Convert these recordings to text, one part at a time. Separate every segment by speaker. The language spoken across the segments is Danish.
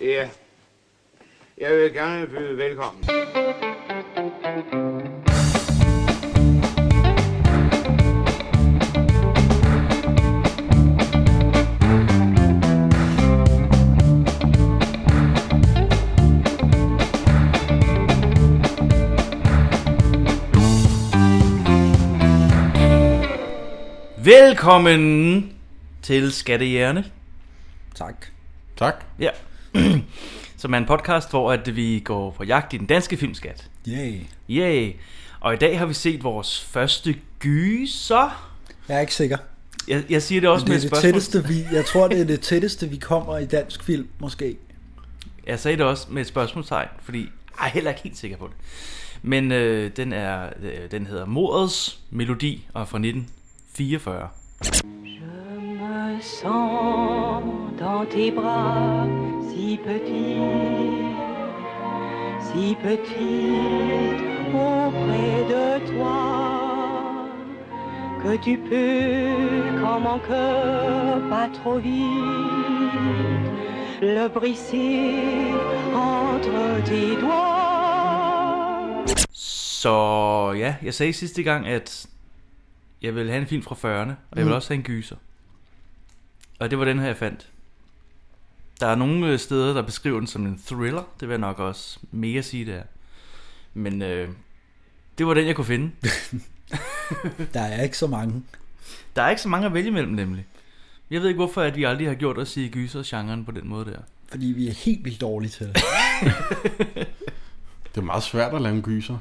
Speaker 1: Ja. Jeg vil gerne byde velkommen.
Speaker 2: Velkommen til Skattehjerne.
Speaker 3: Tak.
Speaker 4: Tak.
Speaker 2: Ja. Som er en podcast, hvor at vi går på jagt i den danske filmskat.
Speaker 3: Yay.
Speaker 2: Yay. Og i dag har vi set vores første gyser.
Speaker 3: Jeg er ikke sikker.
Speaker 2: Jeg, jeg siger det også
Speaker 3: Det
Speaker 2: med
Speaker 3: er
Speaker 2: et
Speaker 3: det
Speaker 2: spørgsmål.
Speaker 3: tætteste, vi, jeg tror, det er det tætteste, vi kommer i dansk film, måske.
Speaker 2: Jeg sagde det også med et spørgsmålstegn, fordi jeg er heller ikke helt sikker på det. Men øh, den, er, øh, den hedder Mordets Melodi og er fra 1944.
Speaker 5: me sens dans tes bras si petit, si petite auprès de toi, que tu peux comme mon cœur pas trop vite le briser entre tes doigts.
Speaker 2: Så ja, jeg sagde sidste gang, at jeg ville have en film fra 40'erne, og jeg ville også have en gyser. Og det var den her, jeg fandt. Der er nogle øh, steder, der beskriver den som en thriller. Det vil jeg nok også mega sige, det er. Men øh, det var den, jeg kunne finde.
Speaker 3: Der er ikke så mange.
Speaker 2: Der er ikke så mange at vælge mellem, nemlig. Jeg ved ikke, hvorfor at vi aldrig har gjort at sige gyser-genren på den måde der.
Speaker 3: Fordi vi er helt vildt dårlige til det.
Speaker 4: Det er meget svært at lave en gyser.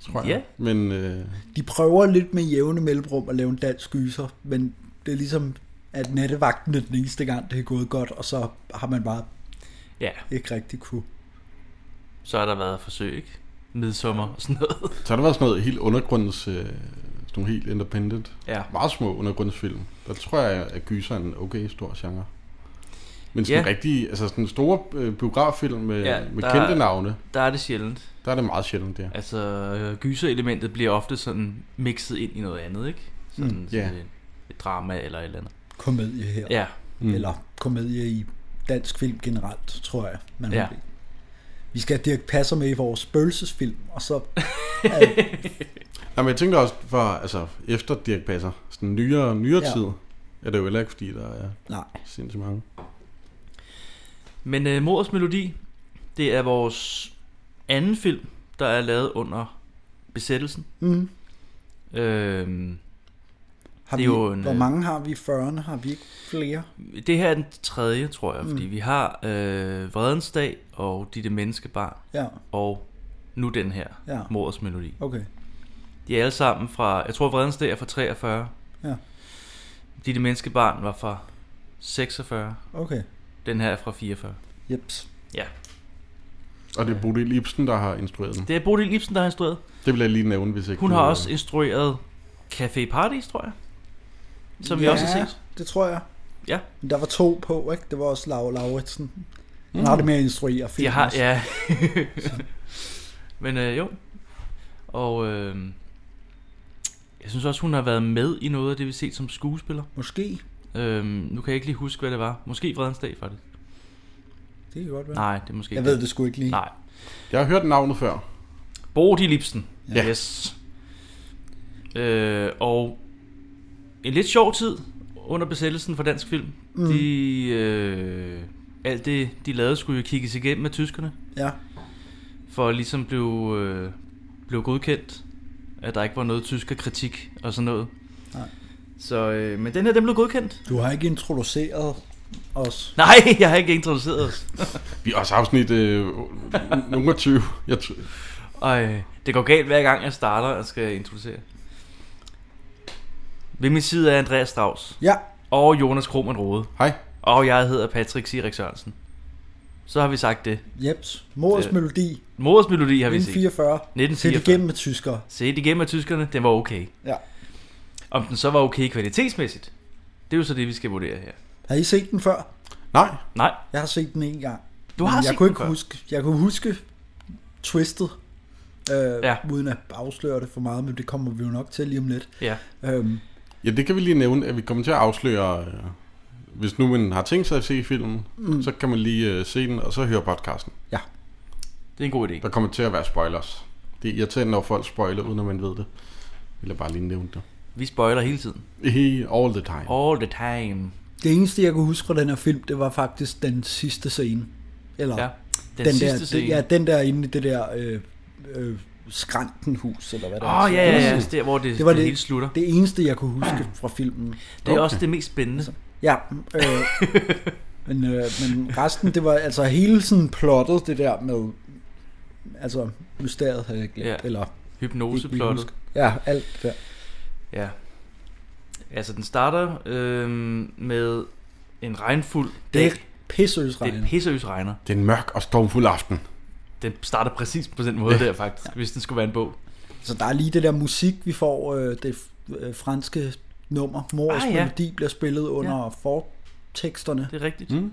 Speaker 4: Tror jeg.
Speaker 2: Ja.
Speaker 4: Men øh,
Speaker 3: De prøver lidt med jævne mellemrum at lave en dansk gyser, men det er ligesom, at nattevagten er den eneste gang, det er gået godt, og så har man bare
Speaker 2: Ja,
Speaker 3: ikke rigtig kunne.
Speaker 2: så har der været forsøg, ikke? Midsommer og sådan noget.
Speaker 4: så har der været sådan noget helt undergrunds... Øh, sådan nogle helt independent.
Speaker 2: Ja.
Speaker 4: Meget små undergrundsfilm. Der tror jeg, at gyser er en okay stor genre. Men sådan
Speaker 2: Ja.
Speaker 4: ja. rigtig... Altså sådan store øh, biograffilm med,
Speaker 2: Ja,
Speaker 4: ja, med
Speaker 2: der-
Speaker 4: kendte navne,
Speaker 2: Der er det sjældent.
Speaker 4: der er det meget sjældent der.
Speaker 2: Altså, øh, gyserelementet bliver ofte sådan mixet ind i noget andet, ikke? Sådan, mm,
Speaker 4: ja.
Speaker 2: sådan et, et drama eller et eller andet.
Speaker 3: Komedie her.
Speaker 2: Ja,
Speaker 3: Mm. Eller komedie i dansk film generelt, tror jeg. Man må
Speaker 2: Ja.
Speaker 3: blive. Vi skal have Dirk Passer med i vores spøgelsesfilm, og så er
Speaker 4: Nej, men jeg tænkte også, for, altså, efter Dirk Passer, sådan nyere, nyere
Speaker 3: Ja.
Speaker 4: ja. tid, er det jo heller ikke, fordi der er
Speaker 3: Nej.
Speaker 4: sindssygt mange.
Speaker 2: men øh, Mordets Melodi, det er vores anden film, der er lavet under besættelsen.
Speaker 3: Mm.
Speaker 2: Øhm,
Speaker 3: Har
Speaker 2: Det
Speaker 3: vi,
Speaker 2: er jo en,
Speaker 3: hvor
Speaker 2: øh,
Speaker 3: mange har vi i 40'erne? Har vi ikke flere?
Speaker 2: det her er den tredje, tror jeg, fordi vi har øh, Vredens Dag og Ditte Menneskebarn
Speaker 3: Ja,
Speaker 2: og nu den her,
Speaker 3: Ja.
Speaker 2: Mordets Melodi.
Speaker 3: okay.
Speaker 2: De er alle sammen fra, jeg tror Vredens Dag er fra 43.
Speaker 3: Ja.
Speaker 2: Ditte Menneskebarn var fra 46.
Speaker 3: Okay.
Speaker 2: Den her er fra 44.
Speaker 3: Jeps.
Speaker 2: Ja.
Speaker 4: Og det er Bodil Ibsen, der har instrueret den.
Speaker 2: Det er Bodil Ibsen, der har instrueret.
Speaker 4: Det vil jeg lige nævne, hvis ikke
Speaker 2: Hun har
Speaker 4: du-
Speaker 2: også instrueret Café Paradis, tror jeg. Som vi
Speaker 3: ja,
Speaker 2: også har set.
Speaker 3: det tror jeg.
Speaker 2: Ja.
Speaker 3: Men der var to på, ikke? Det var også Laura Lauritsen. Han har det med at instruere film.
Speaker 2: Mm. De har, ja. Men øh, jo. Og øh, jeg synes også, hun har været med i noget af det, vi har set som skuespiller.
Speaker 3: Måske.
Speaker 2: Øh, nu kan jeg ikke lige huske, hvad det var. Måske Vredens Dag, faktisk.
Speaker 3: Det kan godt være.
Speaker 2: Nej, det er måske
Speaker 3: jeg
Speaker 2: ikke
Speaker 3: ved det sgu ikke lige.
Speaker 2: Nej.
Speaker 4: Jeg har hørt navnet før.
Speaker 2: Bodil Ibsen.
Speaker 4: Ja.
Speaker 2: Yes. Øh, og en lidt sjov tid under besættelsen for dansk film. Mm. De, øh, alt det, de lavede, skulle jo kigges igennem med tyskerne,
Speaker 3: Ja.
Speaker 2: for at ligesom blive, øh, blive godkendt, at der ikke var noget tyskerkritik og sådan noget.
Speaker 3: Nej.
Speaker 2: Så, øh, men den her, den blev godkendt.
Speaker 3: Du har ikke introduceret os.
Speaker 2: Nej, jeg har ikke introduceret os.
Speaker 4: Vi er også afsnit øh, nummer 20. Jeg t-
Speaker 2: Ej, det går galt hver gang, jeg starter og skal introducere. Ved min side er Andreas Strauss.
Speaker 3: Ja.
Speaker 2: Og Jonas Krohmann Rode.
Speaker 4: Hej.
Speaker 2: Og jeg hedder Patrick Sirik Sørensen. Så har vi sagt det.
Speaker 3: Jeps. Mors
Speaker 2: Det-
Speaker 3: melodi.
Speaker 2: Mors melodi har vi set.
Speaker 3: 1944.
Speaker 2: 1944.
Speaker 3: Set igennem med tyskere.
Speaker 2: Se det igennem af tyskerne, den var okay.
Speaker 3: Ja.
Speaker 2: Om den så var okay kvalitetsmæssigt, det er jo så det, vi skal vurdere her.
Speaker 3: Har I set den før?
Speaker 4: Nej,
Speaker 2: Nej,
Speaker 3: Jeg har set den en gang.
Speaker 2: du har
Speaker 3: Men jeg
Speaker 2: set
Speaker 3: kunne
Speaker 2: den
Speaker 3: ikke
Speaker 2: før.
Speaker 3: huske, jeg kunne huske Twisted, øh,
Speaker 2: Ja.
Speaker 3: ja. uden at afsløre det for meget, men det kommer vi jo nok til lige om lidt.
Speaker 2: Ja.
Speaker 3: Øhm,
Speaker 4: ja, det kan vi lige nævne, at vi kommer til at afsløre øh, hvis nu man har tænkt sig at se filmen, mm. så kan man lige øh, se den, og så høre podcasten.
Speaker 3: Ja.
Speaker 2: Det er en god idé.
Speaker 4: Der kommer til at være spoilers. Det er irriterende, når folk spoiler, uden at man ved det. Vil jeg bare lige nævne det.
Speaker 2: Vi spoiler hele tiden.
Speaker 4: He, all the time.
Speaker 2: All the time.
Speaker 3: Det eneste, jeg kunne huske fra den her film, det var faktisk den sidste scene. Eller
Speaker 2: Ja.
Speaker 3: ja,
Speaker 2: Den,
Speaker 3: den,
Speaker 2: sidste
Speaker 3: der,
Speaker 2: scene.
Speaker 3: Ja, den der inde i det der øh, øh, skrankenhus, eller hvad det
Speaker 2: Åh, oh, ja, ja, ja. Der, hvor det,
Speaker 3: Det var
Speaker 2: det,
Speaker 3: det,
Speaker 2: hele slutter. Det,
Speaker 3: det eneste, jeg kunne huske fra filmen.
Speaker 2: det er også det mest spændende.
Speaker 3: altså, Ja, øh, men, øh, men resten, det var altså hele sådan plottet, det der med, altså mysteriet havde jeg glemt,
Speaker 2: Ja.
Speaker 3: ja. eller ikke lige
Speaker 2: Hypnoseplottet.
Speaker 3: huske. Ja, alt det der.
Speaker 2: Ja. Altså, den starter øh, med en regnfuld
Speaker 3: Det
Speaker 2: dag.
Speaker 3: er pisseøs
Speaker 2: Det er pisseøs regner.
Speaker 4: Det er en mørk og stormfuld aften.
Speaker 2: Den starter præcis på den måde der, faktisk, hvis den skulle være en bog.
Speaker 3: Så der er lige det der musik, vi får, øh, det øh, franske nummer, Mors
Speaker 2: Ah,
Speaker 3: ah,
Speaker 2: ja.
Speaker 3: ja. melodi bliver spillet under ja. forteksterne.
Speaker 2: Det er rigtigt. Mm.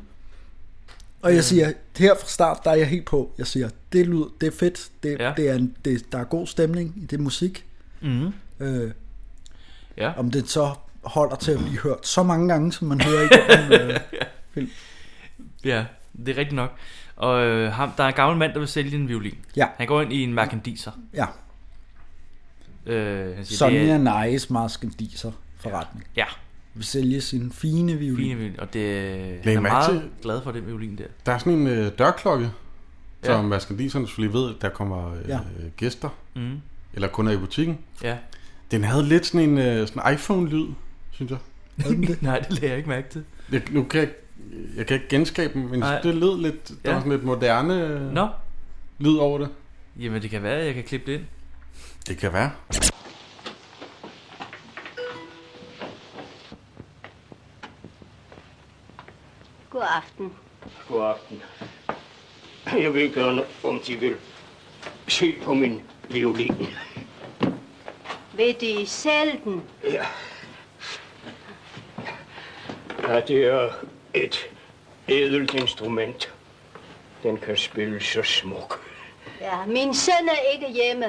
Speaker 3: Og jeg siger, her fra start, der er jeg helt på. Jeg siger, det lyder, det er fedt, det,
Speaker 2: Ja. Mhm.
Speaker 3: ja. det er en, det, der er god stemning i det musik. Mm. Øh,
Speaker 2: Ja.
Speaker 3: om det så holder til at blive hørt så mange gange, som man hører igennem. Øh,
Speaker 2: Ja, det er rigtigt nok. Og øh, ham, der er en gammel mand, der vil sælge en violin.
Speaker 3: Ja.
Speaker 2: Han går ind i en merkandiser.
Speaker 3: ja,
Speaker 2: Øh, han siger, det
Speaker 3: Sonja
Speaker 2: er,
Speaker 3: Nejes Maskendiser forretning.
Speaker 2: ja,
Speaker 3: Vil sælge sin fine violin.
Speaker 2: fine
Speaker 3: Fine.
Speaker 2: violin. Og det, han
Speaker 4: Læg
Speaker 2: er
Speaker 4: mærke
Speaker 2: meget
Speaker 4: til-
Speaker 2: glad for den violin der.
Speaker 4: Der er sådan en øh, dørklokke,
Speaker 2: Ja.
Speaker 4: som vaskandiserne selvfølgelig ved, at der kommer øh, ja.
Speaker 3: Ja.
Speaker 4: gæster. Mm. Eller kunder i butikken.
Speaker 2: Ja.
Speaker 4: Den havde lidt sådan en øh, sådan iPhone-lyd, synes jeg.
Speaker 3: det?
Speaker 2: Nej, det lagde jeg ikke mærke til.
Speaker 4: jeg nu kan jeg, jeg kan ikke genskabe den, men
Speaker 2: Nej.
Speaker 4: Ej. det lød lidt, der
Speaker 2: Ja.
Speaker 4: ja. var sådan lidt moderne øh,
Speaker 2: Nå,
Speaker 4: lyd over det.
Speaker 2: jamen det kan være, at jeg kan klippe det ind.
Speaker 4: Det kan være.
Speaker 6: God aften.
Speaker 7: God aften. Jeg vil gerne, om de vil, se på min violin.
Speaker 6: Vil de sælge den?
Speaker 7: Ja, det er et ædelt instrument. Den kan spille så smuk.
Speaker 6: Ja, min søn er ikke hjemme.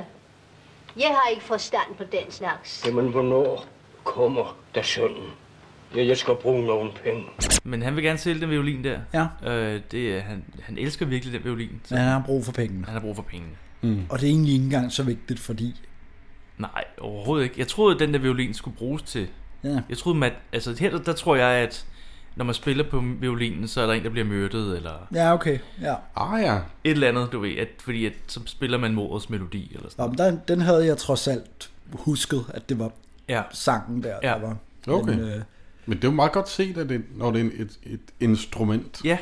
Speaker 6: Jeg har ikke forstand på den slags.
Speaker 7: Jamen, hvornår kommer der sønnen? Ja, jeg skal bruge nogle penge.
Speaker 2: Men han vil gerne sælge den violin der.
Speaker 3: Ja.
Speaker 2: Øh, det, er- han, han elsker virkelig den violin, så
Speaker 3: Men han har brug for pengene.
Speaker 2: han har brug for pengene.
Speaker 3: Og det er egentlig ikke engang så vigtigt, fordi
Speaker 2: Nej, overhovedet ikke. Jeg troede, at den der violin skulle bruges til...
Speaker 3: ja,
Speaker 2: Jeg troede, man, altså her der, der tror jeg, at når man spiller på violinen, så er der en, der bliver myrdet, eller
Speaker 3: ja okay. Ja.
Speaker 4: Ah ja,
Speaker 2: et eller andet, du ved, at, fordi at, så spiller man mordets melodi, eller sådan
Speaker 3: Nå, men den, den havde jeg trods alt husket, at det var
Speaker 2: Ja,
Speaker 3: sangen der,
Speaker 2: Ja.
Speaker 3: der var.
Speaker 4: Okay.
Speaker 3: øh,
Speaker 4: men det er jo meget godt set, at det, når det er en- et, et instrument.
Speaker 2: ja.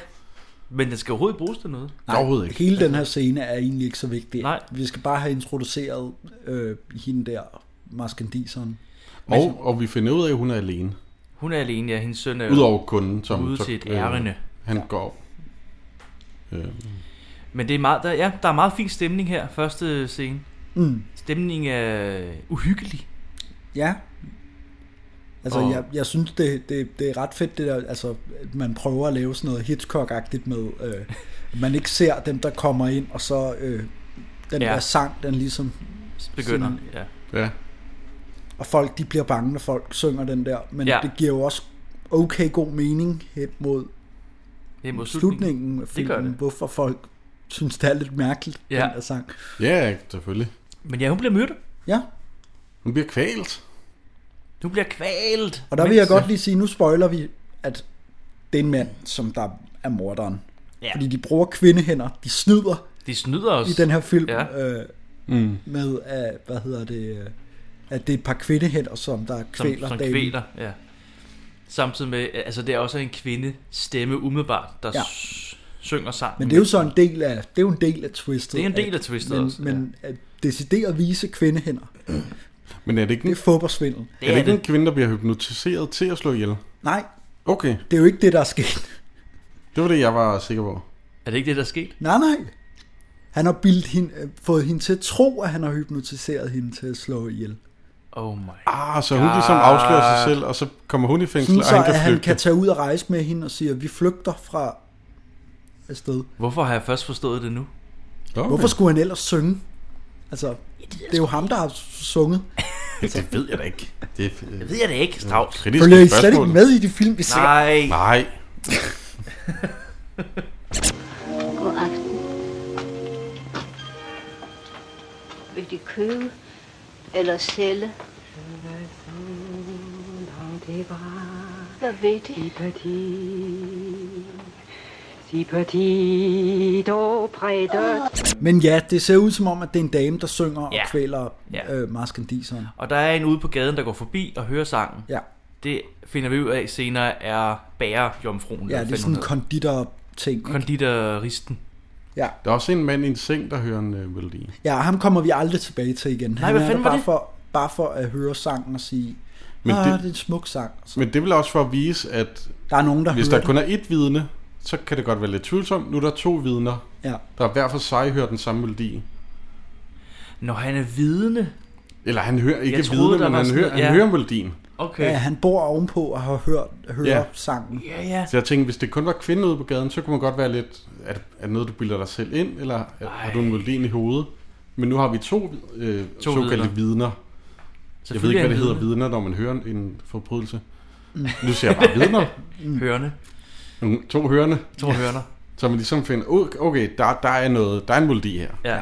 Speaker 2: Men den skal overhovedet bruges til noget.
Speaker 4: Nej, Overhovedet ikke.
Speaker 3: hele den her scene er egentlig ikke så vigtig.
Speaker 2: Nej.
Speaker 3: Vi skal bare have introduceret øh, hende der, Maskandiseren.
Speaker 4: Og, og vi finder ud af, at hun er alene.
Speaker 2: Hun er alene, ja. Hendes søn er jo
Speaker 4: Udover kunden, som øh,
Speaker 2: ude til et ærinde.
Speaker 4: han ja. går. Øh,
Speaker 2: Men det er meget, der, ja, der er meget fin stemning her, første scene. Mm. Stemningen er uhyggelig.
Speaker 3: Ja. Altså,
Speaker 2: Og-
Speaker 3: og... jeg, jeg synes, det, det, det er ret fedt, det der, altså, at man prøver at lave sådan noget Hitchcock-agtigt med, øh, at man ikke ser dem, der kommer ind, og så øh, den
Speaker 2: Ja.
Speaker 3: ja. der sang, den ligesom,
Speaker 2: Begynder,
Speaker 3: Sådan.
Speaker 2: ja.
Speaker 4: ja.
Speaker 3: og folk, de bliver bange, når folk synger den der, men
Speaker 2: Ja.
Speaker 3: ja. det giver jo også okay god mening hen mod
Speaker 2: Det er mod slutningen.
Speaker 3: slutningen af
Speaker 2: Det gør
Speaker 3: filmen,
Speaker 2: det.
Speaker 3: hvorfor folk synes, det er lidt mærkeligt,
Speaker 2: Ja.
Speaker 3: ja. den der sang.
Speaker 4: ja, ja, selvfølgelig.
Speaker 2: Men ja, hun bliver myrdet.
Speaker 3: Ja,
Speaker 4: Hun bliver kvalt.
Speaker 2: Hun bliver kvalt.
Speaker 3: og der vil
Speaker 2: Mens-
Speaker 3: jeg godt lige sige, nu spoiler vi, at det er en mand, som der er morderen.
Speaker 2: Ja.
Speaker 3: Fordi de bruger kvindehænder, de snyder
Speaker 2: De snyder os.
Speaker 3: i den her film
Speaker 2: Ja.
Speaker 3: ja. øh, mm. med, at, hvad hedder det, øh, at det er et par kvindehænder, som der kvæler
Speaker 2: som, som
Speaker 3: damen.
Speaker 2: kvæler, ja. Samtidig med, altså det er også en kvinde stemme umiddelbart, der ja.
Speaker 3: Ja.
Speaker 2: synger sammen.
Speaker 3: Men det er jo så en del af, det er jo en del af twistet.
Speaker 2: Det er en del
Speaker 3: at-
Speaker 2: af twistet
Speaker 3: men,
Speaker 2: også,
Speaker 3: Men at decideret vise kvindehænder,
Speaker 4: Men er det ikke,
Speaker 3: det
Speaker 4: en,
Speaker 3: er fuppersvindel.
Speaker 2: det
Speaker 4: er det
Speaker 2: er
Speaker 4: ikke
Speaker 2: det.
Speaker 4: en kvinde, der bliver hypnotiseret til at slå ihjel?
Speaker 3: Nej,
Speaker 4: Okay,
Speaker 3: det er jo ikke det, der er sket.
Speaker 4: det var det, jeg var sikker på.
Speaker 2: Er det ikke det, der er sket?
Speaker 3: Nej, nej. Han har bildt hende, øh, fået hende til at tro, at han har hypnotiseret hende til at slå ihjel.
Speaker 2: Oh my.
Speaker 4: Ah, så hun ligesom afslører sig selv, og så kommer hun i fængsel,
Speaker 3: Sådan
Speaker 4: og
Speaker 3: så,
Speaker 4: han
Speaker 3: at
Speaker 4: kan
Speaker 3: han
Speaker 4: flygte.
Speaker 3: kan tage ud og rejse med hende og sige, at vi flygter fra afsted.
Speaker 2: Hvorfor har jeg først forstået det nu?
Speaker 4: Okay.
Speaker 3: Hvorfor skulle han ellers synge? Altså, det er jo ham, der har sunget.
Speaker 4: det ved jeg da ikke. Det er øh,
Speaker 2: Det ved jeg da ikke, Strauss.
Speaker 4: kritisk
Speaker 3: Følger I slet
Speaker 4: spørgsmål.
Speaker 3: ikke med i de film, vi ser?
Speaker 2: Nej.
Speaker 4: Nej.
Speaker 6: God aften. Vil de købe eller sælge?
Speaker 5: dans tes bras,
Speaker 6: Hvad ved de?
Speaker 5: si petit, si petit auprès de
Speaker 3: Men ja, det ser ud som om, at det er en dame, der synger og
Speaker 2: Ja.
Speaker 3: kvæler
Speaker 2: Ja.
Speaker 3: øh, marskandiseren.
Speaker 2: Og der er en ude på gaden, der går forbi og hører sangen.
Speaker 3: Ja.
Speaker 2: Det finder vi ud af senere er bærejomfruen.
Speaker 3: ja,
Speaker 2: eller
Speaker 3: det er
Speaker 2: hvad
Speaker 3: sådan
Speaker 2: fanden
Speaker 3: en konditor-ting.
Speaker 2: hun hedder. konditoristen.
Speaker 3: Ja.
Speaker 4: Der er også en mand i en seng, der hører en øh, melodi.
Speaker 3: ja, og ham kommer vi aldrig tilbage til igen. Han
Speaker 2: hvad
Speaker 3: er der
Speaker 2: fanden var
Speaker 3: bare
Speaker 2: det?
Speaker 3: For, bare for at høre sangen og sige,
Speaker 4: Men
Speaker 3: men ah,
Speaker 4: det-
Speaker 3: det... det er en smuk sang. Så
Speaker 4: Men det er vel også for at vise, at
Speaker 3: der er nogen, der
Speaker 4: hvis
Speaker 3: hører
Speaker 4: der kun er ét vidne, så kan det godt være lidt tvivlsomt. Nu er der to vidner,
Speaker 3: det. Ja.
Speaker 4: der hver for sig hører den samme melodi.
Speaker 2: Når han er vidne.
Speaker 4: Eller han hører ikke
Speaker 2: Jeg troede, der
Speaker 4: vidne, men
Speaker 2: var
Speaker 4: han,
Speaker 2: sådan
Speaker 4: hører,
Speaker 2: noget-
Speaker 4: han
Speaker 2: ja.
Speaker 4: hører melodien.
Speaker 2: Okay.
Speaker 3: ja, han bor ovenpå og har hørt hører
Speaker 4: Ja.
Speaker 3: sangen.
Speaker 2: ja. ja.
Speaker 4: Så jeg tænkte, hvis det kun var kvinder ude på gaden, så kunne man godt være lidt, er det, er det noget, du bilder dig selv ind, eller er, har du en melodi ind i hovedet? Men nu har vi to, øh, to såkaldte vidner. vidner. Jeg ved ikke, hvad det hedder vidner, når man hører en forbrydelse.
Speaker 3: Mm.
Speaker 4: Nu siger jeg bare vidner.
Speaker 2: Hørende.
Speaker 4: Nogle- To hørende.
Speaker 2: To hørner.
Speaker 4: Så man ligesom finder, "Oh, okay, der, der er noget, der er en melodi her.
Speaker 2: Ja.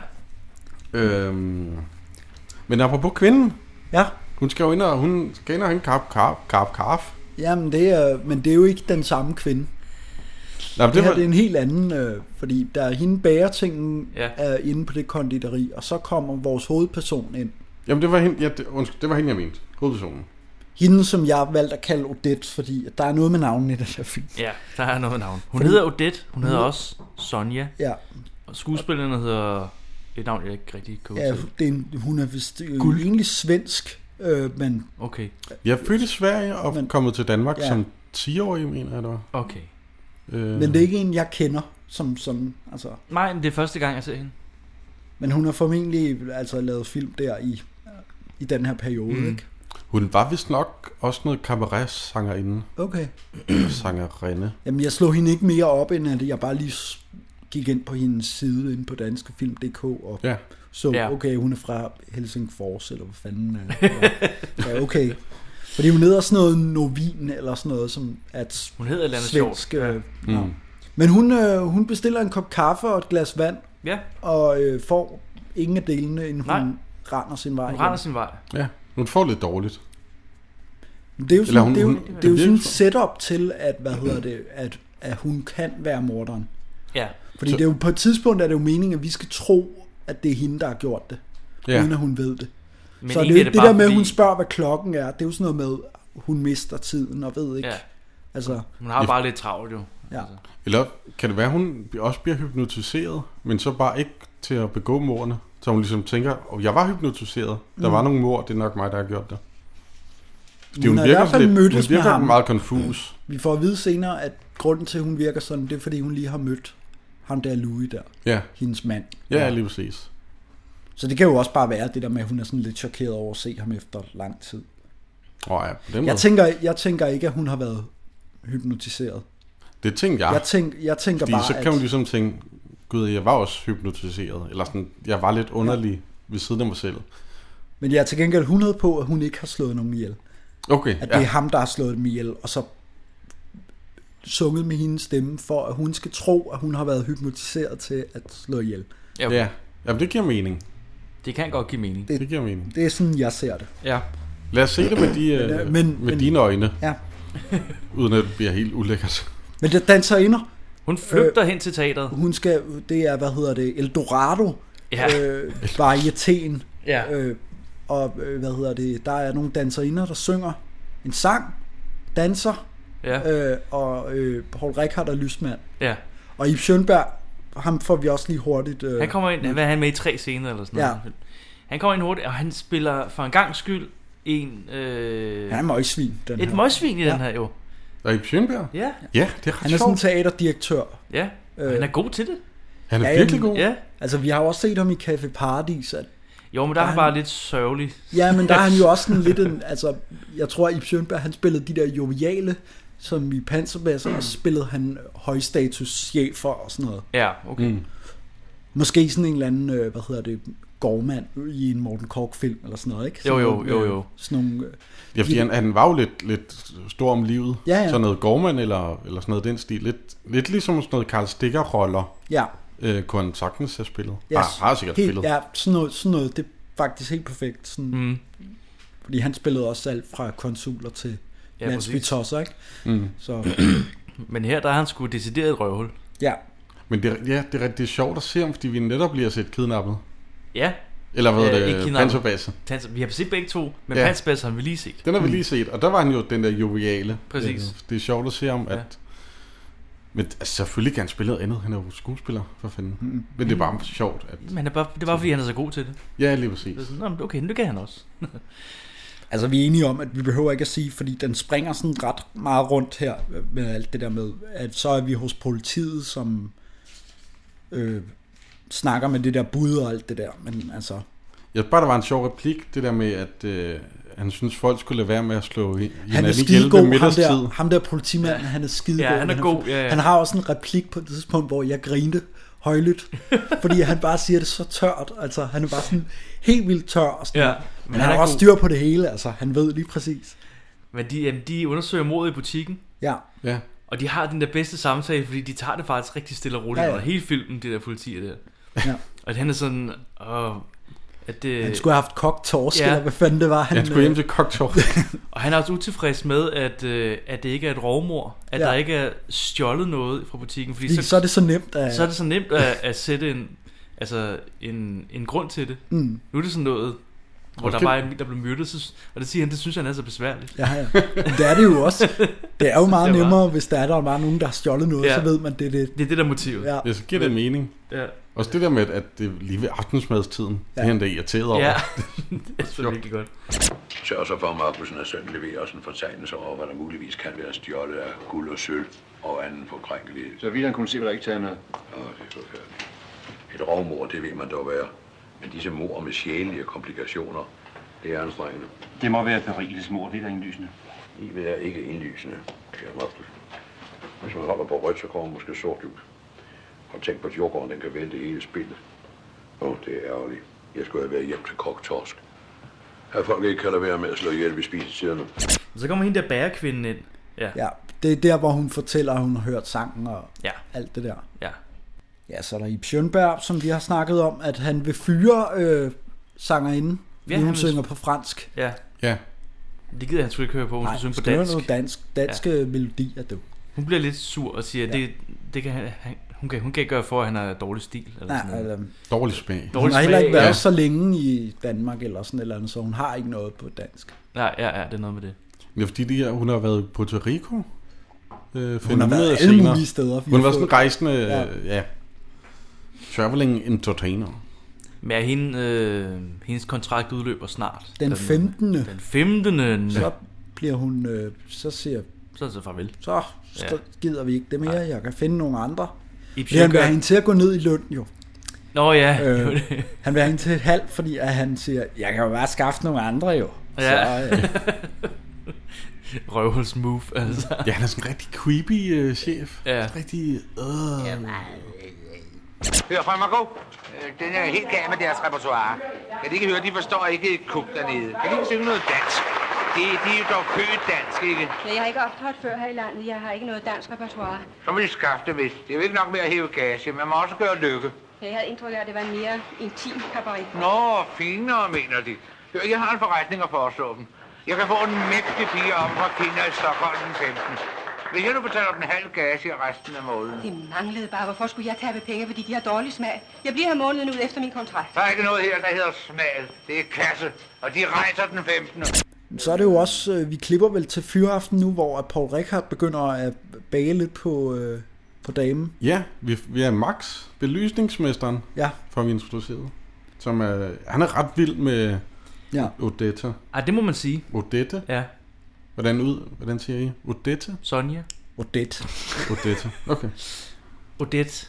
Speaker 4: Øhm, men apropos kvinden,
Speaker 3: Ja,
Speaker 4: hun skal jo ind og, hun skal ind og have en karp, karp, karp, karp.
Speaker 3: jamen det er, men det er jo ikke den samme kvinde.
Speaker 4: Nej, men
Speaker 3: Det
Speaker 4: det,
Speaker 3: her det er
Speaker 4: var,
Speaker 3: en helt anden, øh, fordi der er hende bæretingen
Speaker 2: Ja.
Speaker 3: ja. er inde på det konditori, og så kommer vores hovedperson ind.
Speaker 4: jamen, det var hende, ja, det, undskyld, det var hende, jeg mente. Hovedpersonen.
Speaker 3: Hende, som jeg valgte at kalde Odette, fordi at der er noget med navnet i den her film.
Speaker 2: Ja, der er noget med navn. Hun hedder Odette, hun hedder
Speaker 3: Mm.
Speaker 2: også Sonja.
Speaker 3: Ja,
Speaker 2: Og skuespillerne hedder et navn, jeg ikke rigtig kan
Speaker 3: ja
Speaker 2: huske.
Speaker 3: det er en, hun er vist øh, Guld. egentlig svensk, øh, men
Speaker 2: Okay,
Speaker 4: Jeg er født i Sverige og men,
Speaker 3: Men-
Speaker 4: kommet til Danmark ja.
Speaker 3: Ja.
Speaker 4: som 10-årig, mener jeg, det var.
Speaker 2: okay.
Speaker 4: Øh,
Speaker 3: Men det er ikke en, jeg kender som sådan. Altså.
Speaker 2: Nej, men det er første gang, jeg ser hende.
Speaker 3: Men hun har formentlig altså, lavet film der i, i den her periode, mm. ikke?
Speaker 4: Hun var vist nok også noget cabaret-sangerinde.
Speaker 3: Okay.
Speaker 4: Sangerinde.
Speaker 3: Jamen, jeg slog hende ikke mere op, end at jeg bare lige s- gik ind på hendes side inde på danskefilm.dk og
Speaker 4: Ja.
Speaker 3: så,
Speaker 2: Ja.
Speaker 3: okay, hun er fra Helsingfors, eller hvad fanden. øh, og- Ja, okay. Fordi hun hedder sådan noget Novin, eller sådan noget, som at
Speaker 2: Hun hedder et eller andet
Speaker 3: svensk...
Speaker 2: sjovt.
Speaker 3: Øh, mm. Men hun, øh, hun bestiller en kop kaffe og et glas vand,
Speaker 2: Ja,
Speaker 3: og øh, får ingen af delene, inden
Speaker 2: Nej.
Speaker 3: hun render sin vej.
Speaker 2: hun
Speaker 3: hjem.
Speaker 2: render sin vej.
Speaker 4: ja. Hun får lidt dårligt.
Speaker 3: Det er jo
Speaker 4: Eller hun-
Speaker 3: sådan, hun, det er jo,
Speaker 4: hun-
Speaker 3: det
Speaker 4: det
Speaker 3: er jo
Speaker 4: virker
Speaker 3: sådan et
Speaker 4: sådan.
Speaker 3: setup til, at, hvad hedder det, at, at hun kan være morderen.
Speaker 2: Ja,
Speaker 3: Fordi
Speaker 4: Så-
Speaker 3: det er jo, på et tidspunkt er det jo meningen, at vi skal tro, at det er hende, der har gjort det, ja.
Speaker 4: Ja.
Speaker 3: uden at hun ved det.
Speaker 2: men
Speaker 3: Men så det,
Speaker 2: egentlig
Speaker 3: det, det der med, at
Speaker 2: fordi,
Speaker 3: hun spørger, hvad klokken er, det er jo sådan noget med, hun mister tiden og ved ikke.
Speaker 2: Ja, Altså.
Speaker 3: Ja. Altså,
Speaker 2: hun har bare lidt travlt jo.
Speaker 3: ja.
Speaker 4: Eller kan det være, hun også bliver hypnotiseret, men så bare ikke til at begå mordene? Så hun ligesom tænker, oh, jeg var hypnotiseret. Der
Speaker 3: Mm.
Speaker 4: var nogle mord, det er nok mig, der har gjort det. Fordi hun,
Speaker 3: Hun har i
Speaker 4: virker,
Speaker 3: hvert fald
Speaker 4: sådan lidt,
Speaker 3: mødtes
Speaker 4: hun virker
Speaker 3: med ham.
Speaker 4: meget confus.
Speaker 3: Vi får at vide senere, at grunden til, at hun virker sådan, det er, fordi hun lige har mødt ham der Louis der,
Speaker 4: Ja.
Speaker 3: hendes mand.
Speaker 4: ja, lige præcis.
Speaker 3: Så det kan jo også bare være det der med, at hun er sådan lidt chokeret over at se ham efter lang tid.
Speaker 4: Åh oh, ja, på den måde.
Speaker 3: Jeg tænker, jeg tænker ikke, at hun har været hypnotiseret.
Speaker 4: det tænker jeg.
Speaker 3: Jeg, tænk, jeg tænker
Speaker 4: Ah. Fordi
Speaker 3: bare,
Speaker 4: så kan
Speaker 3: at...
Speaker 4: hun ligesom tænke, gud, jeg var også hypnotiseret. Eller sådan, jeg var lidt underlig ja. ved siden af mig selv.
Speaker 3: Men jeg er til gengæld 100 på, at hun ikke har slået nogen ihjel.
Speaker 4: Okay,
Speaker 3: At ja. det er
Speaker 4: ja.
Speaker 3: ham, der har slået dem ihjel, og så sunget med hendes stemme, for at hun skal tro, at hun har været hypnotiseret til at slå ihjel.
Speaker 2: Ja, okay.
Speaker 4: ja. Jamen, det giver mening.
Speaker 2: det kan godt give mening.
Speaker 4: Det giver mening.
Speaker 3: Det er sådan, jeg ser det.
Speaker 2: Ja,
Speaker 4: Lad os se det med, de, øh,
Speaker 3: øh,
Speaker 4: men,
Speaker 3: men-
Speaker 4: med
Speaker 3: men-
Speaker 4: dine øjne,
Speaker 3: Ja.
Speaker 4: uden at det bliver helt ulækkert.
Speaker 3: Men det danser inder.
Speaker 2: hun flygter hen til teateret.
Speaker 3: Øh, Hun skal, det er, hvad hedder det, Eldorado
Speaker 2: Ja.
Speaker 3: øh, varieteen.
Speaker 2: Ja.
Speaker 3: Øh, og øh, hvad hedder det, der er nogle danserinder, der synger en sang, danser,
Speaker 2: Ja,
Speaker 3: øh, og øh, Paul Rickard er lysmand.
Speaker 2: ja.
Speaker 3: Og Ib Schønberg, ham får vi også lige hurtigt. Øh,
Speaker 2: Han kommer ind, hvad er han med i tre scener eller sådan
Speaker 3: Ja.
Speaker 2: noget? Han kommer ind hurtigt, og han spiller for en gang skyld en... Øh,
Speaker 3: Han er møgsvin, den
Speaker 2: et
Speaker 3: her.
Speaker 2: møgsvin i den her jo.
Speaker 4: Og i Sjønberg?
Speaker 2: Ja,
Speaker 4: Ja, det er ret
Speaker 3: Han er sådan en
Speaker 4: sjovt.
Speaker 3: teaterdirektør.
Speaker 2: ja. Og han er god til det.
Speaker 4: Han er
Speaker 3: Øh. Ja,
Speaker 4: virkelig
Speaker 3: jamen,
Speaker 4: god.
Speaker 2: Ja.
Speaker 3: Altså, vi har jo også set ham i Café Paradis. At,
Speaker 2: Jo, men der er han
Speaker 3: han-
Speaker 2: bare lidt sørgelig.
Speaker 3: ja, men der er han jo også sådan lidt en... Altså, jeg tror, at Ib Schønberg, han spillede de der joviale, som i Panserbasser, og så spillede han højstatus chefer og sådan noget.
Speaker 2: Ja, okay. Mm.
Speaker 3: Måske sådan en eller anden, øh, hvad hedder det, gårdmand i en Morten Kork-film eller sådan noget, ikke?
Speaker 2: Jo,
Speaker 3: Sådan
Speaker 2: jo,
Speaker 3: nogle,
Speaker 2: jo,
Speaker 3: øh,
Speaker 2: jo.
Speaker 3: Sådan nogle, øh,
Speaker 4: Ja, fordi han, han var jo lidt, lidt stor om livet.
Speaker 3: Ja, ja.
Speaker 4: Sådan noget Gorman eller, eller sådan noget i den stil. Lidt, lidt ligesom sådan noget Karl Stikker-roller,
Speaker 3: ja,
Speaker 4: øh, kunne han sagtens have spillet. Yes. Har, har sikkert
Speaker 3: helt,
Speaker 4: spillet.
Speaker 3: Ja, sådan noget, sådan noget, det er faktisk helt perfekt. Sådan, mm. Fordi han spillede også alt fra konsuler til
Speaker 2: Ja,
Speaker 3: ja, landsbytosser, ikke? Mm. Så
Speaker 2: Men her, der er han sgu decideret et røvhul.
Speaker 3: ja,
Speaker 4: Men det, er- ja, det er rigtig sjovt at se ham, fordi vi netop lige har set kidnappet.
Speaker 2: Ja,
Speaker 4: Eller hvad
Speaker 2: Ja,
Speaker 4: hedder
Speaker 2: ikke
Speaker 4: det?
Speaker 2: kidnappet.
Speaker 4: Panserbase.
Speaker 2: Tans, vi har set begge to, men
Speaker 4: Ja.
Speaker 2: ja. Pansbasser har vi lige set.
Speaker 4: Den har vi
Speaker 3: Mm.
Speaker 4: lige set, og der var han jo den der joviale.
Speaker 2: Præcis.
Speaker 4: Øh, Det er sjovt at se ham, at...
Speaker 2: Ja.
Speaker 4: Men altså, selvfølgelig kan han spille noget andet. Han er jo skuespiller, for fanden. Mm. Men det er bare sjovt, at...
Speaker 2: Men han er bare, det er bare, fordi han er så god til det.
Speaker 4: Ja, lige
Speaker 2: det er
Speaker 4: præcis.
Speaker 2: sådan, Nå, men okay, det kan han også.
Speaker 3: altså vi er enige om, at vi behøver ikke at sige, fordi den springer sådan ret meget rundt her øh, med alt det der med, at så er vi hos politiet, som øh, snakker med det der bud og alt det der, men altså,
Speaker 4: Jeg synes bare, der var en sjov replik, det der med, at øh, han synes, folk skulle lade være med at slå i,
Speaker 3: han er
Speaker 4: hinanden ihjel ved
Speaker 3: skidegod, ham der,
Speaker 4: middagstid.
Speaker 3: ham der politimanden, ja. han er skidegod.
Speaker 2: Ja, han er
Speaker 3: men
Speaker 2: god, ja, ja.
Speaker 3: Han har også en replik på et tidspunkt, hvor jeg grinte højlydt, fordi han bare siger det så tørt, altså han er bare sådan helt vildt tør, og sådan,
Speaker 2: Ja,
Speaker 3: men han, han har også styr på det hele, altså han ved lige præcis.
Speaker 2: Men de, jamen, de undersøger mordet i butikken,
Speaker 3: Ja,
Speaker 4: Ja.
Speaker 2: og de har den der bedste samtale, fordi de tager det faktisk rigtig stille og
Speaker 3: Ja,
Speaker 2: roligt ja,
Speaker 3: ja.
Speaker 2: ja. under hele filmen, det der politi der.
Speaker 3: Ja.
Speaker 2: Og han er sådan, åh, at det,
Speaker 3: han skulle have haft koktorsk,
Speaker 2: Øh, ja.
Speaker 3: ja. eller hvad fanden det var. Han,
Speaker 4: Han skulle hjem
Speaker 3: øh,
Speaker 4: til Cocktail.
Speaker 2: og han er også utilfreds med, at, øh, at det ikke er et rovmor, at
Speaker 3: Ja.
Speaker 2: ja. der ikke er stjålet noget fra butikken, fordi
Speaker 3: fordi
Speaker 2: så,
Speaker 3: så er det så nemt. At,
Speaker 2: så er det så nemt at, at sætte en, altså en, en grund til det.
Speaker 3: Mm.
Speaker 2: Nu er det sådan noget, hvor der
Speaker 4: Okay.
Speaker 2: var en, der blev myrdet, så, og det siger han, det synes han er så besværligt.
Speaker 3: Ja, ja. Men det er det jo også. Det er jo meget
Speaker 2: det var-
Speaker 3: nemmere, hvis der er, der er bare nogen, der har stjålet noget,
Speaker 2: Ja.
Speaker 3: så ved man, det er det.
Speaker 2: Det er det der motiv.
Speaker 3: Ja.
Speaker 4: Ja, så giver det mening.
Speaker 2: ja.
Speaker 4: Også det der med, at det er lige ved aftensmadstiden, ja. det
Speaker 3: Ja.
Speaker 4: er han der irriteret over.
Speaker 2: ja. det er så virkelig godt.
Speaker 8: Sørg så for, at Markusen og søn leverer os en fortegnelse over, hvad der muligvis kan være stjålet af guld og sølv og anden forkrænkelighed.
Speaker 7: Så vidt han kunne se, var der ikke taget noget.
Speaker 8: Åh, det er forfærdeligt. Et rovmor, det ved man dog være. Men disse mor med sjælelige komplikationer, det er anstrengende.
Speaker 7: Det må være Beriles mor, det er da indlysende.
Speaker 8: Livet er ikke indlysende, kære Markus. Hvis man holder på rødt, så kommer måske sort ud. Og tænk på, at jordgården, den kan vælte hele spillet. Åh, det er ærgerligt. Jeg skulle have været hjem til kok torsk. At folk ikke kan lade være med at slå ihjel ved spisetiderne.
Speaker 2: Så kommer hende der bærekvinden ind. Ja.
Speaker 3: Ja, det er der, hvor hun fortæller, at hun har hørt sangen og
Speaker 2: Ja.
Speaker 3: alt det der.
Speaker 2: ja.
Speaker 3: Ja, så er der Ip Schønberg, som vi har snakket om, at han vil fyre øh, sangerinden.
Speaker 2: Ja,
Speaker 3: Ja, hun
Speaker 2: han vil-
Speaker 3: synger på fransk.
Speaker 2: ja.
Speaker 4: ja.
Speaker 2: Det gider han sgu ikke høre på, hun skal synge på
Speaker 3: skriver
Speaker 2: dansk.
Speaker 3: noget dansk, øh, danske ja. melodier, du.
Speaker 2: Hun bliver lidt sur og siger, at det, det kan han, han, hun, kan, hun kan ikke gøre for, at han har dårlig stil. Eller
Speaker 3: Nej,
Speaker 2: sådan noget.
Speaker 3: altså,
Speaker 4: Dårlig smag.
Speaker 3: hun
Speaker 2: Dårlig
Speaker 3: har heller ikke været
Speaker 2: ja.
Speaker 3: ja. så længe i Danmark eller sådan et eller andet, så hun har ikke noget på dansk.
Speaker 2: Nej, ja, ja, det er noget med det.
Speaker 4: Ja, fordi de her, hun har været i Puerto Rico. Øh,
Speaker 3: Hun har været alle mulige steder. vi
Speaker 4: Hun
Speaker 3: har
Speaker 4: var sådan en
Speaker 3: fået.
Speaker 4: rejsende, ja. ja. Traveling entertainer.
Speaker 2: Men er hende, øh, hendes kontrakt udløber snart.
Speaker 3: Den 15.
Speaker 2: Den 15.
Speaker 3: Så
Speaker 2: Så,
Speaker 3: bliver hun, øh, så siger
Speaker 2: så er det så farvel.
Speaker 3: så, så
Speaker 2: Ja.
Speaker 3: gider vi ikke det mere, jeg kan finde nogle andre.
Speaker 2: Ip
Speaker 3: Det han vil
Speaker 2: Schønberg-
Speaker 3: have hende til at gå ned i løn jo.
Speaker 2: Nå ja, øh. det var
Speaker 3: Øh,
Speaker 2: det.
Speaker 3: han vil have hende til et halvt, fordi at han siger, jeg kan jo bare skaffe nogle andre jo.
Speaker 2: Ja.
Speaker 3: Så, øh,
Speaker 2: Røvhuls move, altså.
Speaker 4: Ja, han er sådan en rigtig creepy øh, chef.
Speaker 2: Ja.
Speaker 4: Sådan Rigtig... Øh.
Speaker 9: Hør fra Margot. Øh, Den er helt gal med deres repertoire. Kan de ikke høre, de forstår ikke et kub dernede. Kan de ikke synge noget dansk? De, de er jo dog født dansk, ikke?
Speaker 6: Men jeg har ikke optrådt før her i landet. Jeg har ikke noget dansk repertoire.
Speaker 9: Så må de skaffe det vist. Det er jo ikke nok med at hæve gage. Man må også gøre lykke.
Speaker 6: Jeg havde indtryk af, at det var en mere intim kabaret.
Speaker 9: Nå, finere, mener de. Hør, jeg har en forretning at foreslå dem. Jeg kan få en mægtig pige om fra Kina i Stockholm den 15. Hvis jeg nu betaler den halv gage i resten af måneden.
Speaker 6: Det manglede bare. Hvorfor skulle jeg tabe penge, fordi de har dårlig smag? Jeg bliver her måneden ud efter min kontrakt.
Speaker 9: Der er ikke noget her, der hedder smal. Det er kasse, og de rejser den 15.
Speaker 3: så er det jo også, øh, vi klipper vel til fyraften nu, hvor at Paul Rickard begynder at bage lidt på, øh, på damen.
Speaker 4: Ja, vi, vi er Max, belysningsmesteren,
Speaker 3: Ja,
Speaker 4: får vi introduceret. Som er, han er ret vild med
Speaker 3: ja.
Speaker 4: Odetta.
Speaker 2: Ej, det må man sige.
Speaker 4: Odette?
Speaker 2: Ja,
Speaker 4: Hvordan ud? Hvordan siger I? Odette?
Speaker 2: Sonja.
Speaker 3: Odette.
Speaker 4: Odette. Okay.
Speaker 2: Odette.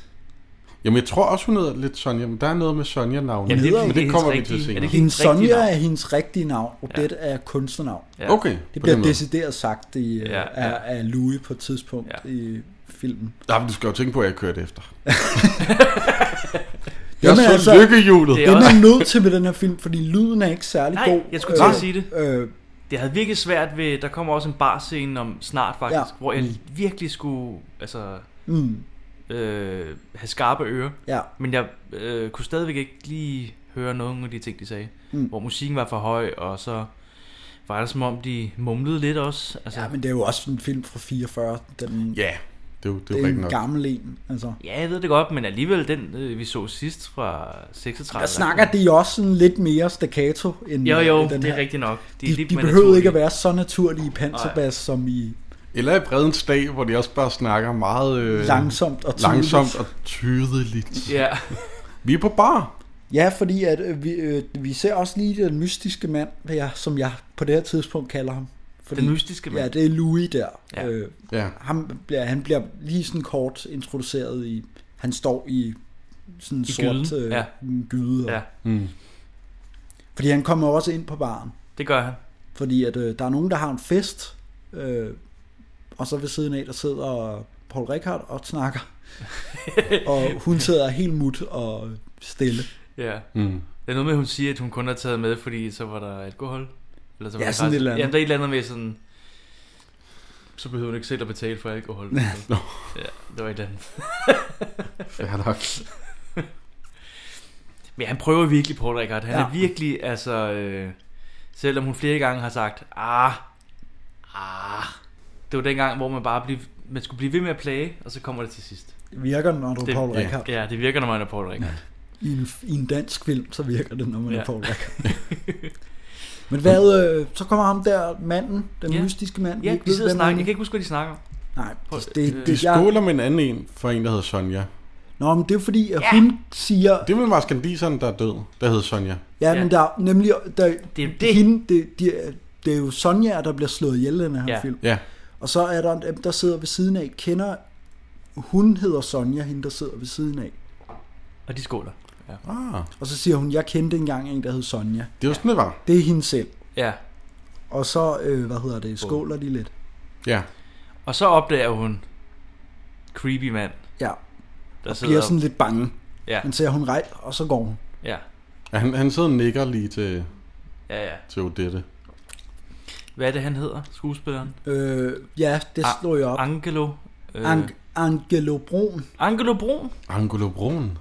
Speaker 4: Jamen, jeg tror også, hun hedder lidt Sonja, men der er noget med Sonja-navnet.
Speaker 2: Jamen, det er fordi,
Speaker 4: men
Speaker 2: det er
Speaker 4: det
Speaker 2: hendes
Speaker 4: kommer vi
Speaker 2: rigtige-
Speaker 4: til
Speaker 2: er
Speaker 4: senere.
Speaker 2: det ikke-
Speaker 3: Hendes
Speaker 2: Hendes rigtige
Speaker 3: Sonja
Speaker 2: navn.
Speaker 3: er hendes rigtige navn, Odette ja. er kunstnernavn.
Speaker 2: Ja.
Speaker 4: Okay,
Speaker 3: Det
Speaker 4: på den
Speaker 3: bliver
Speaker 4: måde.
Speaker 3: decideret sagt i, ja,
Speaker 2: Ja,
Speaker 3: ja. Af, af Louis på et tidspunkt ja.
Speaker 2: Ja.
Speaker 3: i filmen.
Speaker 4: Ja, men du skal jo tænke på, at jeg kørte efter. Jeg
Speaker 3: Jamen,
Speaker 4: så
Speaker 3: altså,
Speaker 4: lykkehjulet.
Speaker 2: det
Speaker 3: Det er
Speaker 2: også-
Speaker 3: man nødt til ved den her film, fordi lyden er ikke særlig
Speaker 2: Nej,
Speaker 3: god.
Speaker 2: jeg skulle til at
Speaker 3: Øh,
Speaker 2: sige det.
Speaker 3: Øh,
Speaker 2: Det havde virkelig svært ved, der kommer også en barscene om snart faktisk, ja.
Speaker 3: Ja.
Speaker 2: hvor jeg virkelig skulle altså,
Speaker 3: mm,
Speaker 2: øh, have skarpe ører.
Speaker 3: ja,
Speaker 2: Men jeg øh, kunne stadigvæk ikke lige høre nogen af de ting, de sagde. Mm.
Speaker 3: Mm.
Speaker 2: Hvor musikken var for høj, og så var det som om, de mumlede lidt også. Altså,
Speaker 3: ja, men det er jo også en film fra 44. Den,
Speaker 4: Ja, det er jo, det er jo
Speaker 3: det er
Speaker 4: rigtig
Speaker 3: en
Speaker 4: nok.
Speaker 3: gammel en. Altså.
Speaker 2: ja, jeg ved det godt, men alligevel den, øh, vi så sidst fra 36.
Speaker 3: Der snakker de også sådan lidt mere staccato end
Speaker 2: Jo, jo,
Speaker 3: end den
Speaker 2: det er
Speaker 3: her.
Speaker 2: rigtigt nok. De,
Speaker 3: De, de behøvede ikke at være så naturlige i Panserbas, som i
Speaker 4: Eller i Bredens Dag, hvor de også bare snakker meget... Øh,
Speaker 3: langsomt og tydeligt.
Speaker 4: langsomt og tydeligt.
Speaker 2: Ja,
Speaker 4: Vi er på bar.
Speaker 3: Ja, fordi at, øh, vi, øh, vi ser også lige den mystiske mand, hvad jeg, som jeg på det her tidspunkt kalder ham. Fordi,
Speaker 2: den mystiske mand.
Speaker 3: Ja, det er Louis der.
Speaker 2: Ja.
Speaker 3: Øh,
Speaker 4: Ja.
Speaker 3: ham bliver, han bliver lige sådan kort introduceret i, han står i sådan en sort
Speaker 2: gyden,
Speaker 3: øh,
Speaker 2: ja.
Speaker 3: ja. gyde. og-
Speaker 2: ja,
Speaker 3: Fordi han kommer jo også ind på baren.
Speaker 2: det gør han.
Speaker 3: Fordi at øh, der er nogen, der har en fest, øh, og så ved siden af, der sidder Paul Rickard og snakker. og hun sidder helt mut og stille.
Speaker 2: Ja. Mm. Det er noget med, at hun siger, at hun kun har taget med, fordi så var der alkohol. Eller så var
Speaker 3: Ja,
Speaker 2: der
Speaker 3: sådan et eller andet.
Speaker 2: Jamen, der er et eller andet med sådan... Så behøver hun ikke selv at betale for alkohol.
Speaker 4: Nå.
Speaker 2: ja, det var et eller andet.
Speaker 4: Fair nok.
Speaker 2: Men han prøver virkelig, Paul Rickard. Han ja.
Speaker 3: Ja.
Speaker 2: er virkelig, altså... Øh, selvom hun flere gange har sagt, ah, ah. Det var dengang, hvor man bare blev, man skulle blive ved med at plage, og så kommer det til sidst.
Speaker 3: Virker den, når du
Speaker 2: Det-
Speaker 3: er Paul
Speaker 4: ja.
Speaker 3: Rickard?
Speaker 2: Ja, det virker, når man er Paul Rickard.
Speaker 3: I en, I en dansk film, så virker det, når man ja.
Speaker 2: Ja.
Speaker 3: er Paul Rickard. Men hvad, øh, så kommer ham der, manden, den
Speaker 2: Ja.
Speaker 3: ja. mystiske mand. vi
Speaker 2: Ja,
Speaker 3: ikke
Speaker 2: de
Speaker 3: ved,
Speaker 2: sidder og
Speaker 3: hvem
Speaker 2: snakker.
Speaker 3: han
Speaker 2: Jeg
Speaker 3: er.
Speaker 2: kan ikke huske, hvad de snakker om.
Speaker 3: Nej,
Speaker 2: Prøv-
Speaker 3: det, det,
Speaker 4: De
Speaker 3: det, jeg,
Speaker 4: skåler med en anden en for en, der hedder Sonja.
Speaker 3: Nå, men det er fordi, at ja. hun siger,
Speaker 4: Det er vel Mars Gandiseren, der er død, der hedder Sonja.
Speaker 3: ja,
Speaker 2: Ja.
Speaker 3: men der er nemlig, der,
Speaker 2: Det er det.
Speaker 3: Hende, det, de, det er jo Sonja, der bliver slået ihjel i den her
Speaker 2: Ja.
Speaker 3: ja. film.
Speaker 4: Ja,
Speaker 3: Og så er der dem, der sidder ved siden af, kender, hun hedder Sonja, hende der sidder ved siden af.
Speaker 2: Og de skåler. Ja.
Speaker 4: ah,
Speaker 3: Og så siger hun, jeg kendte engang en, der hed Sonja.
Speaker 4: det var sådan, det var.
Speaker 3: Det er hende selv.
Speaker 2: ja.
Speaker 3: Og så, øh, hvad hedder det, skåler de lidt.
Speaker 4: Ja,
Speaker 2: Og så opdager hun creepy mand,
Speaker 3: Ja,
Speaker 2: der sidder...
Speaker 3: bliver sådan lidt bange.
Speaker 2: Ja,
Speaker 3: Men ser hun rej, og så går hun.
Speaker 2: ja,
Speaker 4: Ja, han, han sidder og nikker lige til,
Speaker 2: ja, ja.
Speaker 4: til Odette.
Speaker 2: Hvad er det, han hedder, skuespilleren?
Speaker 3: Øh, ja, det
Speaker 2: Ah,
Speaker 3: slår jeg op.
Speaker 2: Angelo... Øh,
Speaker 3: Ang- Angelo Brun.
Speaker 2: Angelo Brun?
Speaker 4: Angelo Brun.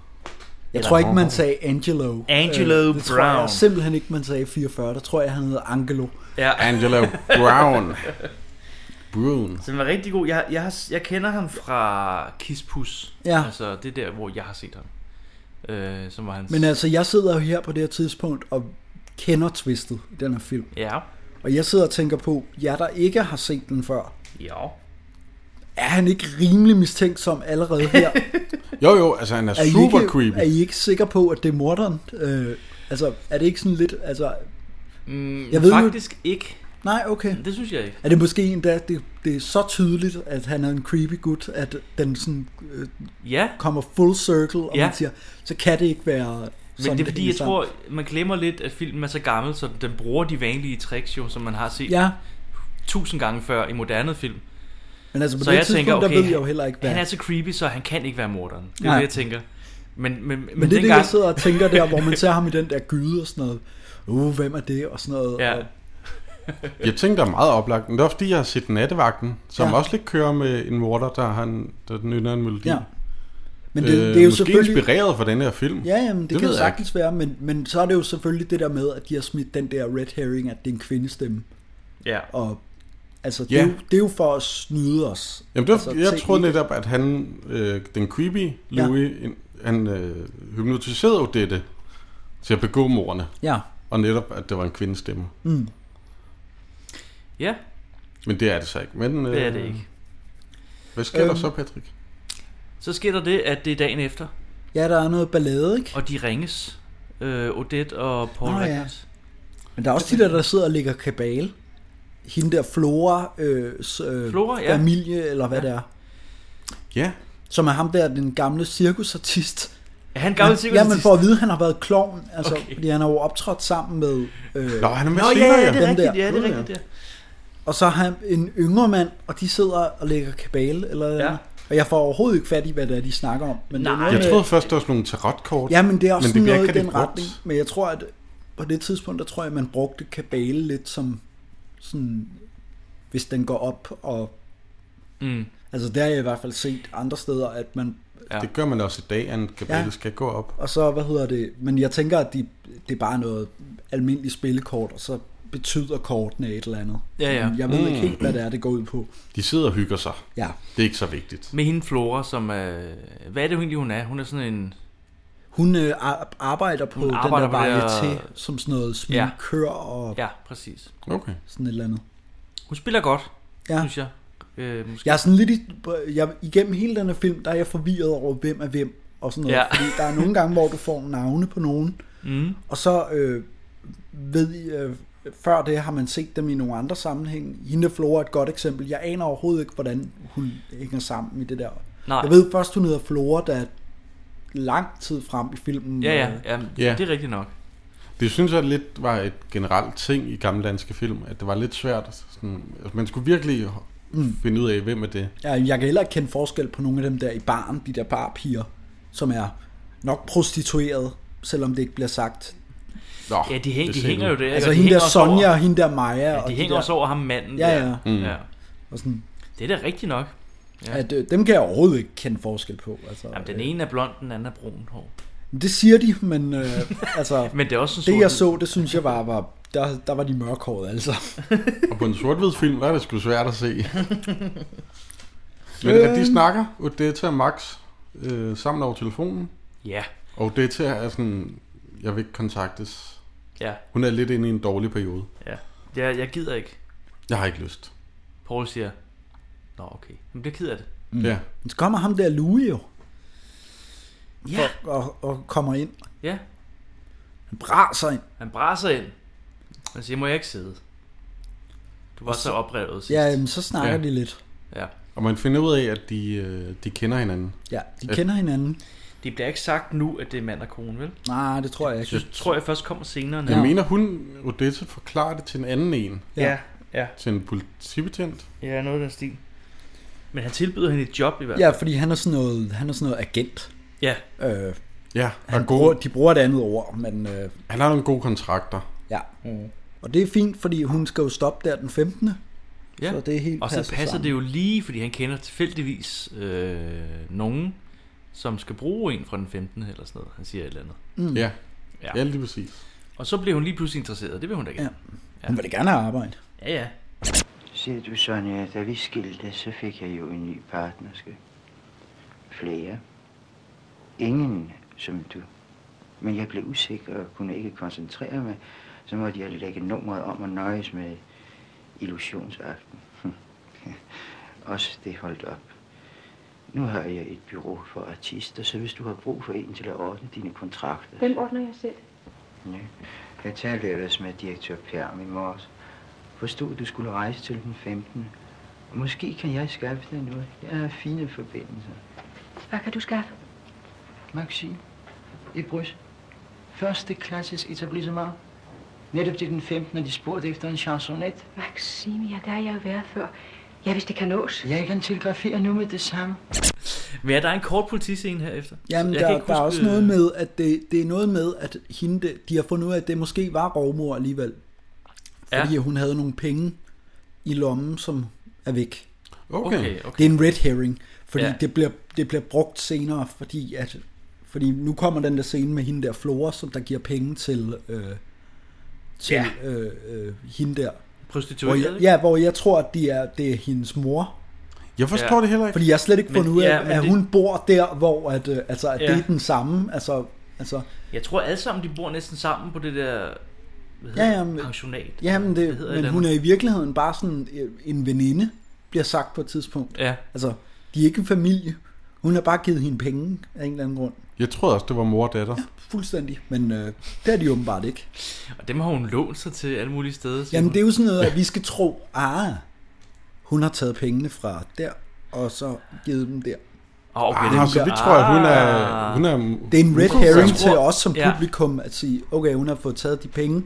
Speaker 3: Jeg tror ikke, man sagde Angelo. Øh,
Speaker 2: Angelo
Speaker 3: det tror jeg
Speaker 2: Brown.
Speaker 3: simpelthen ikke, man sagde 44. Der tror jeg, han hedder Angelo.
Speaker 2: Ja,
Speaker 4: Angelo Brown. Brun.
Speaker 2: den var rigtig god. Jeg, jeg, har, jeg kender ham fra Kiss Puss.
Speaker 3: Ja.
Speaker 2: Altså, det er der, hvor jeg har set ham. Øh, som var hans...
Speaker 3: Men altså, jeg sidder jo her på det her tidspunkt og kender twistet i den her film.
Speaker 2: Ja,
Speaker 3: Og jeg sidder og tænker på, jer der ikke har set den før,
Speaker 2: ja.
Speaker 3: er han ikke rimelig mistænksom allerede her?
Speaker 4: Jo jo, altså han er,
Speaker 3: Er I
Speaker 4: super
Speaker 3: ikke,
Speaker 4: creepy.
Speaker 3: Er I ikke sikre på, at det er morderen? Øh, altså, er det ikke sådan lidt... Altså,
Speaker 2: Mm,
Speaker 3: Jeg ved jo-
Speaker 2: faktisk jo... ikke.
Speaker 3: nej, okay.
Speaker 2: Det synes jeg ikke.
Speaker 3: Er det måske endda, det, det er så tydeligt, at han er en creepy gut, at den sådan øh,
Speaker 2: Ja,
Speaker 3: kommer full circle, og
Speaker 2: Ja.
Speaker 3: ja. man siger, så kan det ikke være sådan,
Speaker 2: men det er fordi,
Speaker 3: hænger
Speaker 2: jeg
Speaker 3: sammen.
Speaker 2: tror, man glemmer lidt, at filmen er så gammel, så den bruger de vanlige tricks jo, som man har set
Speaker 3: Ja,
Speaker 2: tusind gange før i moderne film.
Speaker 3: men altså på
Speaker 2: Så
Speaker 3: det
Speaker 2: jeg
Speaker 3: tidspunkt,
Speaker 2: tænker, okay,
Speaker 3: der ved jeg jo heller ikke, hvad...
Speaker 2: Han er så creepy, så han kan ikke være morderen. Det er
Speaker 3: Nej.
Speaker 2: det, jeg tænker. Men, men, men,
Speaker 3: Men, det er det,
Speaker 2: dengang,
Speaker 3: jeg sidder og tænker der, hvor man ser ham i den der gyde og sådan noget. Uh, hvem er det? Og sådan noget.
Speaker 2: Ja.
Speaker 3: Og,
Speaker 4: Jeg tænkte, der er meget oplagt, men det er også fordi, jeg har set Nattevagten, som ja.
Speaker 3: Ja.
Speaker 4: også lidt kører med en morder, der, han, der nynner en melodi.
Speaker 3: ja.
Speaker 4: Ja.
Speaker 3: Men det, øh, det er jo
Speaker 4: måske
Speaker 3: selvfølgelig...
Speaker 4: inspireret fra den her film.
Speaker 3: Ja, jamen,
Speaker 4: Det
Speaker 3: det, det kan
Speaker 4: ved jeg
Speaker 3: sagtens være, men, men så er det jo selvfølgelig det der med, at de har smidt den der red herring, at det er en kvindestemme.
Speaker 2: Ja.
Speaker 3: Og altså, det,
Speaker 4: Ja.
Speaker 3: er jo, det er jo for at snyde os.
Speaker 4: Jamen, det var,
Speaker 3: altså,
Speaker 4: altså, jeg
Speaker 3: se
Speaker 4: troede
Speaker 3: ikke-
Speaker 4: netop, at han, øh, den creepy Louis, ja. han øh, hypnotiserede Odette til at begå morderne,
Speaker 3: Ja,
Speaker 4: og netop, at det var en kvindestemme.
Speaker 2: ja,
Speaker 4: Men det er det så ikke. Men, øh,
Speaker 2: det er det ikke.
Speaker 4: Hvad sker øhm. der så, Patrick?
Speaker 2: Så sker der det, at det er dagen efter,
Speaker 3: ja, der er noget ballade, ikke?
Speaker 2: og de ringes. Øh, Odette og Paul
Speaker 3: Nå, ja.
Speaker 2: Rickard.
Speaker 3: Men der er også de der, der sidder og ligger kabale. Hende der Flora, øh, s- øh,
Speaker 2: Flora, ja.
Speaker 3: familie, eller hvad ja. det er.
Speaker 4: Ja,
Speaker 3: Som er ham der, den gamle cirkusartist.
Speaker 2: Er han gammel sikkert?
Speaker 3: Ja, men for at vide, han har været klovn, altså,
Speaker 2: Okay.
Speaker 3: okay. fordi han har jo optrådt sammen med... Øh,
Speaker 4: Nå, han er med
Speaker 2: Nå ja,
Speaker 4: senere,
Speaker 2: ja, det er
Speaker 3: Dem
Speaker 2: rigtigt,
Speaker 3: der.
Speaker 2: ja, det er
Speaker 4: Nå, ja.
Speaker 2: rigtigt, ja.
Speaker 3: og så har han en yngre mand, og de sidder og lægger kabale, eller
Speaker 2: ja.
Speaker 3: ja. Og jeg får overhovedet ikke fat i, hvad det er, de snakker om. Men Det er noget
Speaker 4: Jeg
Speaker 3: med-
Speaker 4: troede først, det var sådan nogle tarotkort.
Speaker 3: Ja, men det er også men
Speaker 4: bliver
Speaker 3: sådan noget
Speaker 4: ikke
Speaker 3: i den
Speaker 4: rigtig brugt.
Speaker 3: retning. Men jeg tror, at på det tidspunkt, der tror jeg, man brugte kabale lidt som sådan, hvis den går op og...
Speaker 2: Mm.
Speaker 3: Altså der har jeg i hvert fald set andre steder, at man...
Speaker 4: Det gør man også i dag, at en kabale ja. skal gå op.
Speaker 3: Og så, hvad hedder det? Men jeg tænker, at de, det er bare noget almindeligt spillekort, og så betyder kortene et eller andet.
Speaker 2: Ja, ja.
Speaker 3: Men Jeg ved mm.
Speaker 4: Mm.
Speaker 3: ikke helt, hvad det er, det går ud på.
Speaker 4: De sidder og hygger sig.
Speaker 3: Ja.
Speaker 4: Det er ikke så vigtigt.
Speaker 2: Med hende Flora, som er... Hvad er det jo egentlig, hun er? Hun er sådan en...
Speaker 3: Hun øh, ar- arbejder på
Speaker 2: Hun
Speaker 3: hun arbejder
Speaker 2: arbejder
Speaker 3: den
Speaker 2: på
Speaker 3: der
Speaker 2: det
Speaker 3: veje
Speaker 2: der-
Speaker 3: til, som sådan noget
Speaker 2: Ja.
Speaker 3: sminkør ja. og
Speaker 2: Ja, præcis.
Speaker 4: Okay.
Speaker 3: sådan et eller andet.
Speaker 2: Hun spiller godt,
Speaker 3: Ja.
Speaker 2: ja. synes jeg. Øh, måske.
Speaker 3: Jeg er sådan lidt... I, jeg, igennem hele den her film, der er jeg forvirret over, hvem er hvem og sådan noget. Ja.
Speaker 2: Ja.
Speaker 3: Fordi der er nogle gange, hvor du får navne på nogen,
Speaker 2: Mm.
Speaker 3: og så øh, ved I, øh, før det har man set dem i nogle andre sammenhæng. Hende der Flora er et godt eksempel. Jeg aner overhovedet ikke, hvordan hun hænger sammen i det der.
Speaker 2: Nej.
Speaker 3: Jeg ved først, hun hedder Flora, der er lang tid frem i filmen.
Speaker 2: Ja,
Speaker 3: øh,
Speaker 2: ja, ja,
Speaker 4: Ja.
Speaker 2: ja. Det er rigtigt nok.
Speaker 4: Det synes jeg lidt var et generelt ting i gamle danske film, at det var lidt svært. Sådan, altså, man skulle virkelig mm. finde ud af, hvem er det.
Speaker 3: Ja, jeg kan heller ikke kende forskel på nogle af dem der i baren, de der barpiger, som er nok prostitueret, selvom det ikke bliver sagt.
Speaker 4: Nå,
Speaker 2: Ja, de, hæng,
Speaker 4: det
Speaker 2: de
Speaker 4: ser
Speaker 2: hænger
Speaker 4: ud.
Speaker 2: jo der. ikke?
Speaker 3: Altså
Speaker 2: Og de
Speaker 3: hende der
Speaker 2: hænger også
Speaker 3: Sonja
Speaker 2: over-
Speaker 3: og hende der Maja.
Speaker 2: Ja, de hænger
Speaker 3: der,
Speaker 2: også over ham manden.
Speaker 3: Ja,
Speaker 2: der.
Speaker 3: ja.
Speaker 2: Mm. ja.
Speaker 3: Og sådan,
Speaker 2: Det er da rigtigt nok. Ja.
Speaker 3: at, øh, dem kan jeg overhovedet ikke kende forskel på. Altså,
Speaker 2: Jamen, den ene er blond, den anden er brun hår.
Speaker 3: øh, det siger de, men, øh, altså,
Speaker 2: Men det er også en
Speaker 3: det jeg
Speaker 2: sort-
Speaker 3: så, det synes jeg var, var der, der var de mørkhårede altså.
Speaker 4: Og på en sort film, der er det sgu svært at se. Men
Speaker 2: Øh.
Speaker 4: at de snakker, Odetta og Max, øh, sammen over telefonen.
Speaker 2: Ja,
Speaker 4: Og Odetta er sådan, jeg vil ikke kontaktes.
Speaker 2: ja,
Speaker 4: Hun er lidt inde i en dårlig periode.
Speaker 2: ja. Jeg, jeg gider ikke.
Speaker 4: Jeg har ikke lyst.
Speaker 2: Paul siger, Nå, okay. Jamen, det keder det.
Speaker 4: Mm. Ja.
Speaker 3: Men så kommer ham der Louis jo,
Speaker 2: Ja,
Speaker 3: og, og, og kommer ind.
Speaker 2: ja.
Speaker 3: Han braser ind.
Speaker 2: Han braser ind. Han siger, må jeg ikke sidde? Du var så oprevet sidst.
Speaker 3: Ja, jamen, så snakker
Speaker 4: Ja.
Speaker 3: de lidt.
Speaker 2: ja.
Speaker 4: Og man finder ud af, at de, øh, de kender hinanden.
Speaker 3: Ja, de
Speaker 2: Øh.
Speaker 3: kender hinanden.
Speaker 2: Det bliver ikke sagt nu, at det er mand og kone, vel?
Speaker 3: Nej, det tror jeg ikke.
Speaker 2: Det tror jeg først kommer senere.
Speaker 4: Jeg
Speaker 2: når-
Speaker 4: mener, hun, Odetta, forklarer det til en anden en.
Speaker 2: ja. ja.
Speaker 4: Til en politibetjent.
Speaker 2: Ja, noget af den stil. Men han tilbyder hende et job i hvert fald.
Speaker 3: Ja, fordi han er sådan noget, han er sådan noget agent.
Speaker 2: Ja.
Speaker 3: Øh,
Speaker 4: Ja,
Speaker 3: han
Speaker 4: og
Speaker 3: bruger,
Speaker 4: god,
Speaker 3: de bruger et andet ord, men øh,
Speaker 4: han har nogle gode kontrakter.
Speaker 3: ja. Mm. Og det er fint, fordi hun skal jo stoppe der den 15.
Speaker 2: ja.
Speaker 3: Så det er helt
Speaker 2: Og så
Speaker 3: passet
Speaker 2: passer,
Speaker 3: sammen.
Speaker 2: det jo lige, fordi han kender tilfældigvis øh, nogen, som skal bruge en fra den 15. eller sådan noget. Han siger et eller andet.
Speaker 4: Mm. Ja.
Speaker 2: Ja.
Speaker 4: ja, ja lige præcis.
Speaker 2: Og så bliver hun lige pludselig interesseret. Det vil hun da gerne.
Speaker 3: Hun vil da gerne have arbejde.
Speaker 2: Ja, ja. ja.
Speaker 10: Se du, Sonja, da vi skilte, så fik jeg jo en ny partnerske. Flere. Ingen som du. Men jeg blev usikker og kunne ikke koncentrere mig. Så måtte jeg lægge nummeret om og nøjes med illusionsaften. Også det holdt op. Nu har jeg et bureau for artister, så hvis du har brug for en til at ordne dine kontrakter...
Speaker 11: Hvem ordner jeg selv?
Speaker 10: Ja. Jeg talte ellers med direktør Perm i morges. Forstod, at du skulle rejse til den 15. Og måske kan jeg skaffe dig noget. Jeg har fine forbindelser.
Speaker 11: Hvad kan du skaffe?
Speaker 10: Maxi, i Bryssel. Første klasses etablissement. Netop til den 15. og de spurgte efter en chansonet.
Speaker 11: Maximia, der har jeg jo været før. Ja, hvis det kan nås.
Speaker 10: Jeg kan telegrafere nu med det samme.
Speaker 2: Men ja, der er en kort politiscene herefter.
Speaker 3: Jamen,
Speaker 2: Jeg
Speaker 3: der,
Speaker 2: kan
Speaker 3: der
Speaker 2: ikke
Speaker 3: er
Speaker 2: huske- øh,
Speaker 3: også noget med, at det, det er noget med, at hende, der- de har fundet ud af, at det måske var rovmor alligevel.
Speaker 2: Ja.
Speaker 3: Fordi hun havde nogle penge i lommen, som er væk.
Speaker 4: Okay. okay.
Speaker 2: Okay, okay.
Speaker 3: Det er en red herring, fordi ja.
Speaker 2: Ja.
Speaker 3: det, bliver, det bliver brugt senere, fordi at fordi nu kommer den der scene med hende der Flora, som der giver penge til, øh, til ja. øh, øh, hende der. Hvor
Speaker 2: Prostitueret,
Speaker 3: jeg,
Speaker 2: ikke?
Speaker 3: ja, hvor jeg tror, at de er, det er hendes mor.
Speaker 4: Jeg forstår ja.
Speaker 2: Ja.
Speaker 4: det heller ikke.
Speaker 3: Fordi jeg har slet ikke
Speaker 2: Men-
Speaker 3: fundet ud af,
Speaker 2: ja,
Speaker 3: ja,
Speaker 2: men
Speaker 3: at
Speaker 2: det-
Speaker 3: hun bor der, hvor at, øh, altså, at ja.
Speaker 2: Ja.
Speaker 3: det er den samme. Altså, altså,
Speaker 2: Jeg tror alle sammen, de bor næsten sammen på det der hvad
Speaker 3: Ja,
Speaker 2: hedder,
Speaker 3: ja, men-
Speaker 2: pensionat.
Speaker 3: jamen
Speaker 2: Hvad
Speaker 3: det,
Speaker 2: hedder
Speaker 3: men
Speaker 2: et
Speaker 3: hun er
Speaker 2: eller
Speaker 3: i virkeligheden bare sådan øh, en veninde, bliver sagt på et tidspunkt.
Speaker 2: andet. Ja,
Speaker 3: Altså, de er ikke en familie. Hun har bare givet hende penge af en eller anden grund.
Speaker 4: Jeg troede også, det var mor og datter.
Speaker 3: Fuldstændig. Men øh, det er de åbenbart ikke.
Speaker 2: og dem har hun lånt sig til alle mulige steder. siger
Speaker 3: Jamen
Speaker 2: hun.
Speaker 3: det er jo sådan noget, at vi skal tro, ah, hun har taget pengene fra der, og så givet dem der.
Speaker 2: Åh, okay,
Speaker 4: Ah,
Speaker 2: det er
Speaker 4: så det tror jeg, hun er...
Speaker 2: Ah.
Speaker 4: Hun er
Speaker 3: Det er en red
Speaker 4: hun-
Speaker 3: herring
Speaker 2: jeg
Speaker 3: til
Speaker 2: tror-
Speaker 3: os som
Speaker 2: ja.
Speaker 3: publikum at sige, okay, hun har fået taget de penge,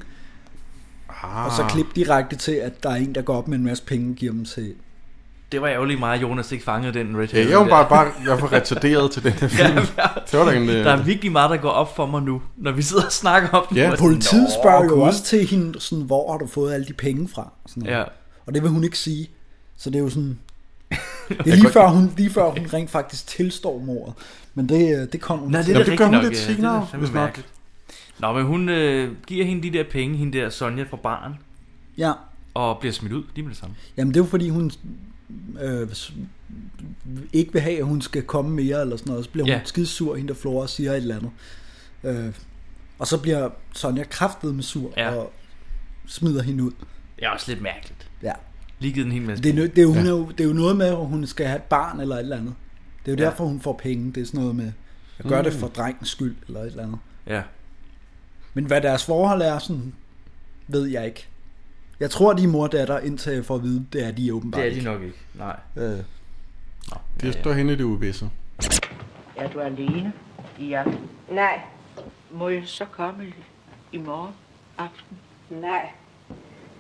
Speaker 4: Ah,
Speaker 3: Og så klip direkte til, at der er en, der går op med en masse penge og giver dem til
Speaker 2: det var ærgerligt meget, at Jonas ikke fangede den Red
Speaker 4: Ja, jeg var bare, bare jeg var retarderet til den her film. Det var da en, øh,
Speaker 2: der er virkelig meget, der går op for mig nu, når vi sidder og snakker om den.
Speaker 3: Ja.
Speaker 2: Nå,
Speaker 3: Politiet spørger jo
Speaker 2: gud.
Speaker 3: også til hende, sådan, hvor har du fået alle de penge fra? og Sådan noget.
Speaker 2: Ja.
Speaker 3: Og det vil hun ikke sige. Så det er jo sådan... Det er lige før, hun, lige før hun rent faktisk tilstår mordet. Men det, øh, det kommer hun
Speaker 2: Nå,
Speaker 3: til.
Speaker 2: det er da rigtigt nok, ja. Det er da fandme
Speaker 3: hvis nok.
Speaker 2: mærkeligt. Nå, men hun øh, giver hende de der penge, hende der Sonja fra baren.
Speaker 3: Ja.
Speaker 2: Og bliver smidt ud lige med det samme.
Speaker 3: Jamen det er jo fordi hun øh, s- ikke vil have, at hun skal komme mere eller sådan noget. Så bliver hun
Speaker 2: Ja.
Speaker 3: skidesur, hende der Flora og siger et eller andet. Øh, og så bliver Sonja kraftet med sur ja. og smider hende ud.
Speaker 2: Det er også lidt mærkeligt.
Speaker 3: Ja.
Speaker 2: Lige givet en hel masse
Speaker 3: Det er, nø- det, er jo,
Speaker 2: penge.
Speaker 3: hun er jo, det er jo noget med, at hun skal have et barn eller et eller andet. Det er jo
Speaker 2: Ja.
Speaker 3: ja. derfor, hun får penge. Det er sådan noget med, jeg gør det
Speaker 2: Mm.
Speaker 3: for drengens skyld eller et eller andet.
Speaker 2: Ja.
Speaker 3: Men hvad deres forhold er, sådan, ved jeg ikke. Jeg tror, de er mor og datter, indtil jeg får at vide, det er de åbenbart
Speaker 2: Det er de
Speaker 3: ikke.
Speaker 2: nok ikke, nej.
Speaker 3: Øh.
Speaker 4: Det står henne i det uvisse.
Speaker 10: Er du alene i aften?
Speaker 12: Nej,
Speaker 10: Må jeg så komme i- i morgen aften?
Speaker 12: nej.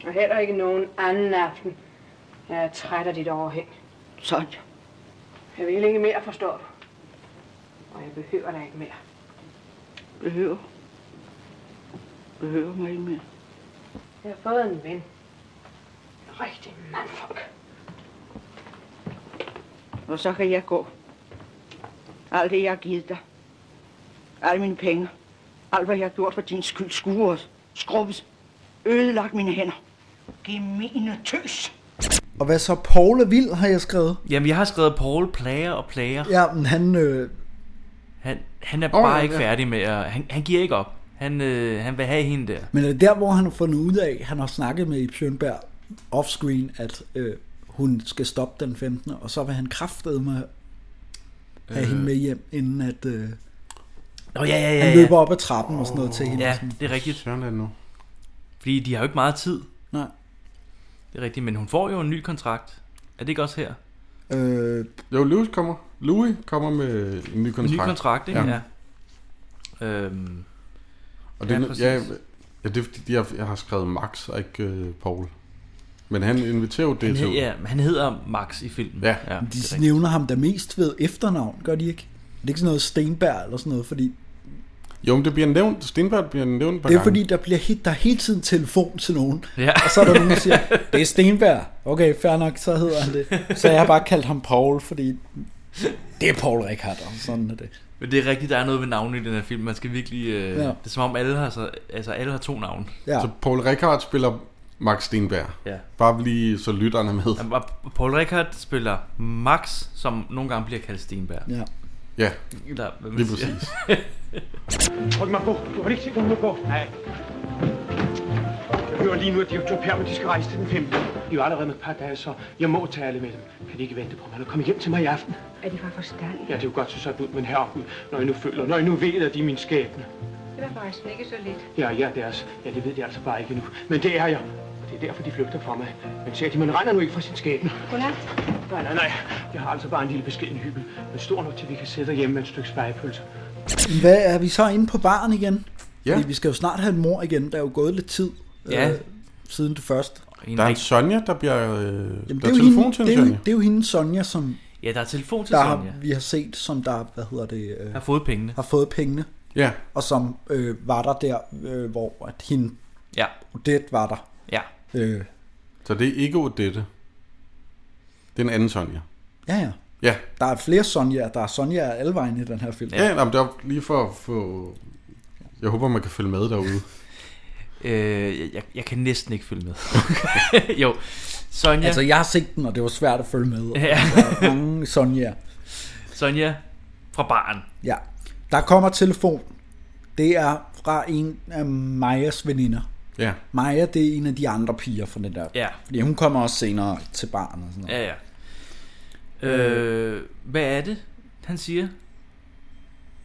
Speaker 12: Og heller ikke nogen anden aften. Jeg er træt af dit overhæng.
Speaker 10: Sonja,
Speaker 12: Jeg vil ikke mere, forstår du? Og jeg behøver dig ikke mere.
Speaker 10: behøver. Behøver mig ikke mere.
Speaker 12: Jeg har fået en ven. En rigtig mandfolk.
Speaker 10: Og så kan jeg gå. Alt det, jeg har givet dig. Alle mine penge. Alt, hvad jeg har gjort for din skyld. Skuret, skrubbes, ødelagt mine hænder. Gemene tøs.
Speaker 3: Og hvad så? Paul er vild, har jeg skrevet.
Speaker 2: Jamen, jeg har skrevet Paul plager og plager.
Speaker 3: Ja, men han... Øh,
Speaker 2: Han, han er
Speaker 3: Åh,
Speaker 2: bare
Speaker 3: ja,
Speaker 2: ikke
Speaker 3: ja.
Speaker 2: færdig med at... Han, han giver ikke op. Han, øh, han vil have hende der.
Speaker 3: men er det der, hvor han har fundet ud af, han har snakket med Ip Schønberg offscreen, at øh, hun skal stoppe den 15. Og så vil han kraftedeme med have
Speaker 2: Øh.
Speaker 3: øh. hende med hjem, inden at... Øh,
Speaker 2: Nå, ja, ja, ja,
Speaker 3: han
Speaker 2: ja.
Speaker 3: løber op ad trappen og sådan noget til hende.
Speaker 2: Ja,
Speaker 3: Sådan.
Speaker 2: det er rigtigt.
Speaker 4: Sådan er det nu.
Speaker 2: Fordi de har jo ikke meget tid.
Speaker 3: Nej.
Speaker 2: Det er rigtigt, men hun får jo en ny kontrakt. Er det ikke også her?
Speaker 3: Øh,
Speaker 4: jo, Louis kommer. Louis kommer med en ny kontrakt.
Speaker 2: En ny kontrakt, ikke? Ja. ja. Øhm,
Speaker 4: Og det,
Speaker 2: præcis.
Speaker 4: ja, ja, ja, det er fordi, jeg, jeg har skrevet Max og ikke øh, Paul. Men han inviterer jo
Speaker 2: han,
Speaker 4: det
Speaker 2: hed,
Speaker 4: til.
Speaker 2: ja, men han hedder Max i filmen.
Speaker 4: Ja.
Speaker 2: ja
Speaker 3: De
Speaker 2: det er rigtigt.
Speaker 3: nævner ham da mest ved efternavn, gør de ikke? Er det ikke sådan noget Stenberg eller sådan noget? Fordi
Speaker 4: Jo, men det bliver nævnt. Stenberg bliver nævnt et par
Speaker 3: det er
Speaker 4: gange.
Speaker 3: fordi, der bliver helt, der er hele tiden telefon til nogen.
Speaker 2: Ja.
Speaker 3: Og så er der nogen, der siger, det er Stenberg. Okay, fair nok, så hedder han det. Så jeg har bare kaldt ham Paul, fordi det er Paul Rickard, og sådan er det.
Speaker 2: Men det er rigtigt, der er noget ved navnet i den her film. Man skal virkelig... Øh,
Speaker 3: Ja.
Speaker 2: ja. Det er som om alle har, så, altså, alle har to navne.
Speaker 3: Ja.
Speaker 4: Så Paul Rickard spiller Max Stenberg.
Speaker 2: Ja.
Speaker 4: Bare lige så lytterne er med.
Speaker 2: Jamen, og Paul Rickard spiller Max, som nogle gange bliver kaldt Stenberg.
Speaker 3: Ja.
Speaker 4: Ja,
Speaker 2: Eller, hvad man
Speaker 4: lige
Speaker 2: siger.
Speaker 4: præcis.
Speaker 13: Hold mig på. Du har ikke set mig på. Nej. Jeg hører lige nu, at de er to pærmer, de skal rejse til den 15. De er jo allerede med et par dage, så jeg må tale med dem. Kan de ikke vente på mig, eller komme hjem til mig i aften?
Speaker 11: Er de fra forstand?
Speaker 13: Ja, det er jo godt så sådan ud, men herregud, når I nu føler, når I nu ved, at de er min skæbne.
Speaker 11: Det var forresten ikke så lidt.
Speaker 13: Ja, jeg er deres. Ja, det ved de altså bare ikke nu. Men det er jeg. Og det er derfor, de flygter fra mig. Men ser de, man render nu ikke fra sin skæbne.
Speaker 11: Godnat.
Speaker 13: Nej, nej, nej. Jeg har altså bare en lille beskeden hybbel. Men stor nok til, vi kan sidde derhjemme med et stykke spejepølse.
Speaker 3: Men Hvad er vi så inde på baren igen?
Speaker 4: Ja.
Speaker 3: Fordi vi skal jo snart have en mor igen, der er jo gået lidt tid øh,
Speaker 4: Ja.
Speaker 3: siden det første.
Speaker 4: Der er en Sonja, der bliver... Øh, Jamen, der
Speaker 3: det,
Speaker 4: er
Speaker 3: er jo
Speaker 4: telefon
Speaker 3: hende,
Speaker 4: til en
Speaker 3: det, er, jo-
Speaker 4: Sonja.
Speaker 3: det er jo hende Sonja, som
Speaker 2: Ja, der er telefon til
Speaker 3: der
Speaker 2: Sonja.
Speaker 3: Har, vi har set, som der hvad hedder det, øh,
Speaker 2: Har fået pengene.
Speaker 3: Har fået pengene.
Speaker 4: Ja.
Speaker 3: Og som øh, var der der, øh, hvor at hende,
Speaker 2: Ja.
Speaker 3: Odette var der.
Speaker 2: Ja.
Speaker 3: Øh,
Speaker 4: Så det er ikke Odette. Det er en anden Sonja.
Speaker 3: ja, ja.
Speaker 4: Ja.
Speaker 3: Der er flere Sonja, der er Sonja alle vejen i den her film.
Speaker 4: Ja, ja men det var lige for at få... Jeg håber, man kan følge med derude.
Speaker 2: Øh, jeg- jeg, jeg kan næsten ikke følge med. jo, Sonja...
Speaker 3: Altså, jeg har set den, og det var svært at følge med.
Speaker 2: Ja.
Speaker 3: Der er mange Sonja.
Speaker 2: Sonja fra baren.
Speaker 3: Ja. Der kommer telefon. Det er fra en af Majas veninder.
Speaker 4: Ja.
Speaker 3: Maja, det er en af de andre piger fra den der.
Speaker 2: Ja.
Speaker 3: Fordi hun kommer også senere til barn og sådan noget.
Speaker 2: Ja, ja. Øh, hvad er det, han siger?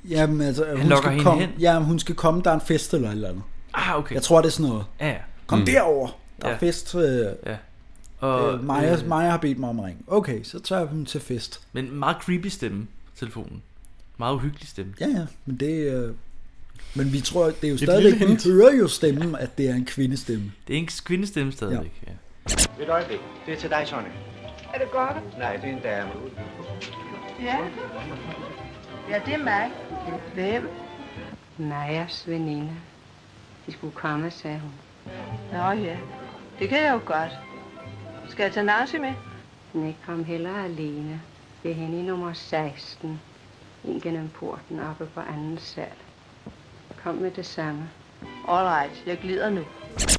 Speaker 3: Jamen, altså,
Speaker 2: Han
Speaker 3: hun
Speaker 2: lokker
Speaker 3: skal
Speaker 2: hende
Speaker 3: komme,
Speaker 2: hen?
Speaker 3: Ja, hun skal komme, der er en fest eller et eller andet.
Speaker 2: Ah, okay.
Speaker 3: Jeg tror, det er sådan noget.
Speaker 2: Ja, ja.
Speaker 3: Kom
Speaker 2: Mm.
Speaker 3: mm. derover. Der er
Speaker 2: Ja.
Speaker 3: fest. Øh,
Speaker 2: ja.
Speaker 3: Og, øh, Maja,
Speaker 2: øh,
Speaker 3: øh, Maja har bedt mig om at ringe. Okay, så tager jeg dem til fest.
Speaker 2: Men meget creepy stemme, telefonen. Meget uhyggelig stemme.
Speaker 3: Ja, ja, men det... Øh, men vi tror, det er jo
Speaker 2: Et
Speaker 3: stadigvæk,
Speaker 2: lille
Speaker 3: vi
Speaker 2: hint.
Speaker 3: hører jo stemmen, at det er en kvindestemme.
Speaker 2: Det er en kvindestemme stadigvæk. Ja.
Speaker 13: Et øjeblik. Det er til dig, Sonja.
Speaker 12: Er det godt?
Speaker 9: Nej, det er en dame.
Speaker 12: Ja. Ja, det er mig. Hvem?
Speaker 11: Majas veninde. De skulle komme, sagde hun.
Speaker 12: Nå ja, det kan jeg jo godt. Skal jeg tage Nancy med?
Speaker 11: Nej, kom hellere alene. Det er hende i nummer 16. Ind gennem porten oppe på anden sal. Kom med det samme.
Speaker 12: All right, jeg glider nu.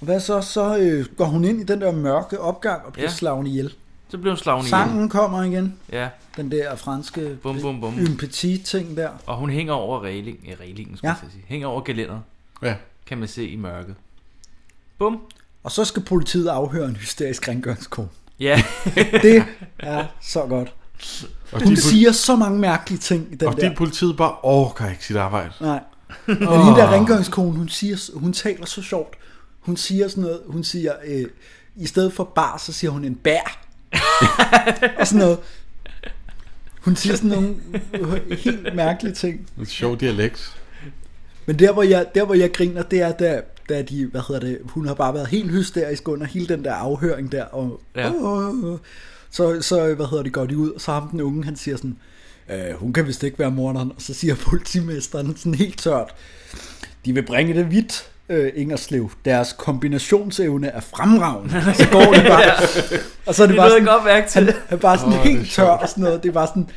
Speaker 3: Hvad så? Så øh, går hun ind i den der mørke opgang og bliver
Speaker 2: Ja.
Speaker 3: ja. slagen ihjel.
Speaker 2: Så bliver hun slagen ihjel.
Speaker 3: Sangen kommer igen.
Speaker 2: Ja.
Speaker 3: Den der franske
Speaker 2: Bum, bum, bum.
Speaker 3: petit-ting der.
Speaker 2: Og hun hænger over regling, eh, reglingen, skulle
Speaker 3: Ja.
Speaker 2: ja. jeg til at sige. Hænger over gelænderet.
Speaker 4: Ja.
Speaker 2: Kan man se i mørket.
Speaker 3: Bum. Og så skal politiet afhøre en hysterisk rengøringskone.
Speaker 2: Ja.
Speaker 3: det er så godt.
Speaker 4: Og
Speaker 3: Og hun
Speaker 4: de pol-
Speaker 3: siger så mange mærkelige ting i den
Speaker 4: og
Speaker 3: der.
Speaker 4: det er politiet bare orker ikke sit arbejde.
Speaker 3: Nej. Men hende der rengøringskone, hun, siger, hun taler så sjovt. Hun siger sådan noget, hun siger, øh, i stedet for bar, så siger hun en bær. og sådan noget. Hun siger sådan nogle øh, helt mærkelige ting.
Speaker 4: En sjov dialekt.
Speaker 3: Men der hvor, jeg, der, hvor jeg griner, det er, da, da de, hvad hedder det, hun har bare været helt hysterisk under hele den der afhøring der. Og,
Speaker 2: Ja.
Speaker 3: ja. øh, øh, øh. så, så, hvad hedder det, går de ud, og så ham den unge, han siger sådan, øh, hun kan vist ikke være morderen. Og så siger politimesteren sådan helt tørt, de vil bringe det vidt, øh, Ingerslev. Deres kombinationsevne er fremragende. Og så går de bare.
Speaker 2: Ja.
Speaker 3: Og så er det,
Speaker 2: Det
Speaker 3: bare
Speaker 2: lød
Speaker 3: sådan,
Speaker 2: jeg godt mærke til.
Speaker 3: Han, han er bare sådan
Speaker 2: Åh,
Speaker 3: oh,
Speaker 2: det er
Speaker 3: helt tør og sådan noget. Det er bare sådan,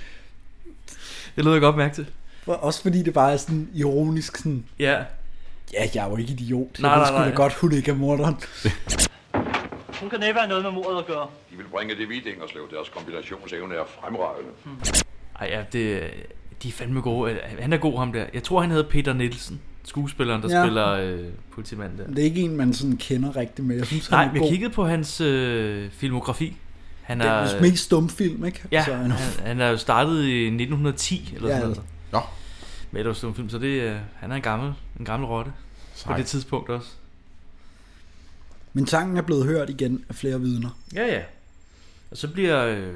Speaker 2: Det lød jeg godt mærke til.
Speaker 3: også fordi det bare er sådan ironisk sådan,
Speaker 2: Ja.
Speaker 3: Ja, jeg er jo ikke idiot.
Speaker 2: Nej,
Speaker 3: Nej, jeg ved
Speaker 2: nej,
Speaker 3: sgu
Speaker 2: nej.
Speaker 3: da godt, hun ikke er morderen.
Speaker 14: Hun kan næppe have noget med mordet at gøre.
Speaker 8: De vil bringe det vidt, Ingerslev. Deres kombinationsevne er fremragende.
Speaker 2: Ej, ja, det, de er fandme gode. Øh, Han er god, ham der. Jeg tror, han hedder Peter Nielsen. Skuespilleren, der ja.
Speaker 3: Ja.
Speaker 2: spiller øh, politimanden der.
Speaker 3: Det er ikke en, man sådan kender rigtigt, men jeg synes,
Speaker 2: Nej,
Speaker 3: han er
Speaker 2: vi
Speaker 3: god.
Speaker 2: har kigget på hans øh, filmografi. Han
Speaker 3: Det er
Speaker 2: er,
Speaker 3: vist mest stumfilm, ikke?
Speaker 2: Ja,
Speaker 3: Så
Speaker 2: han,
Speaker 3: han-
Speaker 2: han er jo startet i 1910 eller
Speaker 3: Ja,
Speaker 2: ja, sådan
Speaker 3: eller-
Speaker 2: noget. Nå. Med et års stumfilm, så det, øh, han er en gammel, en gammel rotte. På
Speaker 3: Sej.
Speaker 2: det tidspunkt også.
Speaker 3: Men sangen er blevet hørt igen af flere vidner.
Speaker 2: Ja, ja. Og så bliver... Øh, øh,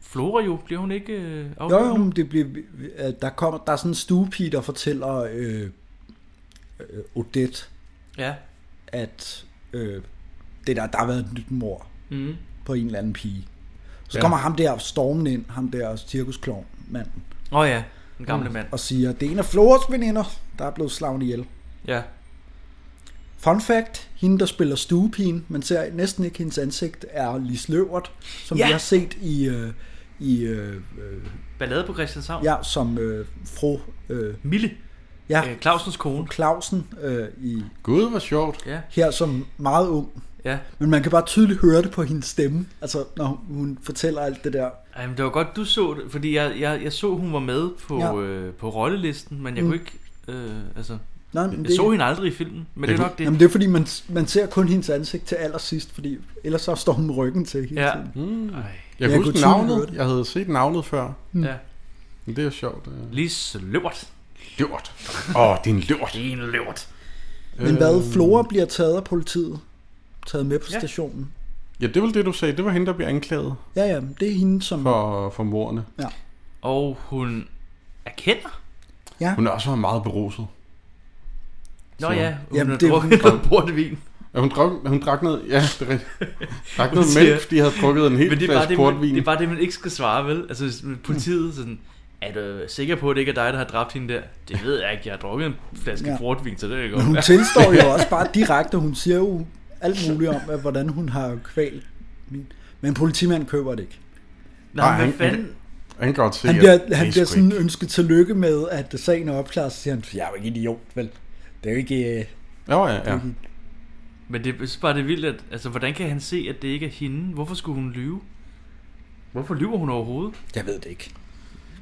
Speaker 2: Flora jo, bliver hun ikke øh,
Speaker 3: Jo,
Speaker 2: afhørt
Speaker 3: jo,
Speaker 2: nu?
Speaker 3: men det bliver, øh, der, kommer, der er sådan en stuepige, der fortæller øh, øh, Odette,
Speaker 2: Ja.
Speaker 3: at øh, det der, der har været et nyt mor
Speaker 2: Mhm.
Speaker 3: på en eller anden pige. Så
Speaker 2: Ja.
Speaker 3: ja. kommer ham der stormen ind, ham der cirkusklovn manden.
Speaker 2: Åh oh, ja, den gamle mand.
Speaker 3: Mm. Og siger, det er en af Floras veninder, der er blevet slaget ihjel.
Speaker 2: Ja.
Speaker 3: Fun fact, hende der spiller stuepigen, man ser næsten ikke hendes ansigt, er Lis Løvert, som
Speaker 2: Ja.
Speaker 3: vi har set i, øh, i øh, øh,
Speaker 2: Ballade på Christianshavn.
Speaker 3: ja, som øh, fru øh,
Speaker 2: Mille.
Speaker 3: Ja,
Speaker 2: Øh, Clausens kone.
Speaker 3: Clausen øh, i
Speaker 4: Gud, hvor sjovt.
Speaker 2: Ja.
Speaker 3: Her som meget ung.
Speaker 2: Ja.
Speaker 3: Men man kan bare tydeligt høre det på hendes stemme, altså når hun- hun fortæller alt det der.
Speaker 2: Ej, men det var godt, du så det, fordi jeg, jeg, jeg så, hun var med på, ja.
Speaker 3: Ja.
Speaker 2: øh, på rollelisten, men jeg mm.
Speaker 3: Mm.
Speaker 2: kunne ikke... Øh, altså,
Speaker 3: Nej, men
Speaker 2: jeg
Speaker 3: det-
Speaker 2: så hende aldrig i filmen, men det er nok det.
Speaker 3: Jamen det er fordi, man, man ser kun hendes ansigt til allersidst, fordi ellers så står hun med ryggen til hele
Speaker 2: Ja.
Speaker 3: tiden.
Speaker 4: Mm.
Speaker 2: Ej.
Speaker 4: Jeg
Speaker 3: kunne
Speaker 4: kan huske
Speaker 3: tydeligt høre
Speaker 4: navnet.
Speaker 3: det.
Speaker 4: Jeg havde set navnet før.
Speaker 3: Mm.
Speaker 2: Ja.
Speaker 4: Men det er jo sjovt. øh.
Speaker 2: Lis Løvert.
Speaker 4: Løvert. Åh, din løvert.
Speaker 2: Din løvert.
Speaker 3: Men
Speaker 2: Øh.
Speaker 3: hvad, Flora bliver taget af politiet, taget med på ja. stationen.
Speaker 4: Ja, det var det, du sagde. Det var hende, der blev anklaget
Speaker 3: Ja, ja, det er hende, som...
Speaker 4: for, for morerne.
Speaker 3: Ja.
Speaker 2: Og hun erkender.
Speaker 3: Ja.
Speaker 4: Hun er også meget beruset.
Speaker 2: Nå ja, hun
Speaker 4: Jamen,
Speaker 2: har
Speaker 4: det-
Speaker 2: drukket noget portvin.
Speaker 4: Ja, hun, drak, hun drak noget... Ja, det er rigtigt. drak
Speaker 2: Hun
Speaker 4: noget
Speaker 2: siger-
Speaker 4: mælk, fordi jeg havde drukket en
Speaker 2: Men
Speaker 4: hel
Speaker 2: det er bare
Speaker 4: flaske
Speaker 2: det, man,
Speaker 4: portvin.
Speaker 2: det er bare det, man ikke skal svare, vel? Altså, hvis politiet sådan, er du sikker på, at det ikke er dig, der har dræbt hende der? Det ved jeg ikke, jeg har drukket en flaske ja.
Speaker 3: Ja.
Speaker 2: portvin, så det er ikke
Speaker 3: Men hun
Speaker 2: godt.
Speaker 3: tilstår jo også bare direkte, hun siger jo alt muligt om, at, hvordan hun har kvalt. min- Men politimanden køber det ikke.
Speaker 2: Nej, Nej, hvad han- fanden?
Speaker 4: Han kan godt se,
Speaker 3: Han
Speaker 4: at det
Speaker 3: bliver,
Speaker 4: er
Speaker 3: han bliver
Speaker 4: sgu
Speaker 3: sådan ønsket tillykke med, at sagen er opklaret, så siger han, jeg er jo ikke idiot, vel? Det er jo ikke... øh,
Speaker 4: Jo, ja,
Speaker 3: det er
Speaker 4: ja.
Speaker 3: ikke-
Speaker 2: Men det er så bare det er vildt, at, altså, hvordan kan han se, at det ikke er hende? Hvorfor skulle hun lyve? Hvorfor lyver hun overhovedet?
Speaker 3: Jeg ved det ikke.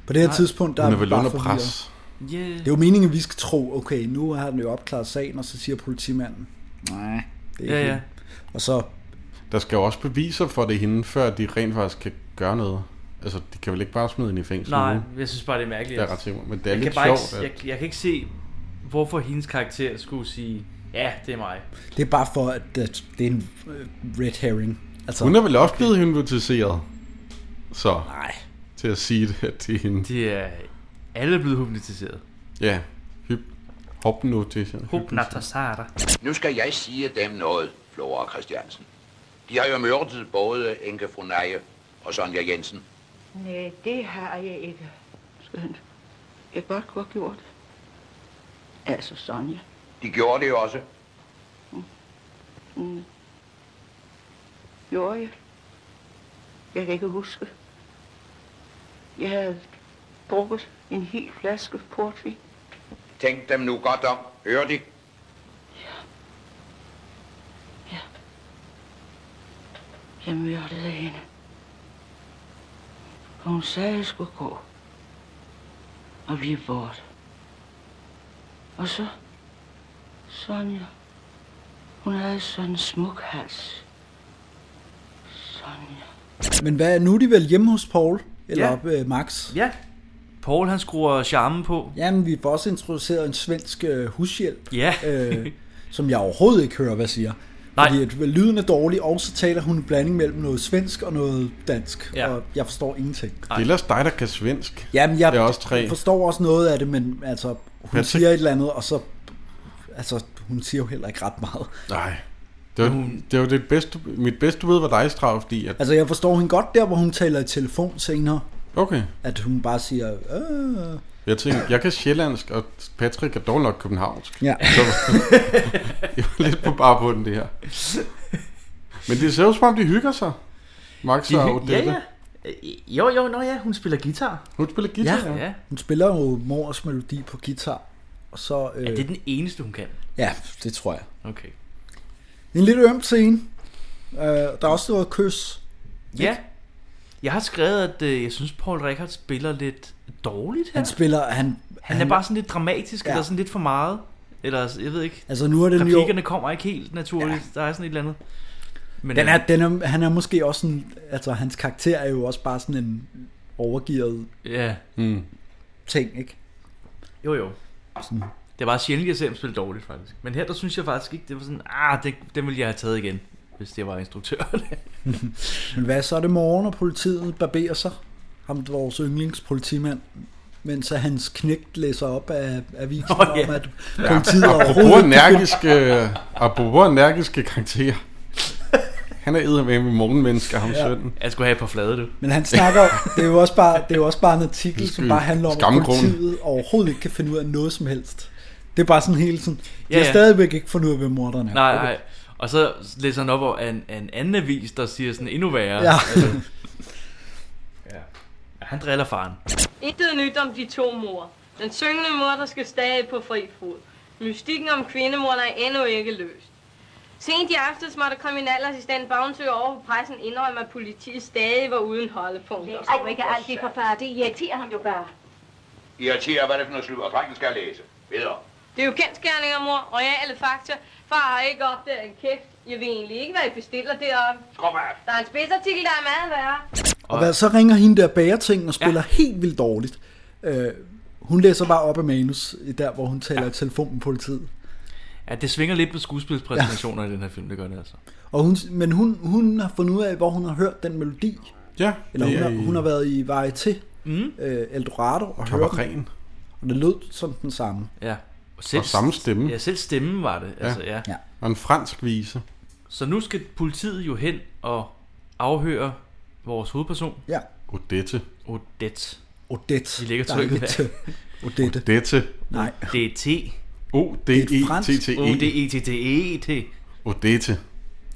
Speaker 3: På det her
Speaker 2: Nej.
Speaker 3: tidspunkt, der
Speaker 4: Hun er
Speaker 3: vi
Speaker 4: vel
Speaker 3: bare
Speaker 4: under
Speaker 3: forvirret.
Speaker 4: pres.
Speaker 2: Yeah.
Speaker 3: Det er jo meningen, at vi skal tro, okay, nu har den jo opklaret sagen, og så siger politimanden, nej, det er
Speaker 2: Ja,
Speaker 3: ikke
Speaker 2: ja.
Speaker 3: hende." Og så...
Speaker 4: Der skal jo også beviser for det er hende, før de rent faktisk kan gøre noget. Altså, de kan vel ikke bare smide hende i fængsel
Speaker 2: Nej,
Speaker 4: nu?
Speaker 2: jeg synes bare, det er mærkeligt.
Speaker 4: Det er ret sikkert, men det er
Speaker 2: jeg
Speaker 4: lidt
Speaker 2: kan bare
Speaker 4: sjovt.
Speaker 2: Ikke,
Speaker 4: At...
Speaker 2: jeg, jeg kan ikke se, hvorfor hendes karakter skulle sige, ja, det er mig.
Speaker 3: Det er bare for, at at det er en øh, red herring. Altså,
Speaker 4: Hun er vel også blevet hypnotiseret? Så.
Speaker 3: Nej.
Speaker 4: Til at sige det, at det er hende.
Speaker 2: Det er alle blevet hypnotiseret.
Speaker 4: Ja. Hyp. Hopnotiseret.
Speaker 2: Hopnatasara.
Speaker 9: Nu skal jeg sige dem noget, Flora Christiansen. De har jo myrdet både Inge Funaje og Sonja Jensen.
Speaker 11: Nej, det har jeg ikke. Skønt. Jeg godt kunne have gjort det. Altså Sonja.
Speaker 9: De gjorde det jo også.
Speaker 11: Mm. Gjorde jeg? Jeg kan ikke huske. Jeg havde drukket en hel flaske portvin.
Speaker 9: Tænk dem nu godt om. Hører de?
Speaker 11: Jeg myrdede hende. Og hun sagde, at jeg skulle gå. Og blive bort. Og så... Sonja. Hun havde sådan en smuk hals. Sonja.
Speaker 3: Men hvad er nu er de vel hjemme hos Paul? Eller
Speaker 2: Ja.
Speaker 3: ja. øh, Max?
Speaker 2: Ja. Paul han skruer charmen på.
Speaker 3: Jamen, vi får også introduceret en svensk øh, hushjælp.
Speaker 2: Ja.
Speaker 3: øh, som jeg overhovedet ikke hører, hvad siger.
Speaker 2: Nej.
Speaker 3: Fordi at øh, lyden er dårlig, og så taler hun en blanding mellem noget svensk og noget dansk. Ja. Og jeg forstår ingenting.
Speaker 4: Det er ellers dig, der kan svensk.
Speaker 3: Jamen, jeg
Speaker 4: det er også tre.
Speaker 3: forstår også noget af det, men altså, hun
Speaker 4: Patrick-
Speaker 3: siger et eller andet, og så... Altså, hun siger jo heller ikke ret meget.
Speaker 4: Nej. Det var, det var det bedste, mit bedste bud var dig, Strauss, fordi at,
Speaker 3: Altså, jeg forstår hende godt der, hvor hun taler i telefon senere.
Speaker 4: Okay.
Speaker 3: At hun bare siger... Øh,
Speaker 4: jeg tænkte, jeg kan sjællandsk, og Patrick er dårlig nok københavnsk.
Speaker 3: Ja.
Speaker 4: Så, jeg var lidt på bare på den, det her. Men det ser ud som om, de hygger sig. Max
Speaker 2: De
Speaker 4: og
Speaker 2: hy- ja,
Speaker 4: Odette.
Speaker 2: ja. Øh, Jo, jo, nå ja, hun spiller guitar.
Speaker 4: Hun spiller
Speaker 3: ja, ja, hun spiller jo mors melodi på guitar. Og så, øh,
Speaker 2: Ja, det er den eneste, hun kan.
Speaker 3: ja, det tror jeg.
Speaker 2: Okay.
Speaker 3: En lidt øm scene. Øh, der er også noget kys.
Speaker 2: Ja. Jeg har skrevet, at øh, jeg synes, Paul Rickard spiller lidt dårligt her.
Speaker 3: Han spiller... Han,
Speaker 2: han, han er bare sådan lidt dramatisk,
Speaker 3: Ja.
Speaker 2: ja. eller sådan lidt for meget. Eller jeg ved ikke.
Speaker 3: Altså, nu er den jo-
Speaker 2: Replikkerne kommer ikke helt naturligt. Ja. Der er sådan et eller andet. øh,
Speaker 3: Men, den er, den er, han er måske også sådan... Altså, hans karakter er jo også bare sådan en overgivet
Speaker 2: Ja.
Speaker 4: Mm.
Speaker 3: ting, ikke?
Speaker 2: Jo, jo.
Speaker 3: Sådan.
Speaker 2: Det var sjældent, jeg ser ham spille dårligt, faktisk. Men her, der synes jeg faktisk ikke, det var sådan, ah, det, den ville jeg have taget igen, hvis det var instruktøren.
Speaker 3: Men hvad så er det morgen, og politiet barberer sig? Ham, vores yndlingspolitimand. Mens at hans knægt læser op af avisen oh,
Speaker 2: ja.
Speaker 3: om, at
Speaker 4: Ja,
Speaker 3: politiet ja.
Speaker 4: apropos,
Speaker 3: overhovedet
Speaker 4: energiske, apropos energiske karakterer. Han er eddermame i morgenmenneske, ham
Speaker 3: Ja.
Speaker 4: ja. sønnen.
Speaker 2: Jeg skulle have et par flade, du.
Speaker 3: Men han snakker, det er jo også bare, det er jo også bare en artikel, som
Speaker 4: Undskyld.
Speaker 3: bare handler om, at
Speaker 4: Skamkrogen.
Speaker 3: politiet overhovedet ikke kan finde ud af noget som helst. Det er bare sådan hele sådan, de
Speaker 2: Ja,
Speaker 3: har
Speaker 2: ja.
Speaker 3: stadigvæk ikke fundet ud af, hvem morderen er.
Speaker 2: Nej, nej. Og så læser han op af en, af en anden avis, der siger sådan endnu værre.
Speaker 3: Ja.
Speaker 2: altså. ja. Han driller faren.
Speaker 15: Intet nyt om de to mor. Den syngende mor, der skal stadig på fri fod. Mystikken om kvindemor er endnu ikke løst. Sent i aftes måtte kriminalassistent Bavnsø over for pressen indrømme, at politiet stadig var uden holdepunkter.
Speaker 6: Læs dog ikke alt det for far, det irriterer ham jo bare.
Speaker 9: Irriterer, hvad er det for noget sludder? Drengen skal læse. Videre.
Speaker 15: Det er jo kendskærninger, mor. Royale fakta. Far har ikke opdaget en kæft. Jeg ved egentlig ikke, hvad I bestiller deroppe.
Speaker 9: Kom af.
Speaker 15: Der er en spidsartikel, der er meget værre.
Speaker 3: Og hvad, så ringer hende der bagerting og spiller ja. helt vildt dårligt. Øh, hun læser bare op af manus, der hvor hun taler ja. i telefonen med politiet.
Speaker 2: Ja, det svinger lidt på skuespilspræsentationer ja. i den her film, det gør det altså.
Speaker 3: Og hun, men hun, hun har fundet ud af, hvor hun har hørt den melodi.
Speaker 4: Ja.
Speaker 3: Eller hun,
Speaker 4: det er
Speaker 3: har,
Speaker 4: i-
Speaker 3: hun har været i Varieté,
Speaker 2: mm.
Speaker 3: øh, Eldorado og hørt
Speaker 4: Kabareten.
Speaker 3: den. Og det lød som den samme.
Speaker 2: Ja. Og,
Speaker 4: Og samme stemme.
Speaker 2: Ja, selv stemmen var det. Altså, ja. ja.
Speaker 4: Og en fransk vise.
Speaker 2: Så nu skal politiet jo hen og afhøre vores hovedperson.
Speaker 3: Ja.
Speaker 4: Odette.
Speaker 2: Odette.
Speaker 3: Odette.
Speaker 2: De ligger
Speaker 3: Der er
Speaker 2: trykket
Speaker 3: lidt,
Speaker 2: der.
Speaker 3: Odette.
Speaker 4: Odette. E
Speaker 3: Nej.
Speaker 2: DT.
Speaker 4: O-D-E-T-T-E.
Speaker 3: E.
Speaker 2: O-D-E-T-T-E-T.
Speaker 4: Odette.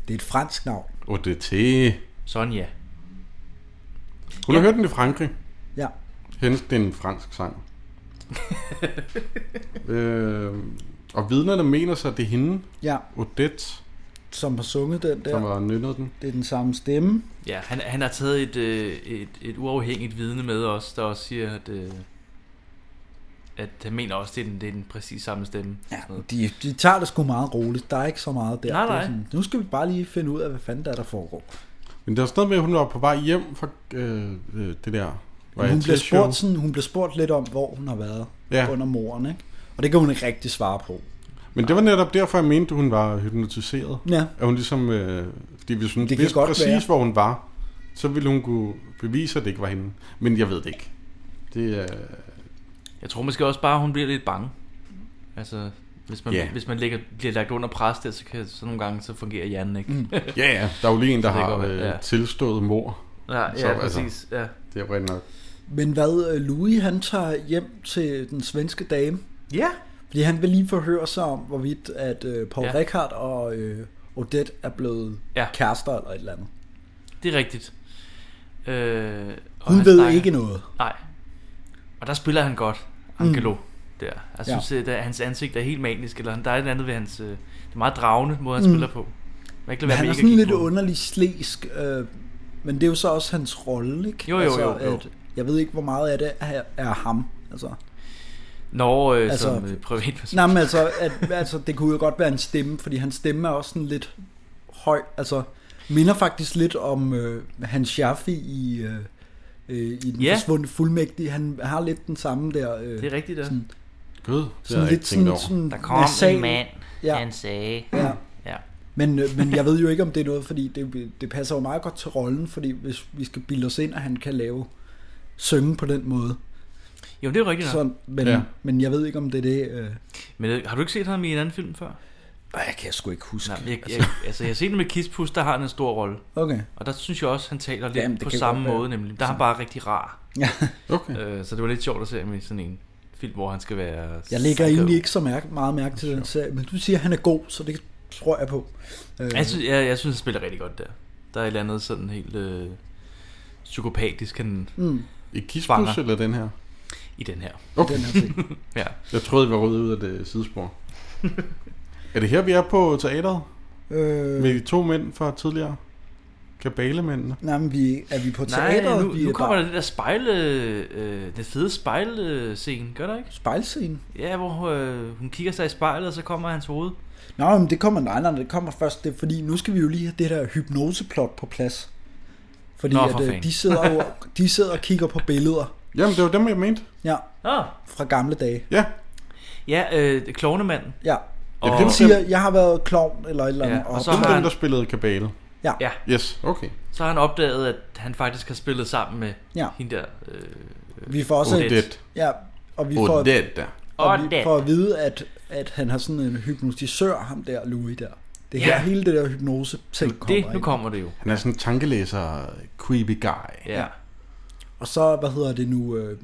Speaker 3: Det er et fransk navn.
Speaker 4: Odette.
Speaker 2: Sonja.
Speaker 4: Hun
Speaker 2: Ja.
Speaker 4: har hørt den i Frankrig.
Speaker 3: Ja.
Speaker 4: Hendes, det er en fransk sang. øh, og vidnerne mener så, at det er hende,
Speaker 3: Ja.
Speaker 4: Odette,
Speaker 3: Som har sunget den der.
Speaker 4: som har nynnet den.
Speaker 3: Det er den samme stemme.
Speaker 2: Ja, han, han har taget et, øh, et, et uafhængigt vidne med os, der også siger, at, øh, at han mener også, det er den, det er den præcis samme stemme. Ja,
Speaker 3: De, de tager det sgu meget roligt. Der er ikke så meget der.
Speaker 2: Nej,
Speaker 3: Det er
Speaker 2: nej.
Speaker 3: Sådan, nu skal vi bare lige finde ud af, hvad fanden der, er, der foregår.
Speaker 4: Men der er sådan noget med, at hun var på vej hjem fra øh, øh, det der...
Speaker 3: Men hun, bliver
Speaker 4: varietéshow.
Speaker 3: spurgt sådan, hun bliver spurgt lidt om, hvor hun har været
Speaker 4: Ja.
Speaker 3: ja. under moren. Ikke? Og det kan hun ikke rigtig svare på.
Speaker 4: Men det var netop derfor, jeg mente, hun var hypnotiseret.
Speaker 3: Ja.
Speaker 4: At hun ligesom... Øh, fordi hvis hun
Speaker 3: Det kan
Speaker 4: vidste
Speaker 3: godt
Speaker 4: præcis,
Speaker 3: være.
Speaker 4: hvor hun var, så ville hun kunne bevise, at det ikke var hende. Men jeg ved det ikke. Det er...
Speaker 2: Jeg tror måske også bare, hun bliver lidt bange. Altså, Hvis man,
Speaker 4: Ja.
Speaker 2: yeah. hvis man ligger, bliver lagt under pres der, så, kan, så nogle gange så fungerer hjernen ikke.
Speaker 4: Mm. Ja, ja. Der er jo lige en, der
Speaker 2: Så det kan
Speaker 4: har
Speaker 2: godt være,
Speaker 4: øh,
Speaker 2: ja.
Speaker 4: ja. tilstået mor.
Speaker 2: Ja, ja, præcis, ja.
Speaker 4: Det er jo rigtig nok.
Speaker 3: Men hvad, øh, Louis han tager hjem til den svenske dame.
Speaker 2: Ja.
Speaker 3: Fordi han vil lige forhøre sig om, hvorvidt at øh, Paul
Speaker 2: Ja.
Speaker 3: ja. Rickard og øh, Odette er blevet
Speaker 2: Ja.
Speaker 3: ja. kærester eller et eller andet.
Speaker 2: Det er rigtigt. Øh, og
Speaker 3: Hun
Speaker 2: han
Speaker 3: ved ikke noget.
Speaker 2: Nej. Og der spiller han godt, Angelo. Mm. Der. Jeg
Speaker 3: Ja.
Speaker 2: synes, at der- hans ansigt er helt manisk, eller der er et andet ved hans... øh, Det er meget dragende måde, han mm.
Speaker 3: Mm.
Speaker 2: spiller på. Man kan ikke
Speaker 3: Men
Speaker 2: lade være
Speaker 3: han
Speaker 2: med
Speaker 3: er
Speaker 2: ikke at
Speaker 3: sådan
Speaker 2: kigge
Speaker 3: lidt
Speaker 2: på ham.
Speaker 3: underlig slæsk, øh, men det er jo så også hans rolle, ikke? Altså,
Speaker 2: Jo, jo, jo, jo.
Speaker 3: jeg ved ikke, hvor meget af det er, er ham. Altså,
Speaker 2: Nå, øh, altså, som øh, privatperson.
Speaker 3: Nej, men altså, at, altså, det kunne jo godt være en stemme, fordi hans stemme er også sådan lidt høj. Altså, minder faktisk lidt om øh, Hans Schaffi i, øh, øh, i Den
Speaker 2: Ja.
Speaker 3: yeah. forsvundne fuldmægtige. Han har lidt den samme der... Øh,
Speaker 2: Det er rigtigt, ja.
Speaker 3: Sådan,
Speaker 4: Gud, det
Speaker 3: sådan
Speaker 4: har jeg
Speaker 3: lidt
Speaker 4: ikke tænkt
Speaker 3: sådan,
Speaker 4: over.
Speaker 3: sådan
Speaker 2: Der kom
Speaker 3: nasal.
Speaker 2: en mand,
Speaker 3: Ja.
Speaker 2: ja. han sagde.
Speaker 3: Ja.
Speaker 2: ja.
Speaker 3: Men, øh, men jeg ved jo ikke, om det er noget, fordi det, det passer jo meget godt til rollen, fordi hvis vi skal bilde os ind, at han kan lave synge på den måde.
Speaker 2: Jo, det er jo rigtigt nok.
Speaker 3: Så, men,
Speaker 2: Ja.
Speaker 3: ja. men jeg ved ikke, om det er det... Øh,
Speaker 2: Men øh, har du ikke set ham i en anden film før?
Speaker 3: Nej, jeg kan sgu ikke huske.
Speaker 2: Nej, men jeg, jeg, altså, jeg har set ham med Kispus, der har han en stor rolle.
Speaker 3: Okay.
Speaker 2: Og der synes jeg også, han taler lidt
Speaker 3: Jamen,
Speaker 2: Jamen,
Speaker 3: det
Speaker 2: på
Speaker 3: kan
Speaker 2: samme
Speaker 3: godt være.
Speaker 2: måde nemlig. Der er han bare rigtig rar.
Speaker 3: Ja.
Speaker 4: Okay.
Speaker 2: Øh, så det var lidt sjovt at se ham i sådan en film, hvor han skal være...
Speaker 3: jeg lægger
Speaker 2: psycho.
Speaker 3: egentlig ikke så mærke, meget mærke til den serie, men du siger, at han er god, så det tror jeg på. Øh,
Speaker 2: Jeg synes, jeg, jeg synes, han spiller rigtig godt der. Der er et eller andet sådan helt øh, psykopatisk, han
Speaker 3: Mm.
Speaker 4: I Kispus
Speaker 2: fanger.
Speaker 4: eller den her?
Speaker 2: I den her.
Speaker 4: Okay.
Speaker 2: Den her film. ja.
Speaker 4: Jeg troede, vi var røde ud af det sidespor. er det her, vi er på teateret?
Speaker 3: Øh...
Speaker 4: Med de to mænd fra tidligere? Kabalemændene?
Speaker 3: Nej, men vi, er vi på
Speaker 2: Nej,
Speaker 3: teateret?
Speaker 2: nu,
Speaker 3: vi
Speaker 2: nu
Speaker 3: er
Speaker 2: kommer
Speaker 3: bare-
Speaker 2: der det der spejle... Øh, det fede spejlscene, gør der ikke?
Speaker 3: Spejlscene?
Speaker 2: Ja, hvor øh, hun kigger sig i spejlet, og så kommer hans hoved.
Speaker 3: Nå, men det kommer, nej, nej, det kommer først, det, er fordi nu skal vi jo lige have det der hypnoseplot på plads. Fordi
Speaker 2: Nå,
Speaker 3: Nå,
Speaker 2: for
Speaker 3: at,
Speaker 2: fanden.
Speaker 3: øh, de, sidder jo, de sidder og kigger på billeder.
Speaker 4: Jamen, det var dem, jeg mente.
Speaker 3: Ja,
Speaker 2: Ah.
Speaker 3: fra gamle dage.
Speaker 4: Ja.
Speaker 2: Ja, øh, klovnemanden.
Speaker 3: Ja.
Speaker 2: Og,
Speaker 3: Og... Dem siger, jeg har været klovn eller et eller andet.
Speaker 2: Ja, og
Speaker 4: Og
Speaker 2: så
Speaker 4: så
Speaker 2: har
Speaker 4: dem,
Speaker 2: han-
Speaker 4: der spillede kabale.
Speaker 3: Ja.
Speaker 2: Ja.
Speaker 4: Yes, okay.
Speaker 2: så har han opdaget, at han faktisk har spillet sammen med
Speaker 3: Ja.
Speaker 2: hende der... Øh,
Speaker 3: Vi får også
Speaker 2: Odette.
Speaker 3: ja, og vi får,
Speaker 4: Odette.
Speaker 3: og vi
Speaker 2: Odette.
Speaker 3: får at vide, at, at han har sådan en hypnotisør, ham der Louis der. Det
Speaker 2: Ja.
Speaker 3: her, hele det der hypnose ting kommer
Speaker 2: Det, nu
Speaker 3: ind.
Speaker 2: kommer det jo.
Speaker 4: Han er sådan en tankelæser, creepy guy.
Speaker 2: Ja.
Speaker 3: Og så, hvad hedder det nu, øh,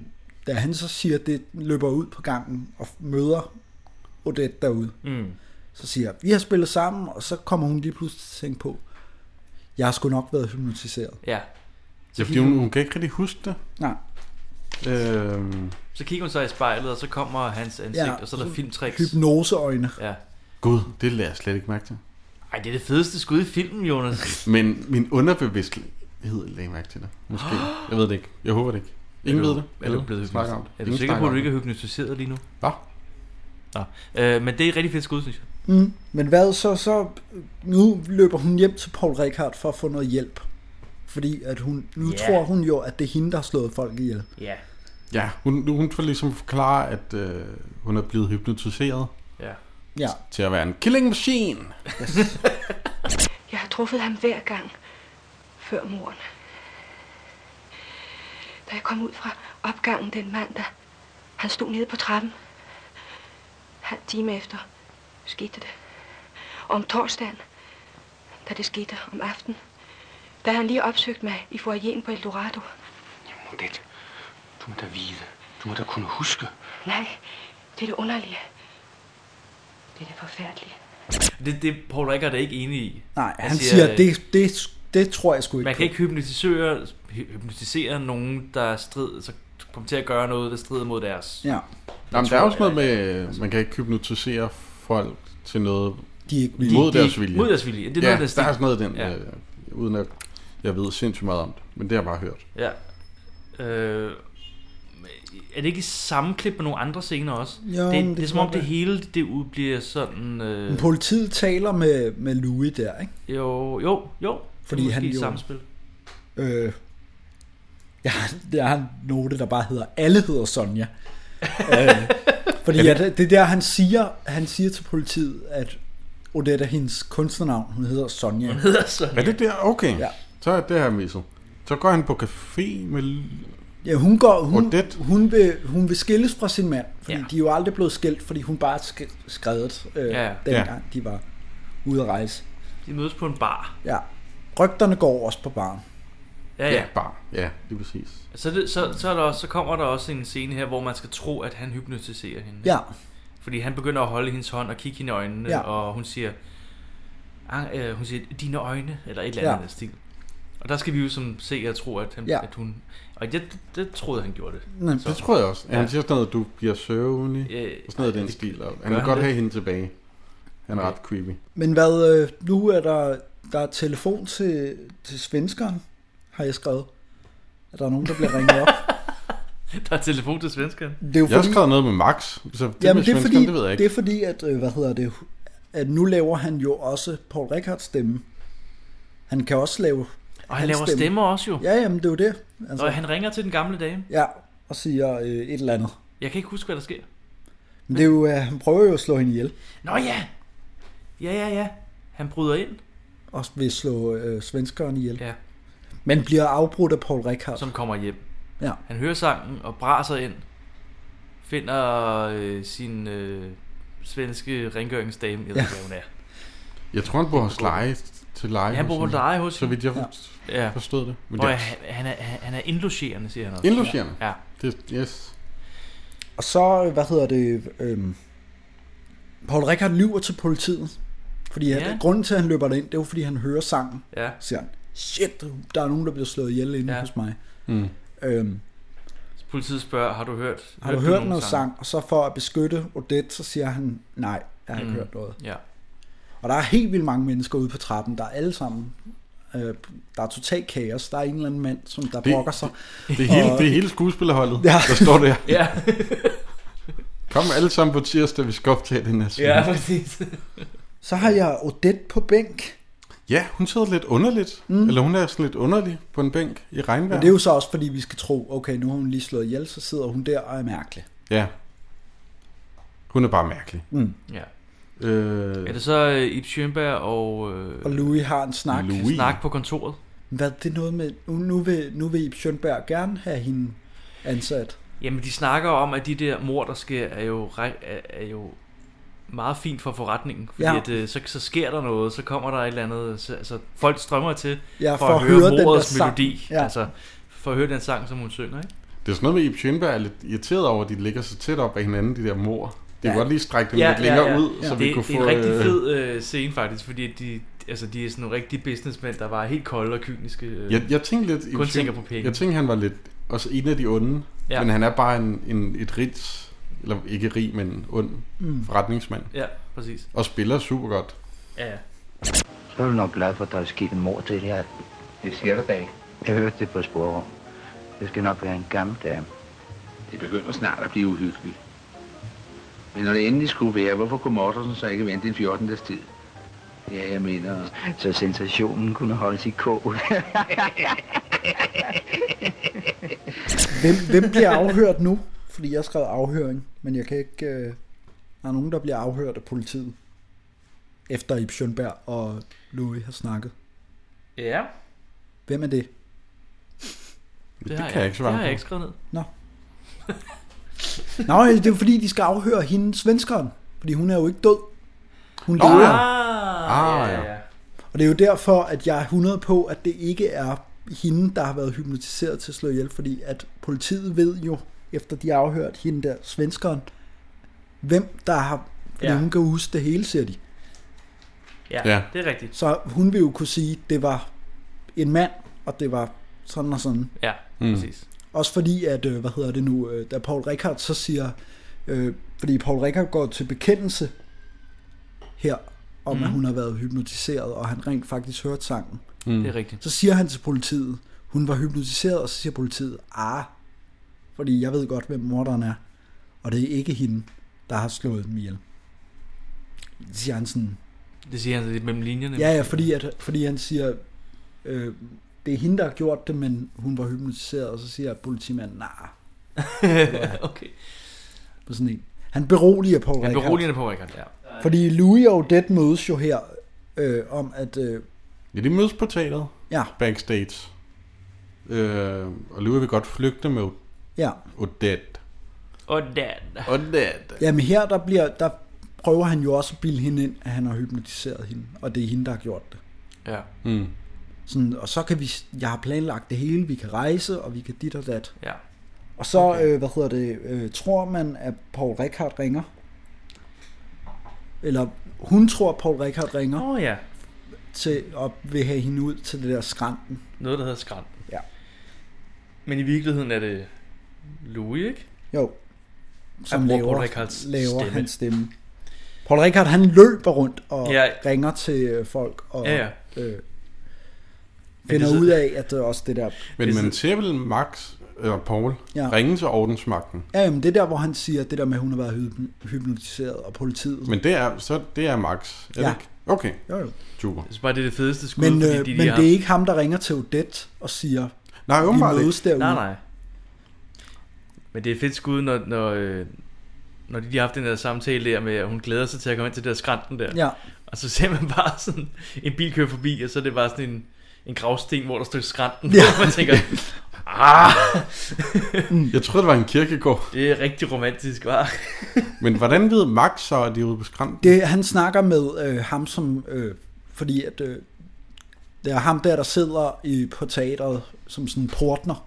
Speaker 3: da han så siger, at det løber ud på gangen og møder Odette derude,
Speaker 2: Mm.
Speaker 3: så siger jeg, vi har spillet sammen, og så kommer hun lige pludselig til at tænke på, jeg har sgu nok været hypnotiseret.
Speaker 2: Ja.
Speaker 4: Ja, fordi hun, hun kan ikke rigtig huske det.
Speaker 3: Nej.
Speaker 4: Øhm,
Speaker 2: Så kigger hun sig i spejlet, og så kommer hans ansigt,
Speaker 3: Ja,
Speaker 2: og så er der
Speaker 3: så-
Speaker 2: filmtricks.
Speaker 3: Hypnoseøjne.
Speaker 2: Ja.
Speaker 4: Gud, det lader jeg slet ikke mærke til.
Speaker 2: Ej, det er det fedeste skud i filmen, Jonas.
Speaker 4: Men min underbevidsthed lagde mærke til det. Måske. Jeg ved det ikke. Jeg håber det ikke. Ingen
Speaker 2: Er du-
Speaker 4: ved det.
Speaker 2: Er du blevet
Speaker 4: snakker om
Speaker 2: hypnotiseret?
Speaker 4: det.
Speaker 2: Er du
Speaker 4: Ingen
Speaker 2: sikker på,
Speaker 4: snakker
Speaker 2: at du
Speaker 4: om
Speaker 2: ikke er hypnotiseret lige nu?
Speaker 4: Hva?
Speaker 2: Nå. Øh, men det er et rigtig fedt skud, synes jeg.
Speaker 3: Mm. Men hvad så, så nu løber hun hjem til Paul Rickard for at få noget hjælp. Fordi at hun, nu
Speaker 4: Ja.
Speaker 3: tror hun jo, at det er hende, der har slået folk ihjel.
Speaker 2: Ja.
Speaker 4: Ja, hun, hun får ligesom forklare, at øh, hun er blevet hypnotiseret
Speaker 2: Ja.
Speaker 3: Ja.
Speaker 4: til at være en killing machine. Yes.
Speaker 16: Jeg har truffet ham hver gang før moren. Da jeg kom ud fra opgangen den mandag, han stod nede på trappen. Halv time efter skete det. Og om torsdagen, da det skete om aftenen, da han lige opsøgte mig i foyeren på Eldorado.
Speaker 13: Odette, du må da vide. Du må da kunne huske.
Speaker 16: Nej, det er det underlige. Det er det forfærdelige.
Speaker 2: Det, det Paul Rickard er ikke enig i.
Speaker 3: Nej, han siger,
Speaker 2: øh,
Speaker 3: det, det, det tror jeg sgu ikke
Speaker 2: Man
Speaker 3: på.
Speaker 2: kan ikke hypnotisere, hy- hypnotisere nogen, der strid, så kommer til at gøre noget, der strider mod deres.
Speaker 3: Ja.
Speaker 4: Jamen, der er
Speaker 2: tror
Speaker 4: også noget med, man kan ikke hypnotisere folk til noget
Speaker 3: de
Speaker 2: ikke villige.
Speaker 4: mod
Speaker 2: De- de-
Speaker 4: deres vilje.
Speaker 2: mod deres vilje. Det
Speaker 4: ja,
Speaker 2: er noget af den
Speaker 4: der
Speaker 2: stil.
Speaker 4: er sådan noget i den,
Speaker 2: Ja.
Speaker 4: ja. øh, uden at jeg ved sindssygt meget om det. Men det har jeg bare hørt.
Speaker 2: Ja. Øh, er det ikke i samme klip med nogle andre scener også?
Speaker 3: Jo,
Speaker 2: det,
Speaker 3: men
Speaker 2: det,
Speaker 3: det
Speaker 2: det er som
Speaker 3: kan
Speaker 2: om
Speaker 3: godt
Speaker 2: det
Speaker 3: være.
Speaker 2: hele det ud bliver sådan... Øh,
Speaker 3: Men politiet taler med, med Louis der, ikke?
Speaker 2: jo, jo, jo.
Speaker 3: Fordi
Speaker 2: Det er
Speaker 3: han
Speaker 2: måske
Speaker 3: jo-
Speaker 2: i samspil.
Speaker 3: Øh, jeg, har, jeg har en note, der bare hedder, alle hedder Sonja. øh, fordi at, det er der, han siger, han siger til politiet, at Odette er hendes kunstnernavn. Hun hedder Sonja. Hun
Speaker 2: hedder Sonja.
Speaker 4: Er det der? Okay.
Speaker 3: Ja.
Speaker 4: Så er det her misset. Så går han på café med...
Speaker 3: Ja, hun, går, hun, hun, vil, hun vil skilles fra sin mand, fordi ja. de er jo aldrig blevet skilt, fordi hun bare er sk- skrevet øh,
Speaker 2: Ja, ja.
Speaker 3: ja. dengang de var ude at rejse.
Speaker 2: De mødes på en bar.
Speaker 3: Ja. Rygterne går også på baren.
Speaker 2: Ja, ja.
Speaker 4: bare. Ja, det er præcis.
Speaker 2: Så, det, så, så, er der også, så kommer der også en scene her, hvor man skal tro, at han hypnotiserer hende.
Speaker 3: Ja.
Speaker 2: Fordi han begynder at holde hendes hånd og kigge hende i øjnene,
Speaker 3: Ja.
Speaker 2: ja. og hun siger, "Ah, øh, hun siger, dine øjne, eller et eller andet
Speaker 3: Ja.
Speaker 2: ja. stil. Og der skal vi jo som se og tro, at, han,
Speaker 3: Ja.
Speaker 2: ja. at hun... Og jeg, det troede han gjorde det.
Speaker 3: Nej,
Speaker 4: Det tror jeg også. Ja. Han siger sådan noget, at du bliver søvnig,
Speaker 2: Øh,
Speaker 4: og sådan noget i den stil. Og han
Speaker 2: gør
Speaker 4: vil
Speaker 2: han
Speaker 4: godt
Speaker 2: det?
Speaker 4: have hende tilbage. Han er ret creepy.
Speaker 3: Men hvad, øh, nu er der, der er telefon til, til svenskeren, har jeg skrevet. Er der nogen, der bliver ringet op?
Speaker 2: Der er telefon til svenskeren.
Speaker 3: Det er jo
Speaker 4: jeg har
Speaker 3: fordi-
Speaker 4: skrevet noget med Max, så det,
Speaker 3: Jamen,
Speaker 4: med
Speaker 3: det, er
Speaker 4: svenskeren,
Speaker 3: fordi,
Speaker 4: det ved jeg ikke.
Speaker 3: det er fordi, at, øh, hvad hedder det, at nu laver han jo også Paul Rickards stemme. Han kan også lave
Speaker 2: Og han
Speaker 3: hans
Speaker 2: laver stemmer også jo.
Speaker 3: Ja, jamen det er jo det.
Speaker 2: Altså. Og han ringer til den gamle dame.
Speaker 3: Ja, og siger øh, et eller andet.
Speaker 2: Jeg kan ikke huske, hvad der sker.
Speaker 3: Men det er jo, øh, han prøver jo at slå hende ihjel.
Speaker 2: Nå ja! Ja, ja, ja. Han bryder ind,
Speaker 3: Og vil slå øh, svenskeren ihjel.
Speaker 2: Ja.
Speaker 3: Men bliver afbrudt af Paul Rickard.
Speaker 2: som kommer hjem.
Speaker 3: Ja.
Speaker 2: Han hører sangen og braser ind. Finder øh, sin øh, svenske rengøringsdame, jeg ved
Speaker 4: Ja.
Speaker 2: ikke, hvad hun er.
Speaker 4: Jeg tror, han bor hos leje til leje.
Speaker 2: Ja, han bor på leje hos
Speaker 4: Så vidt jeg
Speaker 2: hende.
Speaker 4: ja. forstod det. Men
Speaker 2: Og
Speaker 4: det
Speaker 2: han, han, er, han han er indlogerende, siger han også.
Speaker 4: Indlogerende?
Speaker 2: Ja.
Speaker 4: Det, yes.
Speaker 3: Og så, øh, hvad hedder det, øhm, Paul Rickard lyver til politiet. Fordi ja.
Speaker 2: Ja.
Speaker 3: grunden til, at han løber derind, det er jo, fordi han hører sangen.
Speaker 2: Ja.
Speaker 3: Siger han, shit, der er nogen, der bliver slået ihjel inde ja. hos mig.
Speaker 4: Mm.
Speaker 3: Øhm,
Speaker 2: Så Politiet spørger, har du hørt?
Speaker 3: har du
Speaker 2: hørte
Speaker 3: hørt
Speaker 2: nogen
Speaker 3: noget
Speaker 2: sange?
Speaker 3: sang? Og så for at beskytte Odette, så siger han, nej, jeg har ikke
Speaker 2: Mm.
Speaker 3: hørt noget.
Speaker 2: Ja.
Speaker 3: Og der er helt vildt mange mennesker ude på trappen, der er alle sammen. Øh, der er total kaos. Der er en eller anden mand, som der
Speaker 4: Det-
Speaker 3: brokker sig.
Speaker 4: Det er hele,
Speaker 3: Og-
Speaker 4: det er hele skuespillerholdet,
Speaker 3: Ja.
Speaker 4: ja. der står der.
Speaker 2: Ja.
Speaker 4: Kom alle sammen på tirsdag, vi skal optage den her scene.
Speaker 2: præcis.
Speaker 3: Så har jeg Odette på bænk.
Speaker 4: Ja, hun sidder lidt underligt. Mm. Eller hun er sådan lidt underlig på en bænk i regnvejr.
Speaker 3: Men det er jo så også, fordi vi skal tro, okay, nu har hun lige slået ihjel, så sidder hun der og er mærkelig.
Speaker 4: Ja. Hun er bare mærkelig.
Speaker 3: Mm.
Speaker 2: Ja.
Speaker 4: Øh,
Speaker 2: Er det så øh, Ib Schønberg og... Øh,
Speaker 3: Og Louis har en snak.
Speaker 2: Louis. Snak på kontoret.
Speaker 3: Hvad det er noget med, nu, nu vil, nu vil Ip Schønberg gerne have hende ansat.
Speaker 2: Jamen, de snakker om, at de der mor, der sker, er jo, re- er, er jo meget fint for forretningen. Fordi
Speaker 3: Ja.
Speaker 2: ja. at, øh, så, så sker der noget, så kommer der et eller andet... Så, altså, folk strømmer til
Speaker 3: Ja,
Speaker 2: for at høre den morets melodi.
Speaker 3: Ja.
Speaker 2: Altså, for at høre den sang, som hun synger, ikke?
Speaker 4: Det er sådan noget med, at Ib Schønberg er lidt irriteret over, at de ligger så tæt op af hinanden, de der mor. Det er
Speaker 2: Ja.
Speaker 4: ja. godt lige strække dem ja, lidt længere ja, ja. ud, ja. så
Speaker 2: det,
Speaker 4: vi kunne
Speaker 2: det
Speaker 4: få...
Speaker 2: er en rigtig
Speaker 4: øh,
Speaker 2: fed øh, scene faktisk, fordi de, altså, de er sådan nogle rigtige businessmænd, der var helt kolde og kyniske. Øh,
Speaker 4: Jeg, jeg tænkte lidt... Ib
Speaker 2: kun
Speaker 4: Schøn-
Speaker 2: tænker på penge.
Speaker 4: Jeg tænkte, han var lidt også en af de onde.
Speaker 2: Ja.
Speaker 4: Ja. Men han er bare en, en, et rigt... Eller ikke rig, men en ond
Speaker 2: Mm.
Speaker 4: mm. forretningsmand.
Speaker 2: Ja, præcis.
Speaker 4: Og spiller super godt.
Speaker 2: Ja, ja.
Speaker 10: Så er du nok glad for, at der er sket en mor til her. Det siger du da ikke. Jeg hørte det på sporet. Det skal nok være en gammel dame.
Speaker 9: Det begynder snart at blive uhyggeligt. Men når det endelig skulle være, hvorfor kunne Mortensen så ikke vente en 14. dages tid? Ja, jeg mener...
Speaker 10: Så sensationen kunne holdes i kog.
Speaker 3: Hvem, hvem bliver afhørt nu? Fordi jeg skrev afhøring, men jeg kan ikke... Øh, der er nogen, der bliver afhørt af politiet. Efter Ip Schønberg og Louis har snakket.
Speaker 2: ja.
Speaker 3: Hvem er det?
Speaker 2: Det, det har jeg, ikke Det har jeg ikke skrevet ned.
Speaker 3: Nå. Nå, det er jo fordi, de skal afhøre hende, svenskeren. Fordi hun er jo ikke død. Hun
Speaker 2: Nå, ah,
Speaker 3: lever.
Speaker 2: ja. Ah, ja, ja, ja.
Speaker 3: Og det er jo derfor, at jeg er 100 på, at det ikke er hende, der har været hypnotiseret til at slå ihjel. Fordi at politiet ved jo, efter de har afhørt hende der, svenskeren, hvem der har... Fordi
Speaker 2: Ja.
Speaker 3: ja. hun kan huske det hele, siger de.
Speaker 2: Ja,
Speaker 4: Ja.
Speaker 2: det er rigtigt.
Speaker 3: Så hun vil jo kunne sige, at det var en mand, og det var sådan og sådan.
Speaker 2: Ja,
Speaker 4: Mm.
Speaker 2: mm. præcis.
Speaker 3: Også fordi, at, øh, hvad hedder det nu, øh, da Paul Rickard så siger, øh, fordi Paul Rickard går til bekendelse her, om mm. at hun har været hypnotiseret, og han rent faktisk hørte sangen.
Speaker 4: Mm.
Speaker 2: Det er rigtigt.
Speaker 3: Så siger han til politiet, hun var hypnotiseret, og så siger politiet, ah, fordi jeg ved godt, hvem morderen er, og det er ikke hende, der har slået dem ihjel. Så siger han sådan,
Speaker 2: Det siger han så lidt mellem linjerne.
Speaker 3: ja, ja, fordi, at, fordi han siger, øh, det er hende, der har gjort det, men hun var hypnotiseret, og så siger politimanden, nej.
Speaker 2: okay.
Speaker 3: På sådan en. Han beroliger Paul
Speaker 2: Han
Speaker 3: Rickard.
Speaker 2: beroligende på Rikard, ja.
Speaker 3: Fordi Louis og Odette mødes jo her, øh, om at, øh,
Speaker 4: Ja, de mødes på teateret.
Speaker 3: Ja.
Speaker 4: Backstage. Øh, og Louis vil godt flygte med
Speaker 3: Ja.
Speaker 4: Odette.
Speaker 2: Og dan.
Speaker 4: Odette.
Speaker 3: Jamen her, der, bliver, der prøver han jo også at bilde hende ind, at han har hypnotiseret hende, og det er hende, der har gjort det.
Speaker 2: Ja.
Speaker 4: Mm.
Speaker 3: Sådan, og så kan vi, jeg har planlagt det hele, vi kan rejse, og vi kan dit og dat.
Speaker 2: Ja.
Speaker 3: Og så, okay. øh, hvad hedder det, øh, tror man, at Paul Rickard ringer? Eller hun tror, at Paul Rickard ringer.
Speaker 2: Åh oh, ja.
Speaker 3: Til, og vil have hende ud til det der skrænten.
Speaker 2: Noget, der hedder skrald.
Speaker 3: Ja.
Speaker 2: Men i virkeligheden er det Louis, ikke?
Speaker 3: Jo. Som
Speaker 2: At bruge
Speaker 3: laver,
Speaker 2: Paul Rickards
Speaker 3: laver
Speaker 2: stemme.
Speaker 3: hans stemme. Paul Rickard, han løber rundt og
Speaker 2: Ja.
Speaker 3: ja. ringer til øh, folk og
Speaker 2: Ja,
Speaker 3: ja. Øh,
Speaker 2: det
Speaker 3: finder
Speaker 2: så-
Speaker 3: ud af, at det er også det der...
Speaker 4: Men man ser vel Max, eller Paul,
Speaker 3: Ja.
Speaker 4: ja. ringe til ordensmagten.
Speaker 3: Ja, jamen, det er der, hvor han siger, det der med, at hun har været hyp- hypnotiseret, og politiet.
Speaker 4: Men det er, så det er Max, er
Speaker 3: Ja.
Speaker 4: det ikke? Okay.
Speaker 3: Jo,
Speaker 4: Super.
Speaker 3: jo.
Speaker 2: Jeg synes Altså, bare, det er det fedeste skud,
Speaker 3: men,
Speaker 2: fordi
Speaker 3: øh,
Speaker 2: de, de
Speaker 3: men
Speaker 2: har...
Speaker 3: det er ikke ham, der ringer til Odette og siger,
Speaker 4: Nej,
Speaker 2: åbenbart
Speaker 3: vi mødes
Speaker 2: ikke.
Speaker 3: derude.
Speaker 2: Nej, nej. Men det er et fedt skud, når, når, øh, når de lige har haft den der samtale der med, at hun glæder sig til at komme ind til det der skrænten der.
Speaker 3: Ja.
Speaker 2: Og så ser man bare sådan en bil køre forbi, og så er det bare sådan en, en gravsten, hvor der står skrænten,
Speaker 3: Ja.
Speaker 2: ja. hvor man tænker, ah,
Speaker 4: Jeg troede, det var en kirkegård.
Speaker 2: det er rigtig romantisk, var.
Speaker 4: Men hvordan ved Max så, at de er ude på skrænten?
Speaker 3: Det, han snakker med øh, ham, som... Øh, fordi at, øh, det er ham der, der sidder i, på teateret som sådan en portner.